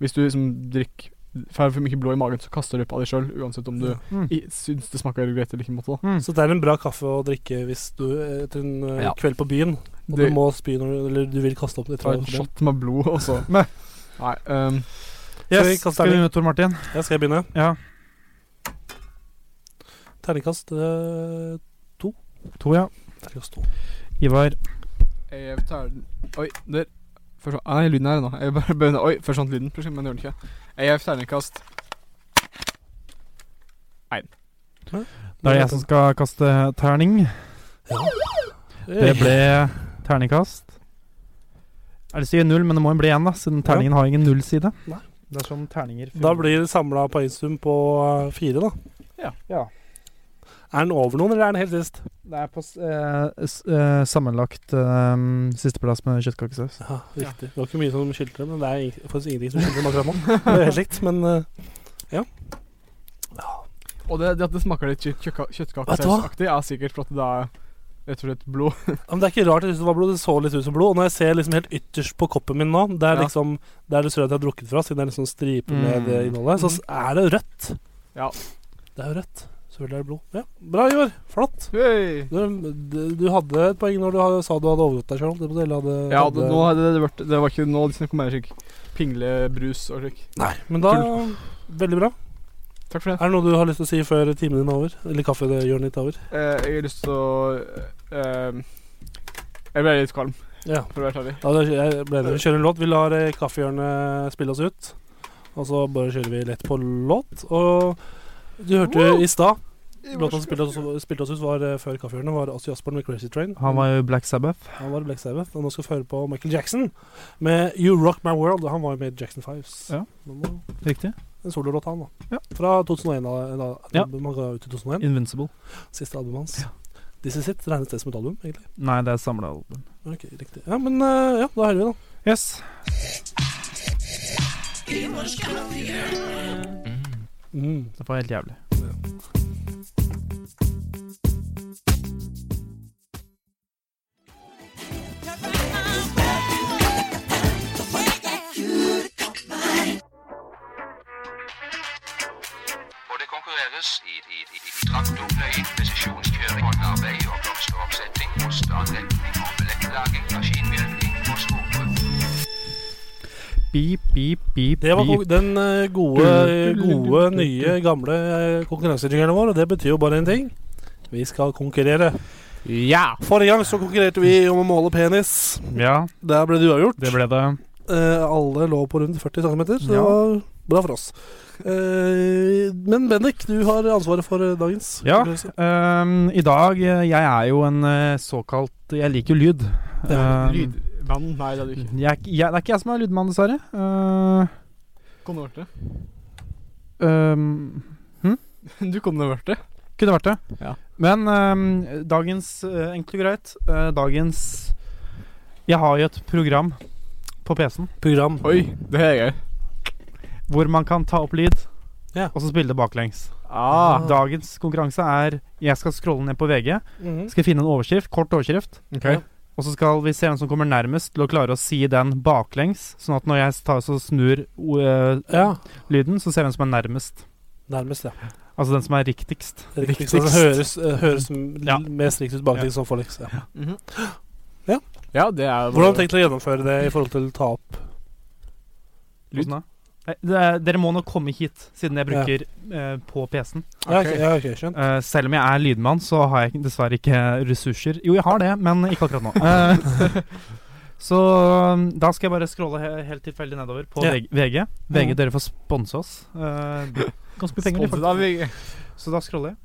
[SPEAKER 4] Hvis du liksom drikker får for mye blod i magen, så kaster du opp av deg sjøl, uansett om du
[SPEAKER 3] Mm.
[SPEAKER 4] i- syns det smaker greit eller ikke. Måte, da.
[SPEAKER 3] Mm.
[SPEAKER 2] Så det er en bra kaffe å drikke hvis du eh, etter en eh,
[SPEAKER 4] Ja.
[SPEAKER 2] kveld på byen, og du
[SPEAKER 4] Det-
[SPEAKER 2] må spy når du Eller du vil kaste opp etter å
[SPEAKER 4] Ta en
[SPEAKER 2] ha vært på byen.
[SPEAKER 4] shot med blod, og så
[SPEAKER 3] Nei.
[SPEAKER 4] Nei, ehm,
[SPEAKER 2] Skal vi
[SPEAKER 3] Yes,
[SPEAKER 2] kaste
[SPEAKER 3] skal vi
[SPEAKER 2] terning?
[SPEAKER 3] med Tor Martin?
[SPEAKER 2] Ja, skal jeg begynne?
[SPEAKER 3] Ja.
[SPEAKER 2] Terningkast eh,
[SPEAKER 3] To, ja.
[SPEAKER 2] Terningkast to.
[SPEAKER 3] Ivar.
[SPEAKER 4] jeg tar den Oi, der. Først, ah, nei, lyden er her ennå. Jeg bare begynner Oi, forsvant lyden, plutselig, men det gjør den ikke. Jeg gir terningkast
[SPEAKER 3] Da er det jeg som skal kaste terning. Det ble terningkast. Jeg har lyst til å gi null, men det må jo bli én, da, siden terningen har ingen nullside.
[SPEAKER 2] Nei.
[SPEAKER 3] Det er sånn terninger
[SPEAKER 2] Da blir samla poengsum på eh, fire, da.
[SPEAKER 3] Ja.
[SPEAKER 2] Er den over noen, eller er den helt sist?
[SPEAKER 3] Det er på s- eh, s eh, sammenlagt eh, sisteplass med kjøttkakesaus.
[SPEAKER 2] Ja, riktig. Det var ikke mye som skilte dem, men det er ing- faktisk ingenting som skilte dem akkurat nå. Det er helt likt, men eh,
[SPEAKER 4] Og det, det at det smaker litt kjø- kjøkka- kjøttkakesausaktig, er sikkert fordi det er rett og slett blod.
[SPEAKER 2] ja, men det er ikke rart det synes det var blod. Det så litt ut som blod. Og når jeg ser liksom helt ytterst på koppen min nå, det er
[SPEAKER 4] Ja.
[SPEAKER 2] liksom det er det sørøyet jeg har drukket fra, siden det er liksom striper med
[SPEAKER 3] Mm.
[SPEAKER 2] det innholdet, så s- er det rødt.
[SPEAKER 4] Ja.
[SPEAKER 2] Det er jo rødt. Selvfølgelig er det blod. Ja, Bra, Ivar. Flott.
[SPEAKER 4] Hei!
[SPEAKER 2] Du, du- du hadde et poeng når du ha- sa du hadde overgått deg sjøl. Det må du heller hadde,
[SPEAKER 4] Ja, det,
[SPEAKER 2] hadde-
[SPEAKER 4] nå hadde det vært Det var ikke nå de snakket om mer slik pinglebrus og slik.
[SPEAKER 2] Nei, men da Veldig bra.
[SPEAKER 4] Takk for det.
[SPEAKER 2] Er det noe du har lyst til å si før timen din er over? Eller kaffehjørnet ditt er over?
[SPEAKER 4] Eh, jeg har lyst til å eh, Jeg ble litt kvalm,
[SPEAKER 2] Ja.
[SPEAKER 4] for å være ærlig.
[SPEAKER 2] Ja, da kjø- jeg ble enig. Vi kjører en låt. Vi lar eh, kaffehjørnet spille oss ut. Og så bare kjører vi lett på låt. Og du hørte jo i stad Låta som spilte oss, spilte oss ut var eh, før kaffehjørnet, var Ossi Osborn med 'Crazy Train'.
[SPEAKER 3] Han var jo Black Sabbath.
[SPEAKER 2] Han var i Black Sabbath. Og nå skal vi høre på Michael Jackson med 'You Rock My World'. Han var jo med i Jackson Fives.
[SPEAKER 3] Ja.
[SPEAKER 2] Nå må-
[SPEAKER 3] Riktig.
[SPEAKER 2] En sololåt, han, da.
[SPEAKER 3] Ja.
[SPEAKER 2] Fra 2001. Da, da,
[SPEAKER 3] Ja.
[SPEAKER 2] Man ga ut i 2001.
[SPEAKER 3] Invincible.
[SPEAKER 2] Siste albumet hans. This Is It regnes det som et album, egentlig.
[SPEAKER 3] Nei, det er samla album.
[SPEAKER 2] Ok, riktig. Ja, men eh, ja, da hører vi, da.
[SPEAKER 3] Yes.
[SPEAKER 2] Mm.
[SPEAKER 3] Det var helt jævlig.
[SPEAKER 9] hvor det konkurreres i, i, i, i traktorpløying, presisjonskjøring, håndarbeid og blomsteroppsetting, osteanretning og billettlaging, maskinmjølking og skogbruk.
[SPEAKER 3] Beep, beep, beep,
[SPEAKER 2] Det var
[SPEAKER 3] beep.
[SPEAKER 2] kon- den eh,
[SPEAKER 3] Mm.
[SPEAKER 2] gode, gode nye, gamle eh, konkurransejingeren vår, og det betyr jo bare én ting. Vi skal konkurrere.
[SPEAKER 3] Ja.
[SPEAKER 2] Forrige gang så konkurrerte vi om å måle penis.
[SPEAKER 3] ja,
[SPEAKER 2] Der ble det uavgjort.
[SPEAKER 3] det ble det.
[SPEAKER 2] Eh, alle lå på rundt 40 cm, så det
[SPEAKER 3] Ja.
[SPEAKER 2] var bra for oss. Eh, men Bendik, du har ansvaret for eh, dagens
[SPEAKER 3] Ja.
[SPEAKER 2] konkurranse.
[SPEAKER 3] Ehm, I dag eh, Jeg er jo en eh, såkalt Jeg liker jo lyd.
[SPEAKER 2] Ja,
[SPEAKER 4] Eh,
[SPEAKER 3] Ehm,
[SPEAKER 4] Lydband? Nei, det hadde du ikke.
[SPEAKER 3] Jeg, er ikke- jeg, det er ikke jeg som er lydmann, dessverre. Ehm,
[SPEAKER 4] Konverterte.
[SPEAKER 3] ehm,
[SPEAKER 4] Du konverterte.
[SPEAKER 3] kunne vært det.
[SPEAKER 4] Ja.
[SPEAKER 3] Men ehm, dagens eh, Enkelt og greit. eh, dagens Jeg har jo et program på PC-en
[SPEAKER 2] Program.
[SPEAKER 4] Oi, det er jeg.
[SPEAKER 3] hvor man kan ta opp lyd
[SPEAKER 2] Ja.
[SPEAKER 3] og så spille det baklengs.
[SPEAKER 4] Ah.
[SPEAKER 3] Dagens konkurranse er Jeg skal scrolle ned på VG.
[SPEAKER 2] Mhm.
[SPEAKER 3] Skal finne en overskrift, kort overskrift.
[SPEAKER 4] Ok.
[SPEAKER 3] Og så skal vi se hvem som kommer nærmest til å klare å si den baklengs. Sånn at når jeg tar så snur o- eh,
[SPEAKER 2] Ja.
[SPEAKER 3] lyden, så ser vi hvem som er nærmest.
[SPEAKER 2] Nærmest, ja.
[SPEAKER 3] Altså den som er riktigst.
[SPEAKER 2] Det er riktig, så det høres, eh, høres m-
[SPEAKER 3] Ja.
[SPEAKER 2] mest riktig ut baklengs som forlengs. Ja.
[SPEAKER 4] Mhm.
[SPEAKER 2] Ja.
[SPEAKER 4] ja, det er jo
[SPEAKER 2] Hvordan har du tenkt å gjennomføre det i forhold til ta opp
[SPEAKER 4] Lyd?
[SPEAKER 3] Hvordan da? Nei, det er- Dere må nå komme hit, siden jeg
[SPEAKER 2] Ja.
[SPEAKER 3] bruker eh, på PC-en.
[SPEAKER 2] Ja,
[SPEAKER 4] Ok.
[SPEAKER 2] ok, ja, ok, skjønt.
[SPEAKER 3] Eh, selv om jeg er lydmann, så har jeg dessverre ikke ressurser. Jo, jeg har det, men ikke akkurat nå. Eh, så um, da skal jeg bare scrolle he helt tilfeldig nedover på
[SPEAKER 2] Ja.
[SPEAKER 3] VG. VG,
[SPEAKER 2] Ja.
[SPEAKER 3] dere får sponse oss. Eh, ganske mye penger. de,
[SPEAKER 4] Sponset av VG.
[SPEAKER 3] faktisk. Så da scroller jeg.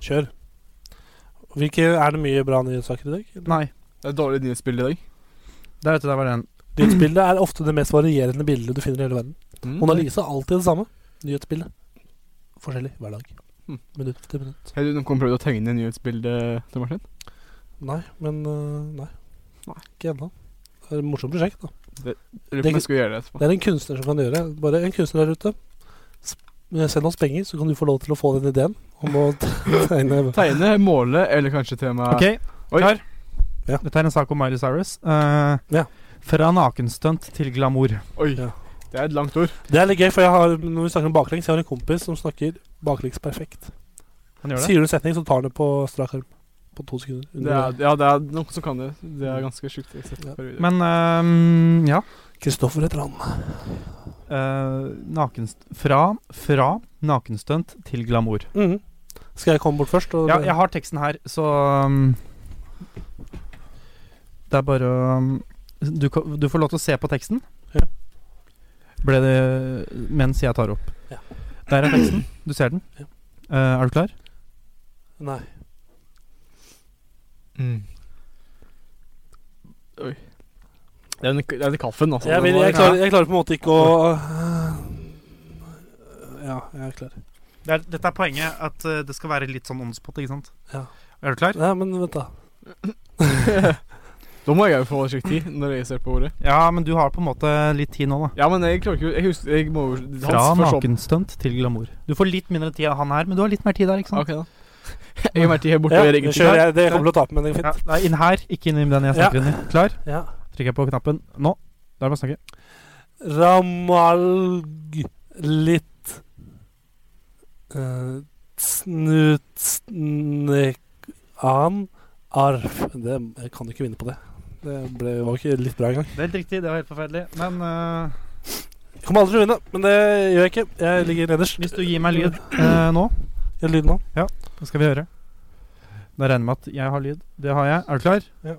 [SPEAKER 2] Kjør. Hvilke, er det mye bra nyhetssaker i dag? eller?
[SPEAKER 3] Nei.
[SPEAKER 4] Det er dårlig nyhetsbilde i dag.
[SPEAKER 3] Der ute, der var den.
[SPEAKER 2] Nyhetsbildet er ofte det mest varierende bildet du finner i hele verden.
[SPEAKER 4] Mhm.
[SPEAKER 2] Monalisa er alltid det samme. Nyhetsbildet. Forskjellig hver dag.
[SPEAKER 4] Mm.
[SPEAKER 2] Minutt til minutt.
[SPEAKER 4] Har du noen gang prøvd å tegne nyhetsbilde til Martin?
[SPEAKER 2] Nei, men øh, nei.
[SPEAKER 4] Nei.
[SPEAKER 2] Ikke ennå. Det er et morsomt prosjekt. da
[SPEAKER 4] Lurer
[SPEAKER 2] Det-
[SPEAKER 4] på om jeg skal gjøre det etterpå.
[SPEAKER 2] Det er en kunstner som kan gjøre det. Bare en kunstner der ute. Sp- eh, Send oss penger, så kan du få lov til å få den ideen om å tegne
[SPEAKER 4] Tegne, måle, eller kanskje tema
[SPEAKER 3] Ok,
[SPEAKER 4] Oi.
[SPEAKER 3] klar?
[SPEAKER 2] Ja.
[SPEAKER 3] Dette er en sak om Miley Cyrus. Eh,
[SPEAKER 2] Ja.
[SPEAKER 3] Fra nakenstunt til glamour.
[SPEAKER 4] Oi,
[SPEAKER 2] Ja.
[SPEAKER 4] det er et langt ord.
[SPEAKER 2] Det er litt gøy, for jeg har, når vi snakker om baklengs, jeg har en kompis som snakker baklengs perfekt.
[SPEAKER 3] Han gjør det?
[SPEAKER 2] Sier du en setning, så tar han det på strak arm. På to sekunder.
[SPEAKER 4] Det er, ja, det er noen som kan det. Det er ganske sjukt. Jeg har sett
[SPEAKER 2] Ja.
[SPEAKER 4] et par videoer.
[SPEAKER 3] Men ehm, ja.
[SPEAKER 2] Kristoffer heter han.
[SPEAKER 3] Eh, nakenst fra, fra nakenstunt til glamour.
[SPEAKER 2] Mhm. Skal jeg komme bort først? Og
[SPEAKER 3] Ja, jeg har teksten her, så um, Det er bare um, du, kan- du får lov til å se på teksten.
[SPEAKER 2] Ja.
[SPEAKER 3] Ble det mens jeg tar opp.
[SPEAKER 2] Ja.
[SPEAKER 3] Der er teksten. Du ser den.
[SPEAKER 2] Ja.
[SPEAKER 3] Eh, er du klar?
[SPEAKER 2] Nei.
[SPEAKER 4] Oi. Det er den, det er den kaffen, altså.
[SPEAKER 2] Jeg,
[SPEAKER 4] Den
[SPEAKER 2] vil,
[SPEAKER 4] var-
[SPEAKER 2] jeg, klarer, jeg klarer på en måte ikke å Ja, jeg er klar.
[SPEAKER 3] Det er, dette er poenget, at eh, det skal være litt sånn åndspott, ikke sant?
[SPEAKER 2] Ja.
[SPEAKER 3] Er du klar?
[SPEAKER 2] Nei, men vent, da.
[SPEAKER 4] Da må jeg jo få slik tid når jeg ser på ordet.
[SPEAKER 3] Ja, men du har på en måte litt tid nå, da.
[SPEAKER 4] Ja, men jeg klarer ikke Jeg husker jeg må,
[SPEAKER 3] Fra
[SPEAKER 4] hans forsvant-
[SPEAKER 3] nakenstunt til glamour. Du får litt mindre tid enn han her, men du har litt mer tid der, ikke sant?
[SPEAKER 4] Ok, da. Jeg har vært helt borte
[SPEAKER 2] Ja,
[SPEAKER 4] og gjør
[SPEAKER 2] jeg
[SPEAKER 4] ingenting.
[SPEAKER 2] kjører jeg. Det kommer til å tape, men det går
[SPEAKER 3] Ja,
[SPEAKER 2] fint.
[SPEAKER 3] nei, inn her, ikke inn i den jeg snakker inn i. Klar?
[SPEAKER 2] Ja.
[SPEAKER 3] Trykker jeg på knappen nå. Da er det bare å snakke.
[SPEAKER 2] Ramalg litt eh, Snutnekan Arf. Det, jeg kan ikke vinne på det. Det ble, var ikke litt bra engang.
[SPEAKER 3] Det er helt riktig, det var helt forferdelig. Men eh,
[SPEAKER 2] Jeg Kommer aldri til å vinne, men det gjør jeg ikke. Jeg ligger nederst.
[SPEAKER 3] hvis du gir meg lyd eh, nå,
[SPEAKER 2] Jeg har lyden nå.
[SPEAKER 3] så skal vi høre. Da regner jeg med at jeg har lyd. Det har jeg. Er du klar?
[SPEAKER 2] Ja.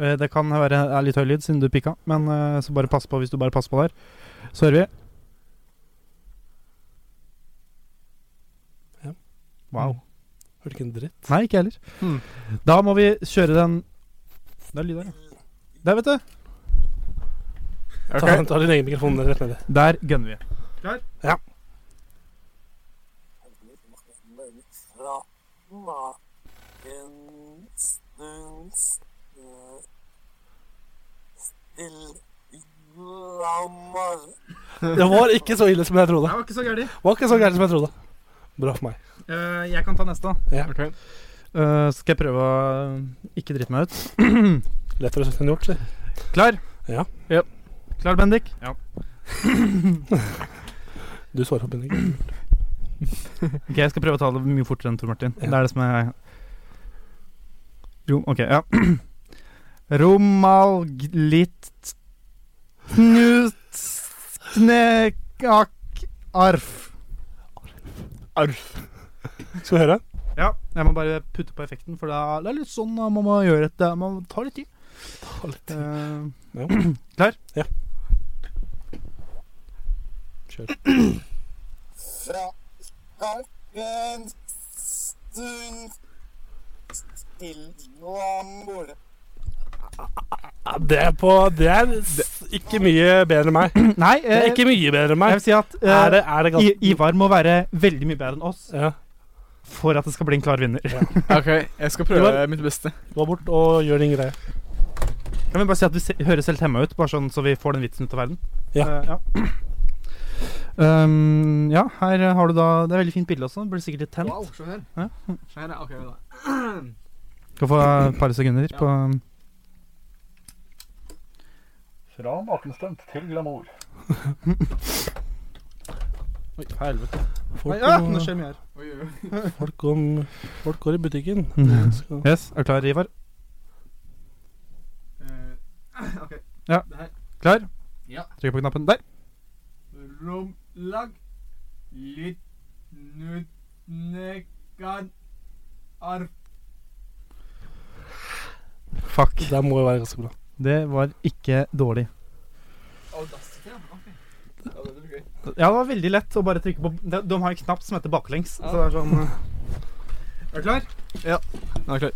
[SPEAKER 3] Eh, det kan være er litt høy lyd siden du pikka, men eh, så bare pass på hvis du bare passer på der. Så hører vi.
[SPEAKER 2] Ja.
[SPEAKER 3] Wow.
[SPEAKER 2] Hørte ikke en dritt.
[SPEAKER 3] Nei, ikke heller. Da må vi kjøre den Det er lyd her, ja. Der, vet du.
[SPEAKER 2] Ta, ta din egen mikrofon rett nedi.
[SPEAKER 3] Der gønner vi.
[SPEAKER 2] Det var ikke så ille som jeg trodde.
[SPEAKER 3] var ikke så gærent.
[SPEAKER 2] Det var ikke så gærent som jeg trodde. Bra for meg.
[SPEAKER 3] Eh, jeg kan ta neste, da.
[SPEAKER 4] Ok.
[SPEAKER 3] Eh, skal jeg prøve å ikke drite meg ut?
[SPEAKER 2] Lettere sagt enn gjort. si.
[SPEAKER 3] Klar?
[SPEAKER 2] Ja.
[SPEAKER 3] Klar, Bendik? Ja.
[SPEAKER 2] Du svarer på bindingen.
[SPEAKER 3] Ok, Jeg skal prøve å ta det mye fortere enn Tor Martin. Det er det som er Rom... Ok, ja. Romalglitt Knutsnekak arf.
[SPEAKER 2] Skal vi høre?
[SPEAKER 3] Ja, jeg må bare putte på effekten, for det er, det er litt sånn at man må gjøre et Man tar litt tid. Eh, Ta litt tid.
[SPEAKER 2] Ja.
[SPEAKER 3] Klar?
[SPEAKER 2] Ja. Kjør. Ja, det er på Det er s- ikke mye bedre enn meg.
[SPEAKER 3] Nei,
[SPEAKER 2] Det
[SPEAKER 3] eh,
[SPEAKER 2] er ikke mye bedre
[SPEAKER 3] jeg
[SPEAKER 2] enn meg.
[SPEAKER 3] vil si at eh,
[SPEAKER 2] Er det, er det
[SPEAKER 3] I,
[SPEAKER 2] ganske
[SPEAKER 3] Ivar må være veldig mye bedre enn oss
[SPEAKER 2] Ja.
[SPEAKER 3] for at det skal bli en klar vinner.
[SPEAKER 4] Ok, jeg skal prøve mitt beste.
[SPEAKER 2] Gå bort og gjør din greie.
[SPEAKER 3] Kan vi bare si at du se, høres helt hemma ut, bare sånn så vi får den vitsen ut av verden?
[SPEAKER 2] Ja.
[SPEAKER 3] Eh, ja. Um, ja, her har du da Det er veldig fint bilde også. Blir sikkert litt tent.
[SPEAKER 4] se her.
[SPEAKER 3] Ja.
[SPEAKER 4] Se her, ja. ok da.
[SPEAKER 3] Skal få et par sekunder på
[SPEAKER 4] Fra nakenstunt til glamour.
[SPEAKER 3] Oi, helvete.
[SPEAKER 2] Folk,
[SPEAKER 3] nå
[SPEAKER 2] går-
[SPEAKER 3] skjer mye her.
[SPEAKER 4] Oi, oi, oi.
[SPEAKER 2] folk, går- folk går i butikken.
[SPEAKER 3] Mhm.
[SPEAKER 2] Skal-
[SPEAKER 3] Yes, er du klar, Ivar?
[SPEAKER 4] Eh, ok.
[SPEAKER 3] Ja.
[SPEAKER 4] Det her.
[SPEAKER 3] Klar?
[SPEAKER 4] Ja.
[SPEAKER 3] Trykk på knappen. Der.
[SPEAKER 4] Romlag Litnutnekan Arf
[SPEAKER 3] Fuck.
[SPEAKER 2] Det må jo være ganske bra.
[SPEAKER 3] Det var ikke dårlig.
[SPEAKER 4] Audacity, ja. Ok. Ja, det blir gøy.
[SPEAKER 3] Ja, det var veldig lett å bare trykke på De, de har en knapp som heter baklengs. Så det er sånn eh. Er du klar?
[SPEAKER 4] Nå er jeg klar.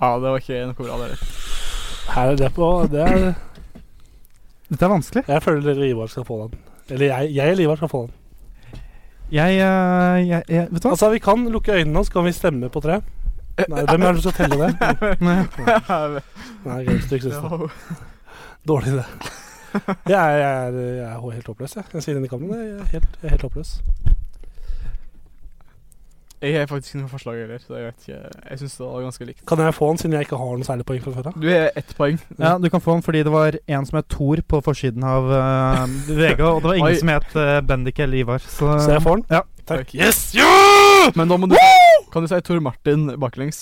[SPEAKER 4] Ja, det var ikke noe bra, det der.
[SPEAKER 2] Her er det på det er,
[SPEAKER 3] Dette er vanskelig.
[SPEAKER 2] Jeg føler dere Ivar skal få den. Eller jeg, jeg eller Ivar skal få den.
[SPEAKER 3] Jeg, eh, jeg, jeg Vet du hva?
[SPEAKER 2] Altså, Vi kan lukke øynene, og så kan vi stemme på tre. Eh, Nei, Hvem er det som skal telle det?
[SPEAKER 3] Altså, Nei.
[SPEAKER 2] Nei, greit, du ikke synes det.
[SPEAKER 4] Ja.
[SPEAKER 2] Dårlig idé. Jeg er, jeg, er, jeg er helt håpløs, jeg. Jeg sier det inn i kameraet. Jeg er helt, jeg er helt håpløs.
[SPEAKER 4] Jeg har faktisk ikke noe forslag heller. så Jeg vet ikke Jeg syns det var ganske likt.
[SPEAKER 2] Kan jeg få den, siden jeg ikke har noe særlig poeng fra før av?
[SPEAKER 4] Du er ett poeng.
[SPEAKER 3] Ja, du kan få den fordi det var en som het Thor på forsiden av eh, VG, og det var ingen
[SPEAKER 4] Oi.
[SPEAKER 3] som het eh, Bendik eller Ivar. Så,
[SPEAKER 2] Så jeg får den?
[SPEAKER 3] Ja.
[SPEAKER 2] Takk.
[SPEAKER 4] Yes! Men da må du Kan du si Tor Martin baklengs?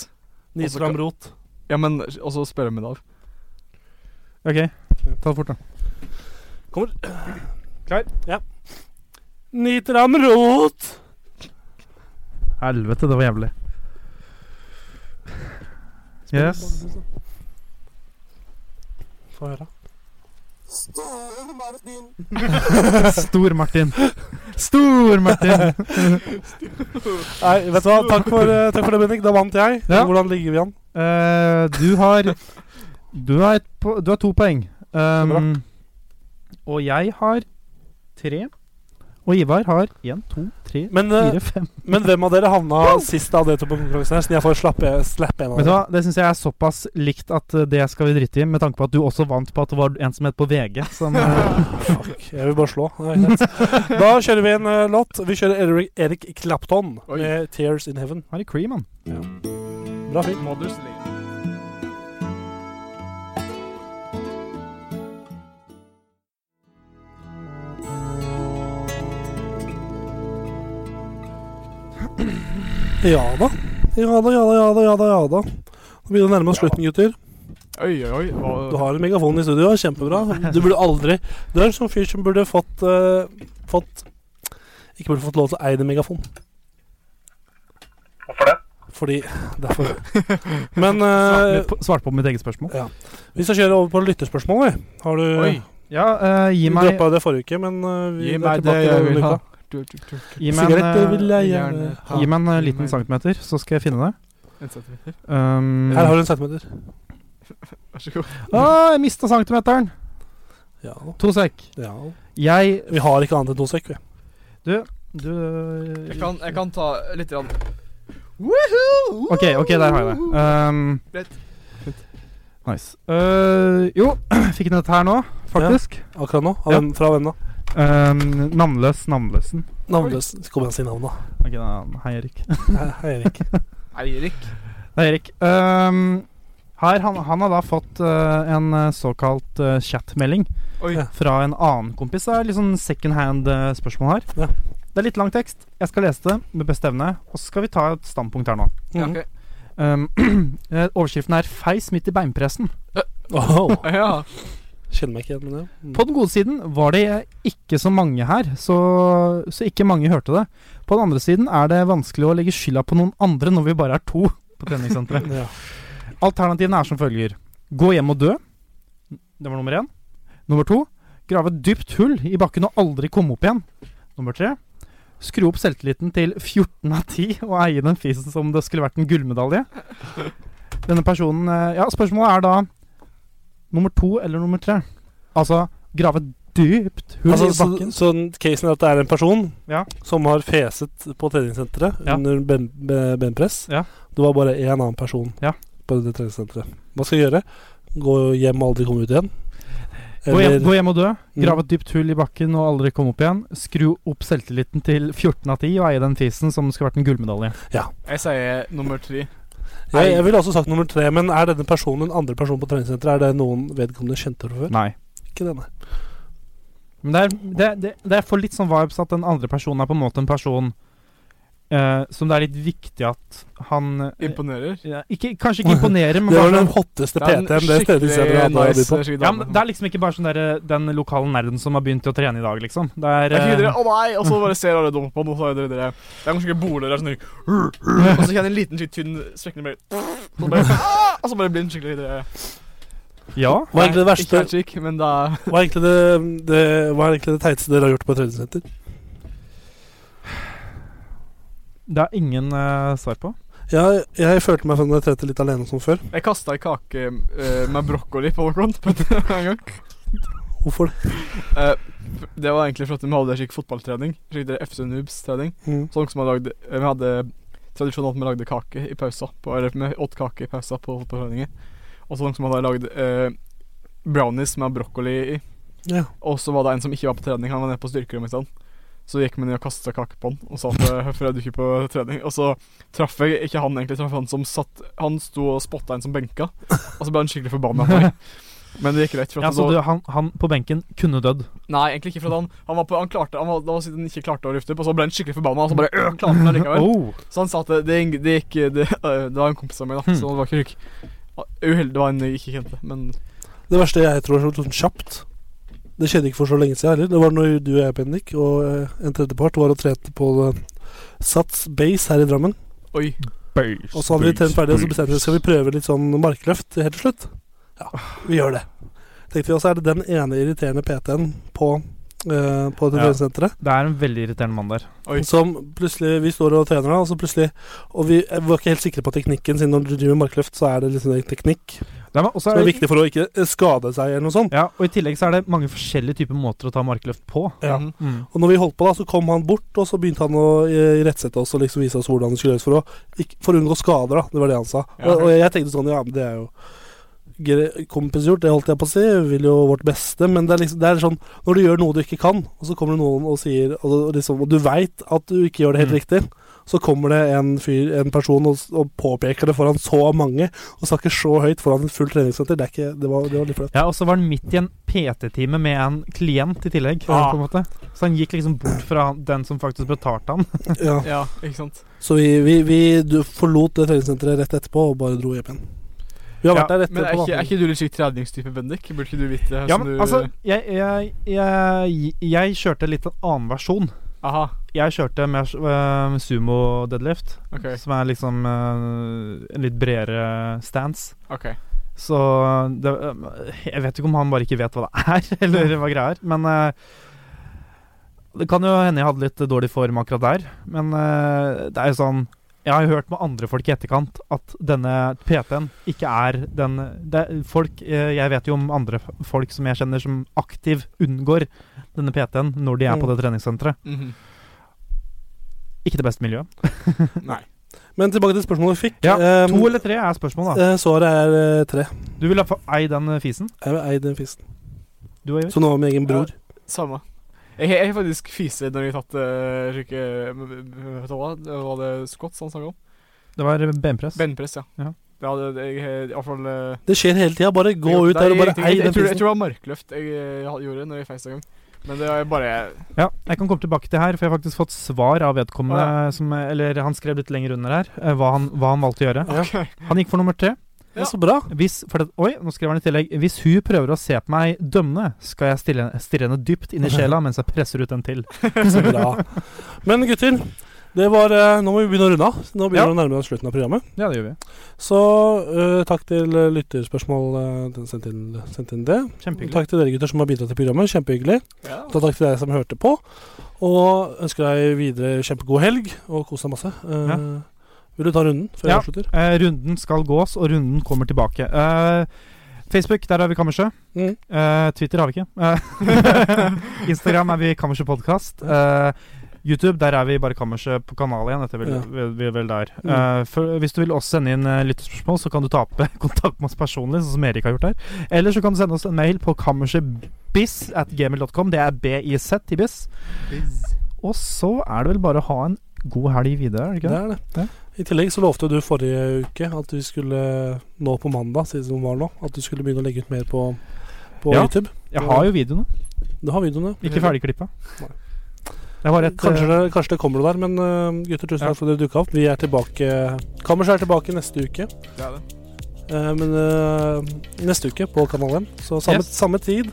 [SPEAKER 2] Nisram Rot.
[SPEAKER 4] Ja, men også spille med det av.
[SPEAKER 3] OK, ta det fort, da.
[SPEAKER 2] Kommer.
[SPEAKER 3] Klar?
[SPEAKER 2] Nitram Rot!
[SPEAKER 3] Helvete, det var jævlig. Yes.
[SPEAKER 2] Få høre.
[SPEAKER 3] Stor-Martin. Stor-Martin!
[SPEAKER 2] Nei, vet du hva. Takk for, eh, takk for det, Bendik. Da vant jeg.
[SPEAKER 3] Ja.
[SPEAKER 2] Hvordan ligger vi an?
[SPEAKER 3] Eh, du har Du har, et po du har to poeng. Um, og jeg har tre. Og Ivar har én, to, tre,
[SPEAKER 2] Men, eh,
[SPEAKER 3] fire, fem.
[SPEAKER 2] men hvem av dere havna sist av dere to på konkurransen her? Siden jeg får slappe, slappe en av
[SPEAKER 3] Vet du
[SPEAKER 2] dere.
[SPEAKER 3] hva, Det syns jeg er såpass likt at eh, det skal vi drite i, med tanke på at du også vant på at det var en som het på VG. Som, eh,
[SPEAKER 2] Fuck, jeg vil bare slå. Nei, greit. da kjører vi en eh, låt. Vi kjører Eric, Erik Clapton
[SPEAKER 4] Oi.
[SPEAKER 2] med 'Tears In Heaven'.
[SPEAKER 3] Harry Cream, han.
[SPEAKER 2] Bra fyr.
[SPEAKER 4] Mothers Lane.
[SPEAKER 2] Ja da. Ja da, ja da, ja da. ja da, ja da. Nå begynner det å nærme oss slutten, gutter.
[SPEAKER 4] Oi, oi, oi. Hva-
[SPEAKER 2] Du har en megafon i studio, kjempebra. Du burde aldri Du er en sånn fyr som burde fått eh, Fått Ikke burde fått lov til å eie en megafon. Hvorfor det? Fordi Derfor. Men eh,
[SPEAKER 3] Svarte på- Svarte på mitt eget spørsmål.
[SPEAKER 2] vi skal kjøre over på lytterspørsmål, vi. Har du
[SPEAKER 4] Oi,
[SPEAKER 3] Ja, eh, gi
[SPEAKER 2] Vi
[SPEAKER 3] meg
[SPEAKER 2] droppa det forrige uke, men eh, vi
[SPEAKER 4] gi
[SPEAKER 2] er
[SPEAKER 4] meg det
[SPEAKER 2] tilbake
[SPEAKER 4] jeg
[SPEAKER 2] denne
[SPEAKER 4] vil
[SPEAKER 2] uka.
[SPEAKER 4] ha. Du, du, du, du.
[SPEAKER 3] Gi meg en,
[SPEAKER 2] Sigaretter
[SPEAKER 3] eh,
[SPEAKER 2] vil jeg gjerne ha.
[SPEAKER 4] ha.
[SPEAKER 3] Gi meg en eh,
[SPEAKER 4] Gi
[SPEAKER 3] liten
[SPEAKER 4] meg-
[SPEAKER 3] centimeter, så skal jeg finne det.
[SPEAKER 4] En centimeter.
[SPEAKER 3] Um,
[SPEAKER 2] Her har du en centimeter.
[SPEAKER 4] Vær så god.
[SPEAKER 3] ah, jeg mista centimeteren!
[SPEAKER 2] Ja.
[SPEAKER 3] To sek.
[SPEAKER 2] ja.
[SPEAKER 3] Jeg
[SPEAKER 2] Vi har ikke annet enn to sekk, vi.
[SPEAKER 3] Du eh,
[SPEAKER 4] Jeg kan, jeg kan ta litt grann.
[SPEAKER 3] OK, ok, der har jeg det. Um,
[SPEAKER 4] Greit.
[SPEAKER 3] Nice. Eh, jo, fikk nett her nå, faktisk.
[SPEAKER 2] Akkurat nå. Av
[SPEAKER 3] Ja.
[SPEAKER 2] hvem, fra hvem da?
[SPEAKER 3] Um, navnløs Navnløsen.
[SPEAKER 2] Navnløs. Kom igjen, si navnet,
[SPEAKER 3] Ok, da, Hei, Erik.
[SPEAKER 2] da. Hei, Erik.
[SPEAKER 4] Eirik.
[SPEAKER 3] Hei, Erik. Um, her, han, han har da fått eh, en eh, såkalt eh, chatmelding
[SPEAKER 4] Oi.
[SPEAKER 2] Ja.
[SPEAKER 3] fra en annen kompis. Det er litt sånn second hand-spørsmål her.
[SPEAKER 2] Ja.
[SPEAKER 3] Det er litt lang tekst. Jeg skal lese det med beste evne, og så skal vi ta et standpunkt her nå.
[SPEAKER 4] Ja,
[SPEAKER 2] Mhm.
[SPEAKER 4] ok.
[SPEAKER 3] Um, eh, overskriften er 'Feis midt i beinpressen'.
[SPEAKER 2] Åh,
[SPEAKER 4] Ja.
[SPEAKER 2] Kjenner meg ikke igjen med det. Mm.
[SPEAKER 3] På den gode siden var det ikke så mange her, så, så ikke mange hørte det. På den andre siden er det vanskelig å legge skylda på noen andre når vi bare er to på treningssenteret.
[SPEAKER 2] Ja.
[SPEAKER 3] Alternativene er som følger. Gå hjem og dø. Det var nummer én. Nummer to. Grave et dypt hull i bakken og aldri komme opp igjen. Nummer tre. Skru opp selvtilliten til 14 av 10 og eie den fisen som det skulle vært en gullmedalje. Denne personen eh, Ja, spørsmålet er da nummer to eller nummer tre. Altså grave et dypt hull
[SPEAKER 2] Altså,
[SPEAKER 3] i
[SPEAKER 2] så,
[SPEAKER 3] bakken.
[SPEAKER 2] så casen er at det er en person
[SPEAKER 3] Ja.
[SPEAKER 2] som har feset på treningssenteret
[SPEAKER 3] Ja.
[SPEAKER 2] under ben, be- benpress.
[SPEAKER 3] Ja.
[SPEAKER 2] Det var bare én annen person
[SPEAKER 3] Ja.
[SPEAKER 2] på det treningssenteret. Hva skal jeg gjøre? Gå hjem og aldri komme ut igjen?
[SPEAKER 3] Gå hjem,
[SPEAKER 2] Eller Mm.
[SPEAKER 3] gå hjem og dø. Grave et dypt hull i bakken og aldri komme opp igjen. Skru opp selvtilliten til 14 av 10 og eie den fisen som skulle vært en gullmedalje.
[SPEAKER 4] Jeg sier nummer tre.
[SPEAKER 2] jeg, jeg ville også sagt nummer tre, men er denne personen den andre personen på treningssenteret? Er det noen vedkommende kjente fra før?
[SPEAKER 3] Nei.
[SPEAKER 2] Ikke denne.
[SPEAKER 3] Men det er, det, det, det er for litt sånn vibes at den andre personen er på en måte en person eh, som det er litt viktig at han eh,
[SPEAKER 4] Imponerer.
[SPEAKER 3] ja, ikke, Kanskje ikke imponerer, men
[SPEAKER 2] Det var
[SPEAKER 3] bare
[SPEAKER 2] den
[SPEAKER 3] sånn-
[SPEAKER 2] hotteste
[SPEAKER 4] Det er en
[SPEAKER 2] PT-en det treningssenteret hadde å by
[SPEAKER 4] nice
[SPEAKER 2] på.
[SPEAKER 4] skikkelig
[SPEAKER 3] ja,
[SPEAKER 4] dame.
[SPEAKER 3] men Det er liksom ikke bare sånn der, den lokale nerden som har begynt å trene i dag, liksom. Det er
[SPEAKER 4] Jeg
[SPEAKER 3] eh,
[SPEAKER 4] dere, å nei, og så bare ser alle dumt på den, og så er dere dere Det er kanskje ikke boler der, sånn dere- Og så kjenner jeg en liten, skikkelig tynn strekning bare, og så bare ah! Og så bare blir den skikkelig dere
[SPEAKER 3] Ja.
[SPEAKER 2] Hva er egentlig det
[SPEAKER 4] Ikke
[SPEAKER 2] verste
[SPEAKER 4] helt skikk, men da
[SPEAKER 2] Hva er egentlig det, det, hva er egentlig det teiteste dere har gjort på et treningssenter?
[SPEAKER 3] Det er ingen eh, svar på.
[SPEAKER 2] Jeg, jeg følte meg som jeg trente litt alene som før.
[SPEAKER 4] Jeg kasta ei kake eh, med brokkoli på noen på en gang.
[SPEAKER 2] Hvorfor det?
[SPEAKER 4] Eh, f- det var egentlig fordi vi hadde skikkelig fotballtrening. Skikkelig dere FC Noobs-trening.
[SPEAKER 2] Mm.
[SPEAKER 4] Så noen Sånn som hadde lagd Vi hadde tradisjonen at vi lagde kake i pausa på, Eller vi åt kake i pausa på fotballtreninger. Og så noen som hadde lagd eh, brownies med brokkoli i.
[SPEAKER 2] Ja.
[SPEAKER 4] Og så var det en som ikke var på trening, han var nede på styrkerommet i stedet. Så gikk vi ned og kasta kake på han og sa at eh, hvorfor er du ikke på trening? Og så traff jeg ikke han egentlig, traff han som satt Han sto og spotta en som benka, og så ble han skikkelig forbanna på meg. Men det gikk greit. For at
[SPEAKER 3] Ja,
[SPEAKER 4] han
[SPEAKER 3] så
[SPEAKER 4] da-
[SPEAKER 3] du, han, han på benken kunne dødd.
[SPEAKER 4] Nei, egentlig ikke. For at han, han var på Han klarte Han var, det var siden han ikke klarte å lufte opp, og så ble han skikkelig forbanna, og så bare øh, klarte han det likevel.
[SPEAKER 3] Oh.
[SPEAKER 4] Så han sa at det, det, det gikk det, øh, det var en kompis av meg, da,
[SPEAKER 3] Hmm.
[SPEAKER 4] så det var ikke rykk. Uheldig det var en jeg ikke kjente, men
[SPEAKER 2] Det verste jeg tror er sånn kjapt. Det skjedde ikke for så lenge siden heller. Det var når du og jeg, Bendik, og eh, en tredjepart var og trente på eh, Sats Base her i Drammen.
[SPEAKER 4] oi.
[SPEAKER 2] Og så hadde vi trent ferdig, og så bestemte vi skal vi prøve litt sånn markløft helt til slutt. Ja, vi gjør det. Tenkte vi også er det den ene irriterende PT-en på, eh, på
[SPEAKER 3] Ja.
[SPEAKER 2] treningssenteret.
[SPEAKER 3] Det er en veldig irriterende mann der.
[SPEAKER 4] Oi.
[SPEAKER 2] Som plutselig Vi står og trener, da, og så plutselig Og vi eh, var ikke helt sikre på teknikken, siden når du driver med markløft, så er det liksom en teknikk
[SPEAKER 3] Det er, også
[SPEAKER 2] som er viktig for å ikke eh, skade seg, eller noe sånt.
[SPEAKER 3] Ja, og I tillegg så er det mange forskjellige typer måter å ta markløft på.
[SPEAKER 2] Ja.
[SPEAKER 4] Mhm.
[SPEAKER 2] Og når vi holdt på da, så kom han bort, og så begynte han å eh, rettsette oss og liksom vise oss hvordan det skulle gjøres for å, ikke, for å unngå skader. da, Det var det han sa.
[SPEAKER 4] Ja.
[SPEAKER 2] Og, og jeg tenkte sånn, ja, men det er jo gre- kompisgjort, det holdt jeg på å si. Vi vil jo vårt beste. Men det er liksom, det er sånn når du gjør noe du ikke kan, og så kommer det noen og sier Og, liksom, og du veit at du ikke gjør det helt
[SPEAKER 3] Mm.
[SPEAKER 2] riktig, så kommer det en, fyr, en person og, og påpeker det foran så mange, og snakker så høyt foran et fullt treningssenter. Det, er ikke, det, var, det var litt flaut.
[SPEAKER 3] Ja, og så var han midt i en PT-time med en klient i tillegg.
[SPEAKER 2] Ja.
[SPEAKER 4] Ah.
[SPEAKER 3] På en måte. Så han gikk liksom bort fra den som faktisk betalte han.
[SPEAKER 2] Ja.
[SPEAKER 4] Ja, ikke sant.
[SPEAKER 2] Så vi, vi, vi du forlot det treningssenteret rett etterpå og bare dro hjem igjen. Vi har vært der
[SPEAKER 4] Men er
[SPEAKER 2] etterpå.
[SPEAKER 4] ikke, er ikke du litt slik treningstype, Bendik? Burde ikke du vite det?
[SPEAKER 3] Ja,
[SPEAKER 4] som
[SPEAKER 3] men
[SPEAKER 4] du,
[SPEAKER 3] altså, jeg, jeg, jeg, jeg kjørte litt en annen versjon.
[SPEAKER 4] Aha,
[SPEAKER 3] Jeg kjørte med eh, sumo deadlift,
[SPEAKER 4] ok.
[SPEAKER 3] som er liksom eh, en litt bredere stance.
[SPEAKER 4] ok
[SPEAKER 3] Så det, jeg vet ikke om han bare ikke vet hva det er, eller hva greia er. Men eh, det kan jo hende jeg hadde litt dårlig form akkurat der. Men eh, det er jo sånn Jeg har jo hørt med andre folk i etterkant at denne PT-en ikke er den det, er folk, eh, Jeg vet jo om andre f- folk som jeg kjenner som aktiv unngår denne PT-en når de er på det treningssenteret.
[SPEAKER 4] Mhm.
[SPEAKER 3] Ikke det beste miljøet.
[SPEAKER 4] Nei.
[SPEAKER 2] Men tilbake til spørsmålet vi fikk.
[SPEAKER 3] Ja,
[SPEAKER 2] Eh,
[SPEAKER 3] To eller tre er spørsmålet, da.
[SPEAKER 2] eh, Svaret er eh, tre.
[SPEAKER 3] Du ville ha ei den fisen?
[SPEAKER 2] Jeg vil eie den fisen.
[SPEAKER 3] Du og Iver?
[SPEAKER 2] Så nå har vi egen bror.
[SPEAKER 4] Samme. Jeg jeg har faktisk fise når jeg har tatt uh, sjuke Vet du hva det var det squats han snakket om?
[SPEAKER 3] Det var benpress.
[SPEAKER 4] Benpress, ja.
[SPEAKER 3] Ja.
[SPEAKER 4] Ja, det, det, jeg, i hvert fall eh,
[SPEAKER 2] Det skjer hele tida. Bare gå
[SPEAKER 4] jeg-
[SPEAKER 2] ut der og
[SPEAKER 4] nei,
[SPEAKER 2] bare
[SPEAKER 4] jeg-
[SPEAKER 2] eie
[SPEAKER 4] jeg,
[SPEAKER 2] den
[SPEAKER 4] jeg, tror- jeg
[SPEAKER 2] fisen.
[SPEAKER 4] tror det var markløft jeg, eh, gjorde når jeg feis en gang. Men det er bare
[SPEAKER 3] Ja, jeg kan komme tilbake til her, for jeg har faktisk fått svar av vedkommende
[SPEAKER 4] Å,
[SPEAKER 3] som, Eller han skrev litt lenger under her, eh, hva han, hva han valgte å gjøre. Han gikk for nummer tre.
[SPEAKER 2] Det er så bra.
[SPEAKER 3] Hvis, for det, oi, nå skriver han i tillegg Hvis hun prøver å se på meg dømmende, skal jeg stille, stirre henne dypt inn i sjela mens jeg presser ut en til.
[SPEAKER 2] Så bra. Men gutter, det var eh, Nå må vi begynne å runde av. Nå begynner
[SPEAKER 3] Ja.
[SPEAKER 2] det å nærme oss slutten av programmet.
[SPEAKER 3] Ja, det gjør vi.
[SPEAKER 2] Så eh, takk til eh, lytterspørsmål eh, den sendte inn, sendt inn det.
[SPEAKER 3] Kjempehyggelig.
[SPEAKER 2] Takk til dere gutter som har bidratt til programmet. Kjempehyggelig.
[SPEAKER 4] Ja.
[SPEAKER 2] Så takk til dere som hørte på. Og ønsker deg videre kjempegod helg og kos deg masse. Eh, Vil du ta runden før
[SPEAKER 3] Ja.
[SPEAKER 2] jeg avslutter?
[SPEAKER 3] Eh, runden skal gås, og runden kommer tilbake. Eh, Facebook, der er vi Kammersø.
[SPEAKER 2] Mm.
[SPEAKER 3] Eh, Twitter har vi ikke. Eh, Instagram er vi Kammersø Podkast. Eh, YouTube, der er vi bare Kammersø på kanal igjen. Dette er vel,
[SPEAKER 2] Ja.
[SPEAKER 3] vel, vel, vel der.
[SPEAKER 2] Mm.
[SPEAKER 3] Eh, for, hvis du vil også sende inn eh, lyttespørsmål, så kan du ta opp eh, kontakt med oss personlig, sånn som Erik har gjort her. Eller så kan du sende oss en mail på kammersetbiz at gmail.com. Det er biz i biz. Og så er det vel bare å ha en god helg videre, er det ikke det?
[SPEAKER 2] Det er det. I tillegg så lovte du forrige uke at vi skulle nå på mandag, siden det var nå, at du skulle begynne å legge ut mer på, på
[SPEAKER 3] Ja.
[SPEAKER 2] YouTube.
[SPEAKER 3] Jeg har jo videoene,
[SPEAKER 2] Du har videoene.
[SPEAKER 3] ikke ferdigklippa. Det var et eh,
[SPEAKER 2] Kanskje det, kanskje det kommer noe der, men øh, gutter, tusen
[SPEAKER 3] Ja.
[SPEAKER 2] takk for at dere dukka opp. Vi er tilbake Kammerset er tilbake neste uke.
[SPEAKER 4] Det er det.
[SPEAKER 2] Eh, men øh, neste uke på Kanal 1. Så samme,
[SPEAKER 3] Yes.
[SPEAKER 2] samme tid.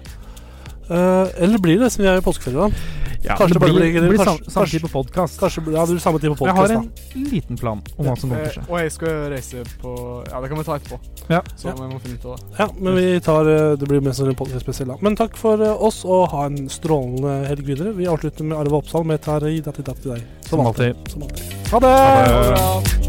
[SPEAKER 2] Eh, eller blir det, siden vi er i påskeferie, da?
[SPEAKER 3] Ja,
[SPEAKER 2] Kanskje
[SPEAKER 3] eh, det
[SPEAKER 2] det bare
[SPEAKER 3] blir,
[SPEAKER 2] blir-
[SPEAKER 3] det blir sam,
[SPEAKER 2] kanskje-
[SPEAKER 3] samtidig på podkast.
[SPEAKER 2] Kanskje ja, det blir samme tid på
[SPEAKER 3] Jeg har
[SPEAKER 2] podkast,
[SPEAKER 3] en liten plan om hva som kommer til å
[SPEAKER 4] Eh,
[SPEAKER 3] skje.
[SPEAKER 4] og jeg skal reise på Ja, det kan vi ta etterpå.
[SPEAKER 3] Ja.
[SPEAKER 4] Så jeg må finne ut av det.
[SPEAKER 2] da. Ja, men vi tar, øh, det blir mest sannsynlig podcast spesiell, da. Men takk for øh, oss, og ha en strålende helg videre. Vi avslutter med Arve Oppsal med Tari datti datti dei.
[SPEAKER 3] Som alltid.
[SPEAKER 2] Som alltid.
[SPEAKER 3] Ha det!
[SPEAKER 4] Ha det bra.